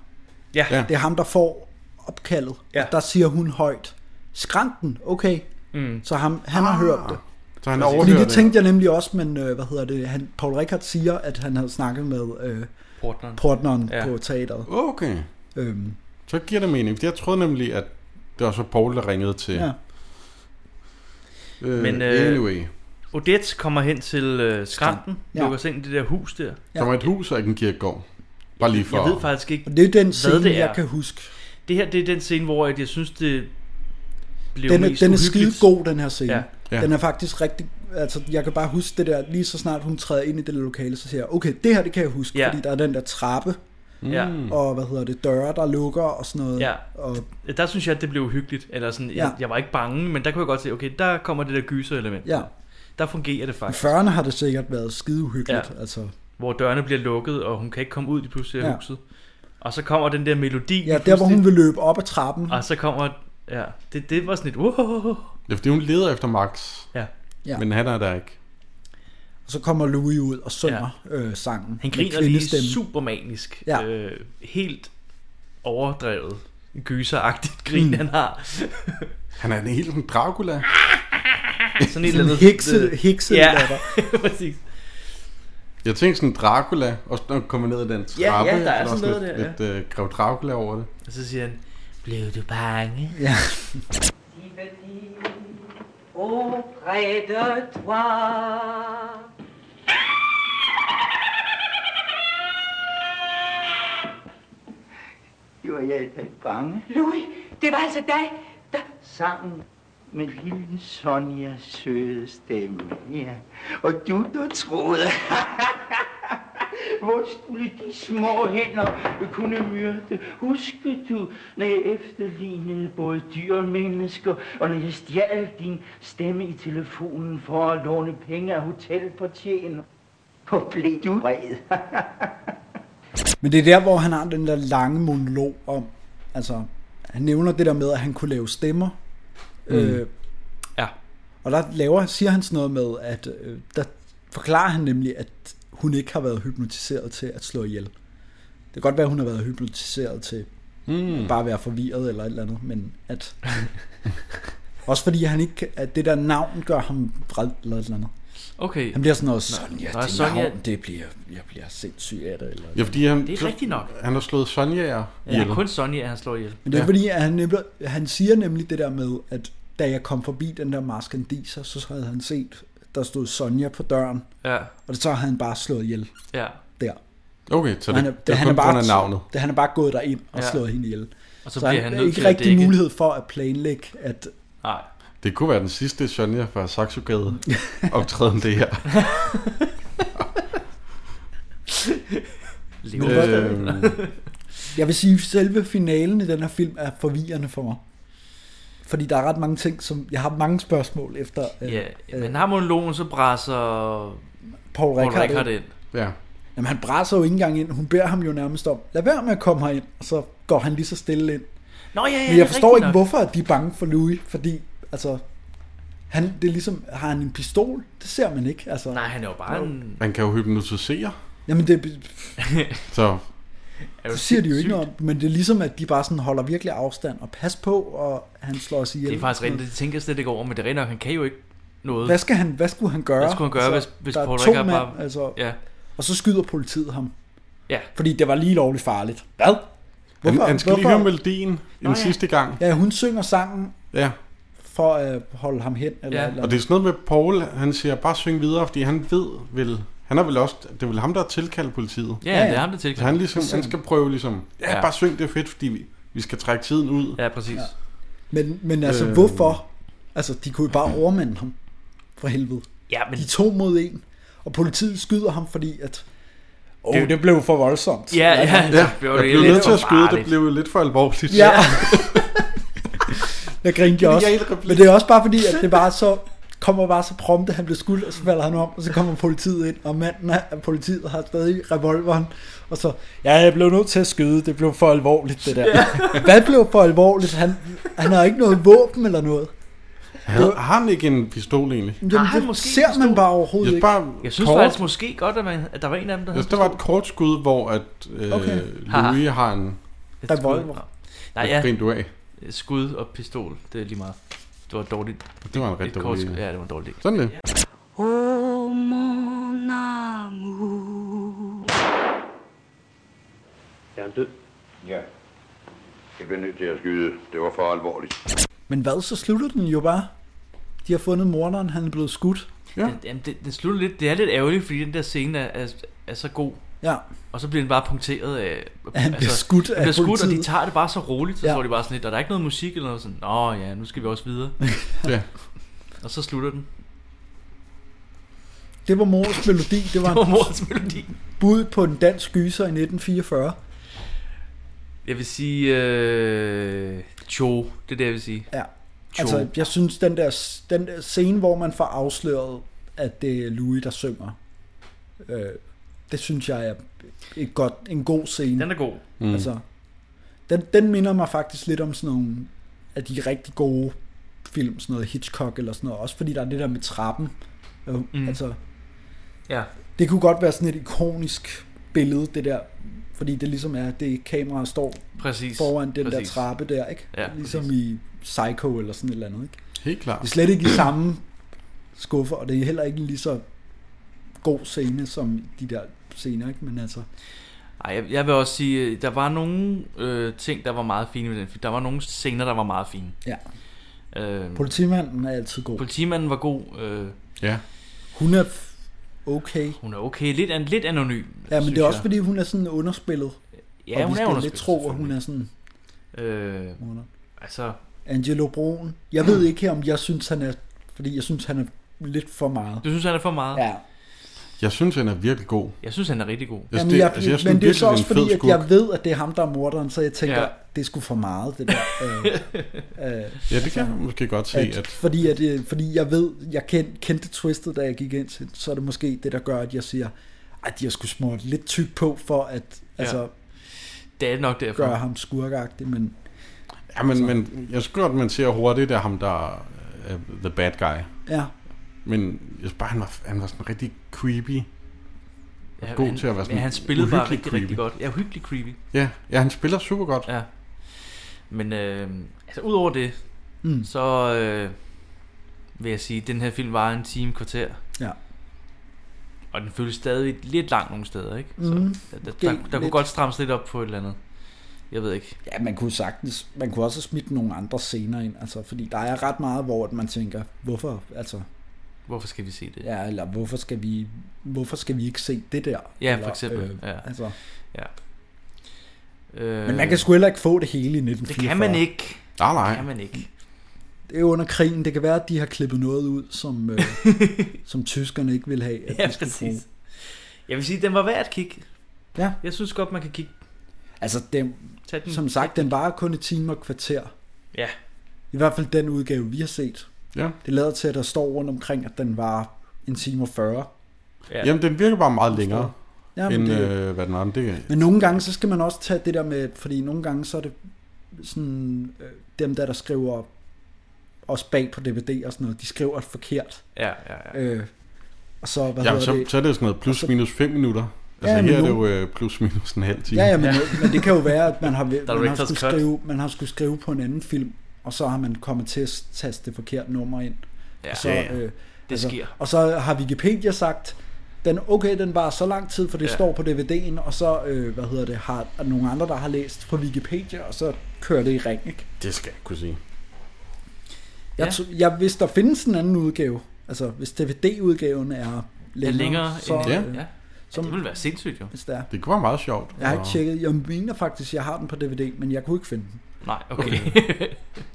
Speaker 2: Ja.
Speaker 4: Ja.
Speaker 3: Det er ham, der får opkaldet. Ja. Der siger hun højt, skrænten, okay.
Speaker 2: Mm.
Speaker 3: Så ham, han har hørt det.
Speaker 4: Så han
Speaker 3: Altså, Fordi
Speaker 4: overhører
Speaker 3: det
Speaker 4: det.
Speaker 3: tænkte jeg nemlig også, men øh, hvad hedder det, han, Paul Rickard siger, at han havde snakket med øh,
Speaker 2: Portneren.
Speaker 3: portneren
Speaker 4: Ja.
Speaker 3: ja. på teateret.
Speaker 4: Okay.
Speaker 3: Øhm.
Speaker 4: Så giver det mening, fordi jeg troede nemlig, at det var så Paul, der ringede til.
Speaker 3: Ja.
Speaker 4: Øh,
Speaker 2: Men
Speaker 4: Men,
Speaker 2: øh,
Speaker 4: anyway.
Speaker 2: Odette kommer hen til øh, skrænten,
Speaker 3: Ja.
Speaker 2: ja. lukker sig ind i det der hus der.
Speaker 4: Ja. Som er et hus og ikke en kirkegård. Bare lige for...
Speaker 2: Jeg ved faktisk ikke,
Speaker 3: Og det er den
Speaker 2: hvad
Speaker 3: scene,
Speaker 2: det er.
Speaker 3: jeg kan huske.
Speaker 2: Det her, det er den scene, hvor at jeg synes, det blev
Speaker 3: Den er,
Speaker 2: mest
Speaker 3: den er skide
Speaker 2: uhyggeligt.
Speaker 3: god, den her scene.
Speaker 2: Ja.
Speaker 3: Ja. Den er faktisk rigtig... Altså, jeg kan bare huske det der, lige så snart hun træder ind i det der lokale, så siger jeg, okay, det her, det kan jeg huske,
Speaker 2: Ja.
Speaker 3: ja. fordi der er den der trappe,
Speaker 2: Ja.
Speaker 3: og hvad hedder det, døre, der lukker og sådan noget.
Speaker 2: Ja,
Speaker 3: og,
Speaker 2: der synes jeg, at det blev uhyggeligt. Eller sådan, ja.
Speaker 3: Ja.
Speaker 2: jeg, jeg var ikke bange, men der kunne jeg godt se, okay, der kommer det der gyserelement.
Speaker 3: Ja.
Speaker 2: Der fungerer det
Speaker 3: I
Speaker 2: faktisk.
Speaker 3: 40'erne har det sikkert været skide uhyggeligt. Ja. Altså,
Speaker 2: Hvor dørene bliver lukket, og hun kan ikke komme ud i pludselig af
Speaker 3: Ja.
Speaker 2: huset. Og så kommer den der melodi.
Speaker 3: ja, der hvor hun vil løbe op ad trappen.
Speaker 2: Og så kommer... Ja, det, det var sådan et... Wow.
Speaker 4: Det er fordi, hun leder efter Max.
Speaker 2: Ja.
Speaker 3: Ja.
Speaker 4: Men han er der ikke.
Speaker 3: Og så kommer Louis ud og synger ja. øh, sangen.
Speaker 2: Han
Speaker 3: med
Speaker 2: griner lige
Speaker 3: kvindestemme.
Speaker 2: super manisk.
Speaker 3: Ja.
Speaker 2: Øh, helt overdrevet gyseragtigt grin, mm. han har.
Speaker 4: Han er en helt en Dracula.
Speaker 2: sådan et eller andet... øh,
Speaker 3: hekse- hekse
Speaker 2: ja.
Speaker 3: latter.
Speaker 2: præcis.
Speaker 4: Jeg tænkte sådan Dracula, og så kommer ned ad den trappe.
Speaker 2: Ja, ja, der er sådan
Speaker 4: også
Speaker 2: noget
Speaker 4: lidt,
Speaker 2: der,
Speaker 4: Lidt øh, Grev Dracula over det.
Speaker 2: Og så siger han, blev du bange?
Speaker 3: Ja.
Speaker 5: Auprès de toi.
Speaker 10: Jo, jeg er da bange.
Speaker 16: Louis, det var altså dig, der...
Speaker 10: Sangen med lille Sonjas søde stemme. Ja. Og du, der troede, hvor skulle de små hænder kunne myrde? Husker du, når jeg efterlignede både dyr og mennesker, og når jeg stjal din stemme i telefonen for at låne penge af hotelfortjener? Hvor blev du vred?
Speaker 3: Men det er der, hvor han har den der lange monolog om, altså, han nævner det der med, at han kunne lave stemmer.
Speaker 2: Mm.
Speaker 3: Øh,
Speaker 2: Ja.
Speaker 3: og der laver, siger han sådan noget med, at øh, der forklarer han nemlig, at hun ikke har været hypnotiseret til at slå ihjel. Det kan godt være, at hun har været hypnotiseret til
Speaker 4: mm.
Speaker 3: bare at være forvirret eller et eller andet, men at... også fordi han ikke, at det der navn gør ham vred eller et eller andet.
Speaker 2: Okay.
Speaker 3: Han bliver sådan noget,
Speaker 2: Nå,
Speaker 3: Sonja,
Speaker 2: nå,
Speaker 3: det
Speaker 2: Sonja-
Speaker 3: navn, det bliver, jeg bliver sindssyg af det. Eller
Speaker 4: Ja, fordi han,
Speaker 2: Det er
Speaker 4: så-
Speaker 2: rigtigt nok.
Speaker 4: Han har slået Sonja
Speaker 2: Ja, det er kun Sonja, han slår ihjel.
Speaker 3: Men det er ja. fordi, at han, nemlig, han siger nemlig det der med, at da jeg kom forbi den der maskandiser, så havde han set, der stod Sonja på døren,
Speaker 2: Ja.
Speaker 3: og så havde han bare slået ihjel
Speaker 2: Ja.
Speaker 3: der.
Speaker 4: Okay, så
Speaker 3: Og
Speaker 4: det,
Speaker 3: er-
Speaker 4: det er kun på grund af navnet.
Speaker 3: Det, han er bare gået derind og
Speaker 4: Ja.
Speaker 3: ja. slået hende ihjel.
Speaker 2: Og så bliver han
Speaker 3: har
Speaker 2: nødt til
Speaker 3: ikke
Speaker 2: at
Speaker 3: rigtig
Speaker 2: dække.
Speaker 3: mulighed for at planlægge, at
Speaker 2: Nej.
Speaker 4: Det kunne være den sidste Sonja fra Saxogade optræden det her.
Speaker 2: Lever
Speaker 3: Men
Speaker 4: Øhm,
Speaker 2: stadig.
Speaker 3: hvad- Jeg vil sige, at selve finalen i den her film er forvirrende for mig. Fordi der er ret mange ting, som... Jeg har mange spørgsmål efter... øh,
Speaker 2: Ja, men har monologen, så bræser
Speaker 3: Paul Rickard
Speaker 2: Rickard
Speaker 3: ind.
Speaker 2: ind.
Speaker 4: Ja.
Speaker 3: Jamen han brænder jo ikke engang ind. Hun beder ham jo nærmest om, lad være med at komme herind. Og så går han lige så stille ind.
Speaker 2: Nå, ja, ja,
Speaker 3: Men
Speaker 2: det er
Speaker 3: jeg forstår ikke,
Speaker 2: rigtigt nok.
Speaker 3: hvorfor at de er bange for Louis. Fordi, altså... Han, det er ligesom, har han en pistol? Det ser man ikke. Altså,
Speaker 2: Nej, han er jo bare en...
Speaker 4: Man kan jo hypnotisere.
Speaker 3: Jamen det,
Speaker 4: Så
Speaker 3: det siger de jo ikke noget om, men det er ligesom, at de bare sådan holder virkelig afstand og pas på, og han slår os ihjel.
Speaker 2: Det er faktisk rent, det tænker jeg slet ikke over, men det er rent nok, han kan jo ikke noget.
Speaker 3: Hvad, skal han, hvad skulle han gøre? Altså,
Speaker 2: Hvad skulle han gøre, hvis, hvis
Speaker 3: der er
Speaker 2: Paul
Speaker 3: to
Speaker 2: Rickard
Speaker 3: mand,
Speaker 2: bare...
Speaker 3: altså,
Speaker 2: Ja.
Speaker 3: Og så skyder politiet ham.
Speaker 2: Ja.
Speaker 3: Fordi det var lige lovligt farligt. Hvad?
Speaker 4: han, han skal lige høre melodien en
Speaker 3: ja.
Speaker 4: sidste gang.
Speaker 3: Ja, hun synger sangen
Speaker 4: Ja.
Speaker 3: for at holde ham hen. Eller,
Speaker 4: Ja.
Speaker 3: eller,
Speaker 4: Og det er sådan noget med Paul, han siger bare syng videre, fordi han ved vel, han er vel også, det er vel ham, der har tilkaldt politiet.
Speaker 2: Ja, Ja, ja. det er ham, der tilkalder.
Speaker 4: Så han, ligesom, han skal prøve ligesom, ja,
Speaker 2: Ja.
Speaker 4: bare syng det er fedt, fordi vi, vi skal trække tiden ud.
Speaker 2: Ja, præcis.
Speaker 3: Men, men altså,
Speaker 4: Øh.
Speaker 3: øh... hvorfor? Altså, de kunne jo bare overmande ham. For helvede.
Speaker 2: Ja, men...
Speaker 3: De er to mod en. Og politiet skyder ham, fordi at... Åh,
Speaker 2: Det-
Speaker 3: det, det blev for voldsomt.
Speaker 2: Ja, ja,
Speaker 4: Ja, jeg blev nødt til at skyde, det blev lidt for alvorligt.
Speaker 3: Ja. Jeg grinte jeg også.
Speaker 4: Genial replik.
Speaker 3: Men det er også bare fordi, at det bare så kommer bare så prompte, han bliver skudt, og så falder han om, og så kommer politiet ind, og manden af politiet har stadig revolveren, og så, ja, jeg blev nødt til at skyde, det blev for alvorligt, det der.
Speaker 4: Ja.
Speaker 3: Hvad blev for alvorligt? Han, han har ikke noget våben eller noget.
Speaker 4: Havde, har han ikke en pistol egentlig?
Speaker 3: Jamen, det måske ser man bare overhovedet
Speaker 4: Jeg
Speaker 3: ikke.
Speaker 4: bare-
Speaker 2: Jeg synes
Speaker 4: Kort.
Speaker 2: faktisk måske godt, at, man, at der var en af dem, der
Speaker 4: Jeg
Speaker 2: havde
Speaker 4: synes, der var et kort skud, hvor at, øh,
Speaker 2: Okay.
Speaker 4: okay. Louis har en...
Speaker 2: Et skud.
Speaker 3: Revolver.
Speaker 2: Nej,
Speaker 4: Hvad
Speaker 2: Ah, ja.
Speaker 4: grinte du af?
Speaker 2: Skud og pistol, det er lige meget. Det var et dårligt.
Speaker 4: Det var en
Speaker 2: et
Speaker 4: rigtig
Speaker 2: kort
Speaker 4: dårlig-
Speaker 2: skud. Ja, det var en dårlig del.
Speaker 4: Sådan det.
Speaker 5: Oh mon amour.
Speaker 8: Er han død? Ja. Jeg blev nødt til at skyde. Det var for alvorligt.
Speaker 3: Men hvad, så slutter den jo bare. De har fundet morderen, han er blevet skudt.
Speaker 2: Ja. Jamen, det, det, slutter lidt, det er lidt ærgerligt, fordi den der scene er, er, er så god.
Speaker 3: Ja.
Speaker 2: Og så bliver den bare punkteret af... altså,
Speaker 3: Ja, han bliver skudt
Speaker 2: han
Speaker 3: af
Speaker 2: bliver skudt, og de
Speaker 3: politiet.
Speaker 2: tager det bare så roligt, så
Speaker 3: Ja.
Speaker 2: ja. står de bare sådan lidt, og der er ikke noget musik eller noget sådan, Nå ja, nu skal vi også videre.
Speaker 4: ja.
Speaker 2: Og så slutter den.
Speaker 3: Det var mors melodi. Det var,
Speaker 2: Det var mors melodi.
Speaker 3: Bud på en dansk gyser i 1944.
Speaker 2: Jeg vil sige... Øh, Cho, det er det, jeg vil sige.
Speaker 3: Ja.
Speaker 2: Cho.
Speaker 3: Altså, jeg synes, den der, den der scene, hvor man får afsløret, at det er Louis, der synger, øh, det synes jeg er et godt, en god scene.
Speaker 2: Den er god.
Speaker 4: Mm.
Speaker 3: Altså, den, den minder mig faktisk lidt om sådan nogle af de rigtig gode film, sådan noget Hitchcock eller sådan noget, også fordi der er det der med trappen. Øh, mm. Altså,
Speaker 2: Ja.
Speaker 3: det kunne godt være sådan et ikonisk billede, det der, fordi det ligesom er, det kamera står
Speaker 2: Præcis.
Speaker 3: foran den
Speaker 2: Præcis.
Speaker 3: der trappe der, ikke?
Speaker 2: Ja,
Speaker 3: ligesom i Psycho eller sådan et eller andet, ikke?
Speaker 4: Helt klart.
Speaker 3: Det er slet ikke i samme skuffer, og det er heller ikke en lige så god scene som de der scener, ikke? Men altså,
Speaker 2: Ej, jeg, jeg vil også sige, øh, der var nogle øh, ting, der var meget fine ved den film. Der var nogle scener, der var meget fine.
Speaker 3: Ja.
Speaker 2: Øh,
Speaker 3: politimanden er altid god.
Speaker 2: politimanden var god. Øh,
Speaker 4: Ja.
Speaker 3: Hun er f- okay.
Speaker 2: Hun er okay. Lidt, an, lidt anonym,
Speaker 3: Ja, men
Speaker 2: synes
Speaker 3: det er også
Speaker 2: jeg.
Speaker 3: fordi, hun er sådan underspillet.
Speaker 2: Ja,
Speaker 3: og
Speaker 2: hun
Speaker 3: vi skal
Speaker 2: er
Speaker 3: lidt
Speaker 2: underspillet,
Speaker 3: tro, at hun er sådan
Speaker 2: Øh,
Speaker 3: Under.
Speaker 2: altså,
Speaker 3: Angelo Broen. Jeg ved ikke, om jeg synes, han er... Fordi jeg synes, han er lidt for meget.
Speaker 2: du synes, han er for meget?
Speaker 3: Ja.
Speaker 4: Jeg synes, han er virkelig god.
Speaker 2: Jeg synes, han er rigtig god.
Speaker 4: Jeg synes,
Speaker 3: Jamen, jeg,
Speaker 4: altså, jeg synes,
Speaker 3: men det er
Speaker 4: virkelig,
Speaker 3: så også
Speaker 4: en fed
Speaker 3: fordi, at
Speaker 4: skurk.
Speaker 3: jeg ved, at det er ham, der er morderen, så jeg tænker,
Speaker 4: Ja.
Speaker 3: ja. det er sgu for meget, det der. øh, øh, ja,
Speaker 4: Ja, det kan jeg måske godt se,
Speaker 3: At,
Speaker 4: at-
Speaker 3: fordi, at, øh, fordi jeg ved, jeg kendte, kendte twistet, da jeg gik ind til, så er det måske det, der gør, at jeg siger, at de har sgu smurt lidt tyk på, for at
Speaker 2: Ja.
Speaker 3: altså,
Speaker 2: Det er nok derfor.
Speaker 3: gøre ham skurkagtig, men
Speaker 4: Ja,
Speaker 3: Altså,
Speaker 4: men, men jeg synes godt, man ser hurtigt, at ham, der er øh, the bad guy.
Speaker 3: Ja.
Speaker 4: Men jeg synes bare, han var, han var sådan rigtig creepy. Og god
Speaker 2: han,
Speaker 4: til at være sådan
Speaker 2: men han spillede bare
Speaker 4: uhyggelig
Speaker 2: rigtig, creepy. rigtig godt. Ja, hyggelig creepy.
Speaker 4: Ja, ja, han spiller super godt.
Speaker 2: Ja. Men øh, altså, udover det,
Speaker 3: Mm.
Speaker 2: så øh, vil jeg sige, at den her film var en time kvarter.
Speaker 3: Ja.
Speaker 2: Og den føles stadig lidt lang nogle steder, ikke?
Speaker 3: Mhm.
Speaker 2: der, der,
Speaker 3: Måske
Speaker 2: der, der kunne
Speaker 3: lidt.
Speaker 2: godt strammes lidt op på et eller andet. Jeg ved ikke.
Speaker 3: Ja, man kunne sagtens, man kunne også have smidt nogle andre scener ind, altså, fordi der er ret meget, hvor at man tænker, hvorfor, altså,
Speaker 2: Hvorfor skal vi se det?
Speaker 3: ja, eller hvorfor skal vi, hvorfor skal vi ikke se det der?
Speaker 2: Ja,
Speaker 3: eller,
Speaker 2: for eksempel.
Speaker 3: øh,
Speaker 2: ja.
Speaker 3: Altså,
Speaker 2: ja. Øh,
Speaker 3: men man kan sgu heller ikke få det hele i
Speaker 2: Det
Speaker 3: 1944.
Speaker 2: kan man ikke.
Speaker 4: Nej, nej.
Speaker 2: Det kan man ikke.
Speaker 3: Det er jo under krigen, det kan være, at de har klippet noget ud, som, øh, som tyskerne ikke vil have. At
Speaker 2: Ja,
Speaker 3: vi skulle
Speaker 2: præcis.
Speaker 3: bruge.
Speaker 2: Jeg vil sige, at den var værd at kigge.
Speaker 3: Ja.
Speaker 2: Jeg synes godt, man kan kigge.
Speaker 3: Altså, den,
Speaker 2: Tag den.
Speaker 3: som sagt, den varer kun et time og kvarter.
Speaker 2: Ja.
Speaker 3: I hvert fald den udgave, vi har set.
Speaker 4: Ja.
Speaker 3: Det lader til, at der står rundt omkring, at den var en time og 40.
Speaker 4: Jamen, den virker bare meget længere. Ja,
Speaker 3: men
Speaker 4: end
Speaker 3: det-
Speaker 4: det... øh, hvad den var. Men det,
Speaker 3: Men nogle gange, så skal man også tage det der med, fordi nogle gange, så er det sådan, øh, dem der, der skriver også bag på DVD og sådan noget, de skriver forkert.
Speaker 2: Ja, ja, ja.
Speaker 3: Øh, og så, hvad
Speaker 4: ja,
Speaker 3: hedder
Speaker 4: så,
Speaker 3: det?
Speaker 4: så er det jo sådan noget plus
Speaker 3: Og så-
Speaker 4: minus 5 minutter. Altså
Speaker 3: Ja,
Speaker 4: ja,
Speaker 3: men
Speaker 4: her er det
Speaker 3: nu-
Speaker 4: jo øh, plus minus en halv time.
Speaker 3: Ja, ja, men, men det kan jo være, at man har, man har,
Speaker 2: Director's
Speaker 3: skulle
Speaker 2: cut.
Speaker 3: skrive, man har skulle skrive på en anden film, og så har man kommet til at taste det forkerte nummer ind.
Speaker 2: Ja.
Speaker 3: og så,
Speaker 2: Ja, ja. Det
Speaker 3: altså,
Speaker 2: sker.
Speaker 3: Og så har Wikipedia sagt, den, okay, den var så lang tid, for det
Speaker 2: Ja.
Speaker 3: ja. står på DVD'en, og så, øh, hvad hedder det, har er nogle andre, der har læst fra Wikipedia, og så kører det i ring, ikke?
Speaker 4: Det skal jeg kunne sige.
Speaker 3: Jeg, ja. jeg, hvis der findes en anden udgave, altså hvis DVD-udgaven er
Speaker 2: Er
Speaker 3: længere,
Speaker 2: længere
Speaker 3: så,
Speaker 2: end...
Speaker 3: øh,
Speaker 2: Ja. ja. det ville være sindssygt jo.
Speaker 3: Hvis det er.
Speaker 4: Det kunne være meget sjovt.
Speaker 3: Jeg har ikke
Speaker 4: Og-
Speaker 3: tjekket. Jeg mener faktisk, at jeg har den på DVD, men jeg kunne ikke finde den.
Speaker 2: Nej, okay.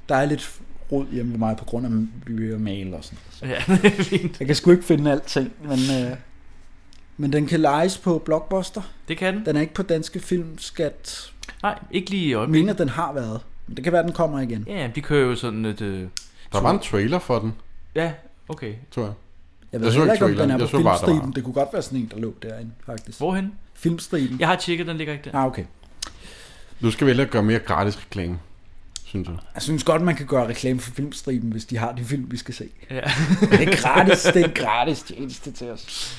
Speaker 3: Der er lidt rod hjemme ved mig på grund af byer og mail og sådan noget.
Speaker 2: Ja, det er fint.
Speaker 3: Jeg kan sgu ikke finde alting, men, øh, men den kan lejes på Blockbuster.
Speaker 2: Det kan den.
Speaker 3: Den er ikke på Danske Filmskat.
Speaker 2: Nej, ikke lige i
Speaker 3: Jeg
Speaker 2: øjeblikket.
Speaker 3: mener, den har været. Men det kan være, den kommer igen.
Speaker 2: Ja, jamen, de kører jo sådan et... Øh,
Speaker 4: Der var en trailer for den,
Speaker 2: Ja, okay.
Speaker 4: tror jeg.
Speaker 3: Jeg ved
Speaker 4: så
Speaker 3: heller ikke, om den
Speaker 4: traileren.
Speaker 3: er
Speaker 4: Jeg
Speaker 3: på
Speaker 4: så bare, der var-
Speaker 3: filmstriben. Det kunne godt være sådan en, der lå derinde, faktisk.
Speaker 2: Hvorhen?
Speaker 3: Filmstriben.
Speaker 2: Jeg har tjekket, den ligger ikke der.
Speaker 3: Ah, okay.
Speaker 4: Nu skal vi heller gøre mere gratis reklame, synes jeg.
Speaker 3: Jeg synes godt, man kan gøre reklame for filmstriben, hvis de har de film, vi skal se.
Speaker 2: Ja.
Speaker 3: det er gratis, det er en gratis tjeneste til os.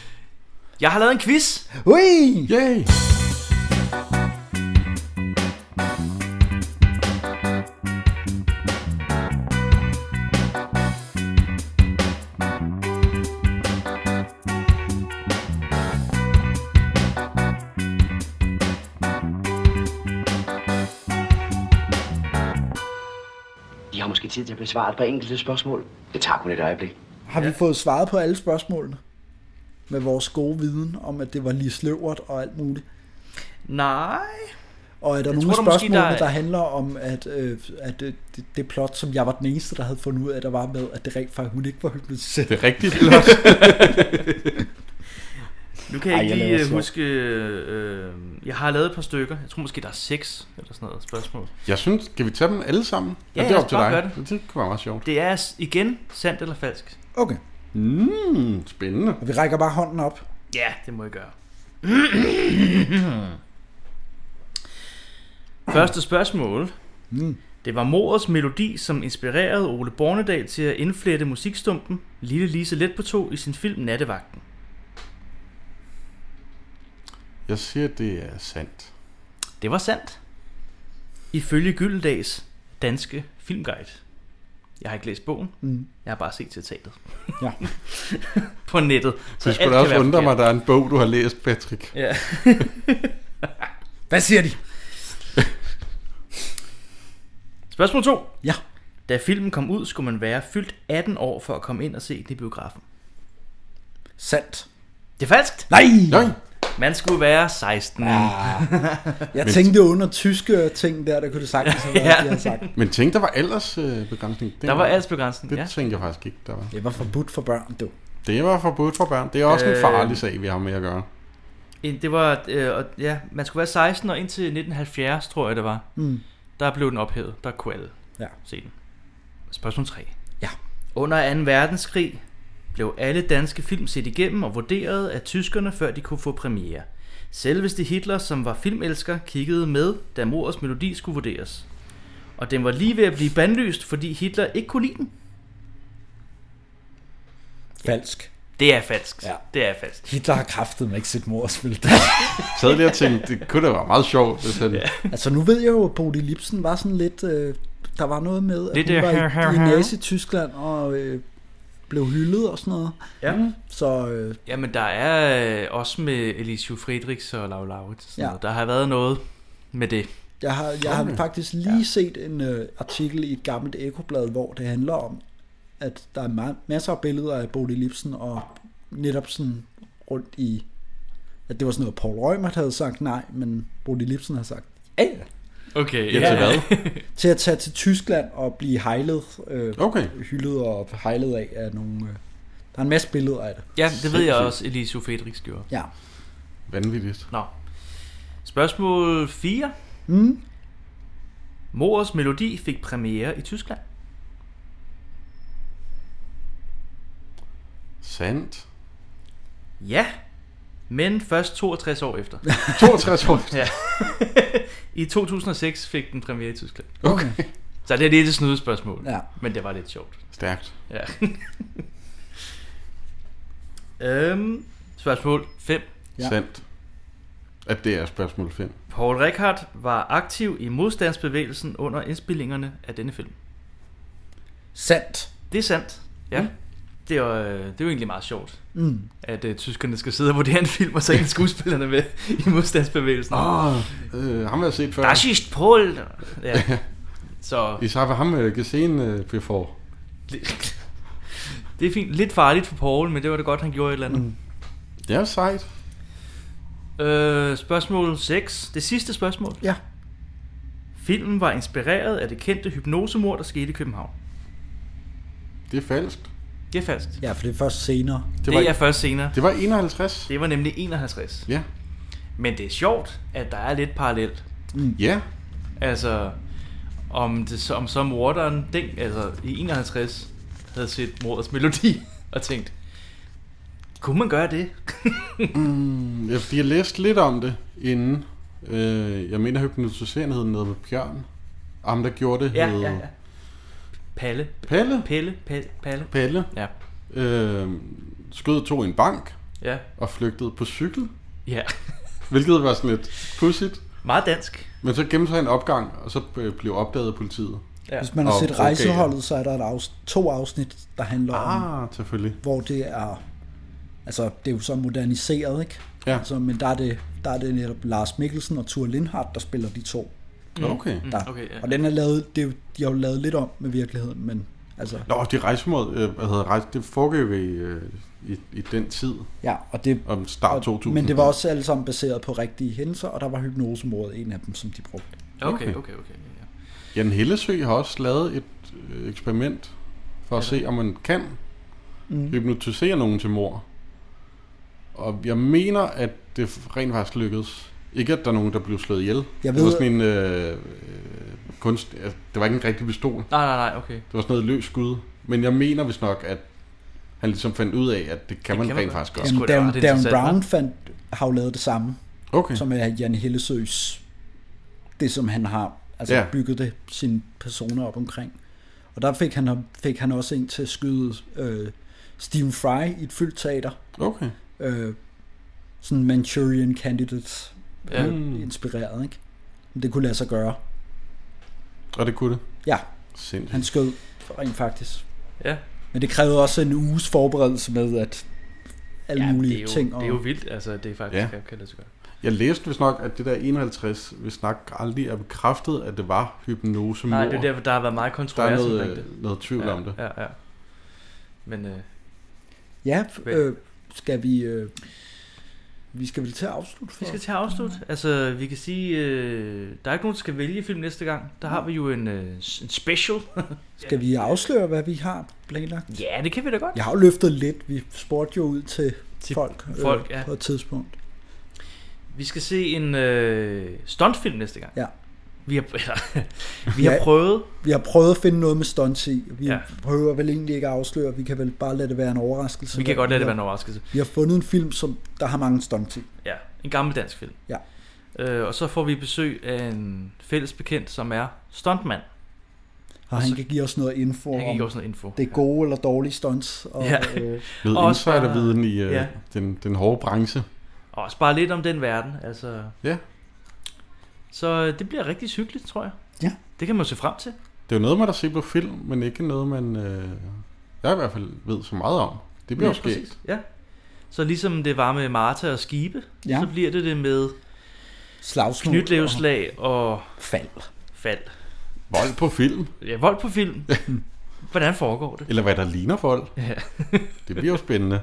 Speaker 2: Jeg har lavet en quiz.
Speaker 3: Ui!
Speaker 4: Yay!
Speaker 10: De har måske tid til at besvare et par enkelte spørgsmål. Det tager kun et øjeblik.
Speaker 3: Har vi fået svaret på alle spørgsmålene? Med vores gode viden om, at det var lige sløvert og alt muligt.
Speaker 2: Nej.
Speaker 3: Og er der
Speaker 2: Jeg
Speaker 3: nogle
Speaker 2: tror,
Speaker 3: af
Speaker 2: der måske,
Speaker 3: spørgsmålene, der,
Speaker 2: der er-
Speaker 3: der handler om, at, øh, at det, det, det plot, som jeg var den eneste, der havde fundet ud af, der var med, at det rent faktisk hun ikke var hypnotiseret?
Speaker 4: Det er rigtigt plot.
Speaker 2: Nu kan jeg
Speaker 3: Ej, jeg
Speaker 2: ikke lige
Speaker 3: laver
Speaker 2: øh,
Speaker 3: sjov.
Speaker 2: huske... Øh, jeg har lavet et par stykker. Jeg tror måske, der er seks eller sådan noget spørgsmål.
Speaker 4: Jeg synes, skal vi tage dem alle sammen?
Speaker 2: Ja,
Speaker 4: Og det
Speaker 2: lad
Speaker 4: er
Speaker 2: os
Speaker 4: op til
Speaker 2: bare
Speaker 4: dig.
Speaker 2: gøre
Speaker 4: det. det kunne være meget sjovt.
Speaker 2: Det er s- igen sandt eller falsk.
Speaker 3: Okay.
Speaker 4: Mm, spændende.
Speaker 3: Og vi rækker bare hånden op.
Speaker 2: Ja, det må jeg gøre. Første spørgsmål.
Speaker 3: Mm.
Speaker 2: Det var mordets melodi, som inspirerede Ole Bornedal til at indflette musikstumpen Lille Lise Let på to i sin film Nattevagten.
Speaker 4: Jeg siger, det er sandt.
Speaker 2: Det var sandt. Ifølge Gyldendags danske filmguide. Jeg har ikke læst bogen.
Speaker 3: Mm.
Speaker 2: Jeg har bare set citatet.
Speaker 3: Ja.
Speaker 2: på nettet.
Speaker 4: Så det
Speaker 2: alt
Speaker 4: skulle da
Speaker 2: kan
Speaker 4: også
Speaker 2: være
Speaker 4: undre mig, at der
Speaker 2: forkert.
Speaker 4: er en bog, du har læst, Patrick.
Speaker 2: Ja.
Speaker 3: Hvad siger de?
Speaker 2: Spørgsmål 2.
Speaker 3: Ja.
Speaker 2: Da filmen kom ud, skulle man være fyldt 18 år for at komme ind og se den i biografen.
Speaker 3: Sandt.
Speaker 2: Det er falskt.
Speaker 3: Nej!
Speaker 4: Nej.
Speaker 2: Man skulle være 16.
Speaker 3: Ah. Jeg tænkte under tyske ting der, der kunne det sagtens have været,
Speaker 2: Ja.
Speaker 3: ja. de havde sagt.
Speaker 4: Men tænk, der var aldersbegrænsning.
Speaker 2: Der var aldersbegrænsning,
Speaker 4: Det
Speaker 2: ja.
Speaker 4: tænkte jeg faktisk ikke, der var.
Speaker 3: Det var forbudt for børn, du.
Speaker 4: Det var forbudt for børn. Det er også
Speaker 2: Øh.
Speaker 4: en farlig sag, vi har med at gøre.
Speaker 2: En- Det var, øh, og- ja, man skulle være 16 og indtil 1970, tror jeg det var.
Speaker 3: Mm.
Speaker 2: Der blev den ophævet. Der kunne alle
Speaker 3: Ja.
Speaker 2: se den. Spørgsmål 3.
Speaker 3: Ja.
Speaker 2: Under 2. verdenskrig blev alle danske film set igennem og vurderet af tyskerne, før de kunne få premiere. Selveste Hitler, som var filmelsker, kiggede med, da mordets melodi skulle vurderes. Og den var lige ved at blive bandlyst, fordi Hitler ikke kunne lide den.
Speaker 3: Falsk.
Speaker 2: Det er falsk. Ja. Det er falsk.
Speaker 3: Hitler har kraftet mig ikke sit morspil.
Speaker 4: sad lige og tænkte, det kunne da være meget sjovt, hvis han... Ja.
Speaker 3: altså nu ved jeg jo, at Bodil Lipsen var sådan lidt... Øh, der var noget med, at
Speaker 2: Lidt,
Speaker 3: lidt, hun
Speaker 2: øh,
Speaker 3: var
Speaker 2: her, her,
Speaker 3: i, i
Speaker 2: her.
Speaker 3: Nazi-Tyskland og øh, blev hyldet og sådan noget.
Speaker 2: Ja.
Speaker 3: Så øh,
Speaker 2: Jamen, der er øh, også med Elisio Friedrichs og Lau Lauritsen.
Speaker 3: Ja.
Speaker 2: Ja. Der har været noget med det.
Speaker 3: jeg har, jeg har
Speaker 2: Okay.
Speaker 3: faktisk lige set en øh, artikel i et gammelt ekoblad, hvor det handler om, at der er ma- masser af billeder af Bodil Lipsen og netop sådan rundt i... At det var sådan noget, Paul Reumert havde sagt nej, men Bodil Lipsen har sagt ja.
Speaker 2: Okay.
Speaker 4: Ja, til hvad?
Speaker 3: til at tage til Tyskland og blive hejlet, øh,
Speaker 4: Okay.
Speaker 3: hyldet og hejlet af, af nogle... Øh, der er en masse billeder af det.
Speaker 2: Ja, det ved jeg også, Elisio Friedrichs gjorde.
Speaker 3: Ja.
Speaker 4: Vanvittigt.
Speaker 2: Nå. Spørgsmål 4.
Speaker 3: Mm.
Speaker 2: Mors Melodi fik premiere i Tyskland.
Speaker 4: Sandt.
Speaker 2: Ja. Men først 62 år efter.
Speaker 4: 62 år efter.
Speaker 2: ja. I 2006 fik den premiere i Tyskland.
Speaker 4: Okay.
Speaker 2: Så det er lidt et snyde spørgsmål.
Speaker 3: Ja.
Speaker 2: Men det var lidt sjovt.
Speaker 4: Stærkt.
Speaker 2: Ja. øhm, spørgsmål 5.
Speaker 4: Ja. Sandt. At det er spørgsmål 5.
Speaker 2: Paul Rickard var aktiv i modstandsbevægelsen under indspillingerne af denne film.
Speaker 3: Sandt.
Speaker 2: Det er sandt, ja. Mm. Det, er, jo- øh, det er jo egentlig meget sjovt,
Speaker 3: Mm.
Speaker 2: at uh, tyskerne skal sidde og vurdere en film, og så ikke skuespillerne med i modstandsbevægelsen.
Speaker 4: Åh, øh, ham har jeg set før.
Speaker 2: Der er sidst Paul! Ja. Så
Speaker 4: I har ham øh, gesehen øh, before.
Speaker 2: det er fint. Lidt farligt for Paul, men det var det godt, han gjorde et eller andet. Mm.
Speaker 4: Det er sejt.
Speaker 2: Øh, spørgsmål 6. Det sidste spørgsmål.
Speaker 3: Ja.
Speaker 2: Filmen var inspireret af det kendte hypnosemord, der skete i København.
Speaker 4: Det er falsk.
Speaker 2: Det er falsk.
Speaker 3: Ja, for det er først senere.
Speaker 2: Det, det er først senere.
Speaker 4: Det var 51.
Speaker 2: Det var nemlig 51.
Speaker 4: Ja.
Speaker 2: Men det er sjovt, at der er lidt parallelt.
Speaker 3: Mm.
Speaker 4: Ja.
Speaker 2: Altså, om, det, så- om så morderen den, altså, i 51 havde set mordets melodi og tænkt, kunne man gøre det?
Speaker 4: mm, ja, fordi jeg læste lidt om det inden. Øh, jeg mener, hypnotiseren hed noget med Bjørn. Og ham, der gjorde det,
Speaker 2: Ja,
Speaker 4: hed
Speaker 2: ja, ja. Palle.
Speaker 4: Palle?
Speaker 2: Pelle. Palle. Palle.
Speaker 4: Palle.
Speaker 2: Ja.
Speaker 4: Øh, skød to i en bank.
Speaker 2: Ja.
Speaker 4: Og flygtede på cykel.
Speaker 2: Ja.
Speaker 4: Hvilket var sådan lidt pudsigt.
Speaker 2: Meget dansk.
Speaker 4: Men så gemte sig i en opgang, og så øh, blev opdaget af politiet.
Speaker 2: Ja.
Speaker 3: Hvis man har
Speaker 4: Og
Speaker 3: set
Speaker 4: brogav.
Speaker 3: rejseholdet, så er der et afs- to afsnit, der handler om...
Speaker 4: Ah, selvfølgelig.
Speaker 3: Hvor det er... Altså, det er jo så moderniseret, ikke?
Speaker 4: Ja.
Speaker 3: Altså, men der er, det, der er det netop Lars Mikkelsen og Thor Lindhardt, der spiller de to.
Speaker 4: Mm. Okay. Mm,
Speaker 3: Der.
Speaker 4: okay, ja.
Speaker 3: Og den er lavet, det er, jo- de har jo lavet lidt om med virkeligheden, men altså...
Speaker 4: Nå, de rejsemod, øh, hvad hedder rejse, det foregår jo i, øh, i, i den tid.
Speaker 3: Ja, og det...
Speaker 4: Om start 2000.
Speaker 3: Men det var også alle sammen baseret på rigtige hændelser, og der var hypnosemordet en af dem, som de brugte.
Speaker 2: Okay, okay, okay.
Speaker 4: Jan Hellesø har også lavet et øh, eksperiment for at se, om man kan
Speaker 3: Mm.
Speaker 4: mm. hypnotisere nogen til mor. Og jeg mener, at det rent faktisk lykkedes. Ikke, at der er nogen, der blev slået ihjel.
Speaker 3: Jeg
Speaker 4: Det var
Speaker 3: ved-
Speaker 4: sådan en øh, øh, kunst... altså, Det var ikke en rigtig pistol.
Speaker 2: Nej, nej, nej, okay.
Speaker 4: Det var sådan noget løs skud. Men jeg mener vist nok, at han ligesom fandt ud af, at det kan man
Speaker 2: kan man
Speaker 4: rent
Speaker 2: godt.
Speaker 4: faktisk godt.
Speaker 3: Jamen, Down, Down Brown fandt, har jo lavet det samme,
Speaker 4: okay.
Speaker 3: som er Jan Hellesøs, det som han har altså
Speaker 4: Ja.
Speaker 3: ja. bygget det, sine personer op omkring. Og der fik han, fik han også en til at skyde øh, Stephen Fry i et fyldt teater.
Speaker 4: Okay.
Speaker 3: Øh, sådan Manchurian Candidates
Speaker 4: Ja.
Speaker 3: ja. inspireret, ikke? Men det kunne lade sig gøre.
Speaker 4: Og det kunne det.
Speaker 3: Ja,
Speaker 4: Sindssygt.
Speaker 3: han skød rent faktisk.
Speaker 2: Ja.
Speaker 3: Men det krævede også en uges forberedelse med, at alle ja, mulige
Speaker 2: det er jo,
Speaker 3: ting.
Speaker 2: Det er jo vildt, altså, at det faktisk
Speaker 4: Ja.
Speaker 2: ja. kan, kan lade sig gøre.
Speaker 4: Jeg læste vist nok, at det der 51, hvis nok aldrig er bekræftet, at det var hypnose
Speaker 2: Nej, det er derfor, der har været meget kontrovers
Speaker 4: Der er noget,
Speaker 2: omkring det.
Speaker 4: noget tvivl
Speaker 2: ja,
Speaker 4: om det.
Speaker 2: Ja, ja. Men øh,
Speaker 3: Ja, øh, skal vi... Øh, vi skal vel til at afslutte for?
Speaker 2: vi skal til at afslutte. Altså, vi kan sige, øh, der er ikke nogen, der skal vælge film næste gang. Der har vi jo en, øh, s- en special.
Speaker 3: Skal vi afsløre, hvad vi har planlagt?
Speaker 2: ja, det kan vi da godt.
Speaker 3: Jeg har jo løftet lidt. Vi spurgte jo ud til,
Speaker 2: Til
Speaker 3: folk, øh,
Speaker 2: folk, ja.
Speaker 3: på et tidspunkt.
Speaker 2: Vi skal se en øh, stuntfilm næste gang.
Speaker 3: Ja.
Speaker 2: Vi har, eller, vi har prøvet.
Speaker 3: Vi har prøvet at finde noget med stunts i. Vi
Speaker 2: Ja.
Speaker 3: ja. prøver vel egentlig ikke at afsløre. Vi kan vel bare lade det være en overraskelse.
Speaker 2: Vi kan godt lade det
Speaker 3: har-
Speaker 2: være en overraskelse.
Speaker 3: Vi har fundet en film, som der har mange stunts i.
Speaker 2: Ja, en gammel dansk film.
Speaker 3: Ja.
Speaker 2: Øh, og så får vi besøg af en fælles bekendt, som er stuntmand.
Speaker 3: Og, han kan give os noget info
Speaker 2: Han kan
Speaker 3: om
Speaker 2: give os noget info,
Speaker 3: det gode eller dårlige stunts. Og,
Speaker 2: Ja.
Speaker 3: øh,
Speaker 4: Med
Speaker 2: Og også bare-
Speaker 4: insiderviden i øh,
Speaker 2: ja.
Speaker 4: den, den hårde branche.
Speaker 2: Og også bare lidt om den verden, altså.
Speaker 4: Ja.
Speaker 2: Så øh, det bliver rigtig hyggeligt, tror jeg.
Speaker 3: Ja.
Speaker 2: Det kan man jo se frem til.
Speaker 4: Det er jo noget, man har set på film, men ikke noget, man... Øh, jeg i hvert fald ved så meget om. Det bliver
Speaker 2: Ja,
Speaker 4: jo skægt.
Speaker 2: præcis. Ja. Så ligesom det var med Marta og Skibe,
Speaker 3: Ja.
Speaker 2: ja. så bliver det det med
Speaker 3: Slagsmål
Speaker 2: knytlevslag og...
Speaker 3: Fald.
Speaker 2: Fald.
Speaker 4: Vold på film.
Speaker 2: Ja, vold på film. Hvordan foregår det?
Speaker 4: Eller hvad der ligner vold.
Speaker 2: Ja.
Speaker 4: det bliver jo spændende.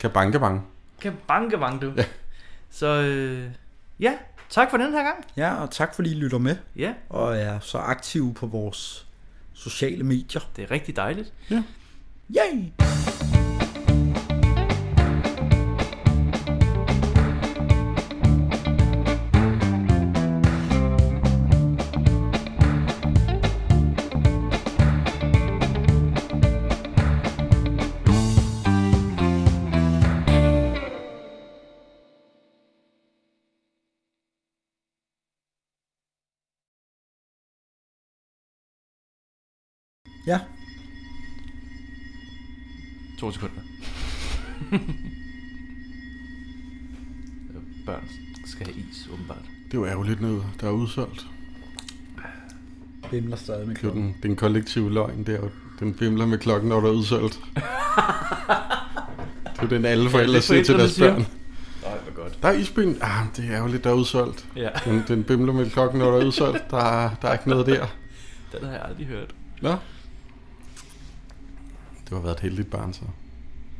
Speaker 4: Kan banke bange.
Speaker 2: Kan banke bange, du. Ja. Så øh, ja, tak for den her gang.
Speaker 3: Ja, og tak fordi I lytter med.
Speaker 2: Ja.
Speaker 3: Og er så aktive på vores sociale medier.
Speaker 2: Det er rigtig dejligt.
Speaker 4: Ja.
Speaker 3: Yay! Ja.
Speaker 2: To sekunder. Børn skal have is, åbenbart.
Speaker 4: Det er jo ærgerligt noget, der er udsolgt.
Speaker 3: Bimler stadig med
Speaker 4: Det er jo den, den kollektive løgn, det er jo, den bimler med klokken, når der er udsolgt. det er jo den, alle
Speaker 2: Ja, det
Speaker 4: forældre
Speaker 2: er
Speaker 4: siger til
Speaker 2: forældrene
Speaker 4: deres
Speaker 2: siger.
Speaker 4: børn.
Speaker 2: Nej, hvor godt.
Speaker 4: Der er isbyen. Ah, det er ærgerligt, der er udsolgt.
Speaker 2: Ja.
Speaker 4: Den, den bimler med klokken, når der er udsolgt. Der, er- der er ikke noget der.
Speaker 2: Den har jeg aldrig hørt.
Speaker 4: Nå. Det har været et heldigt barn, så.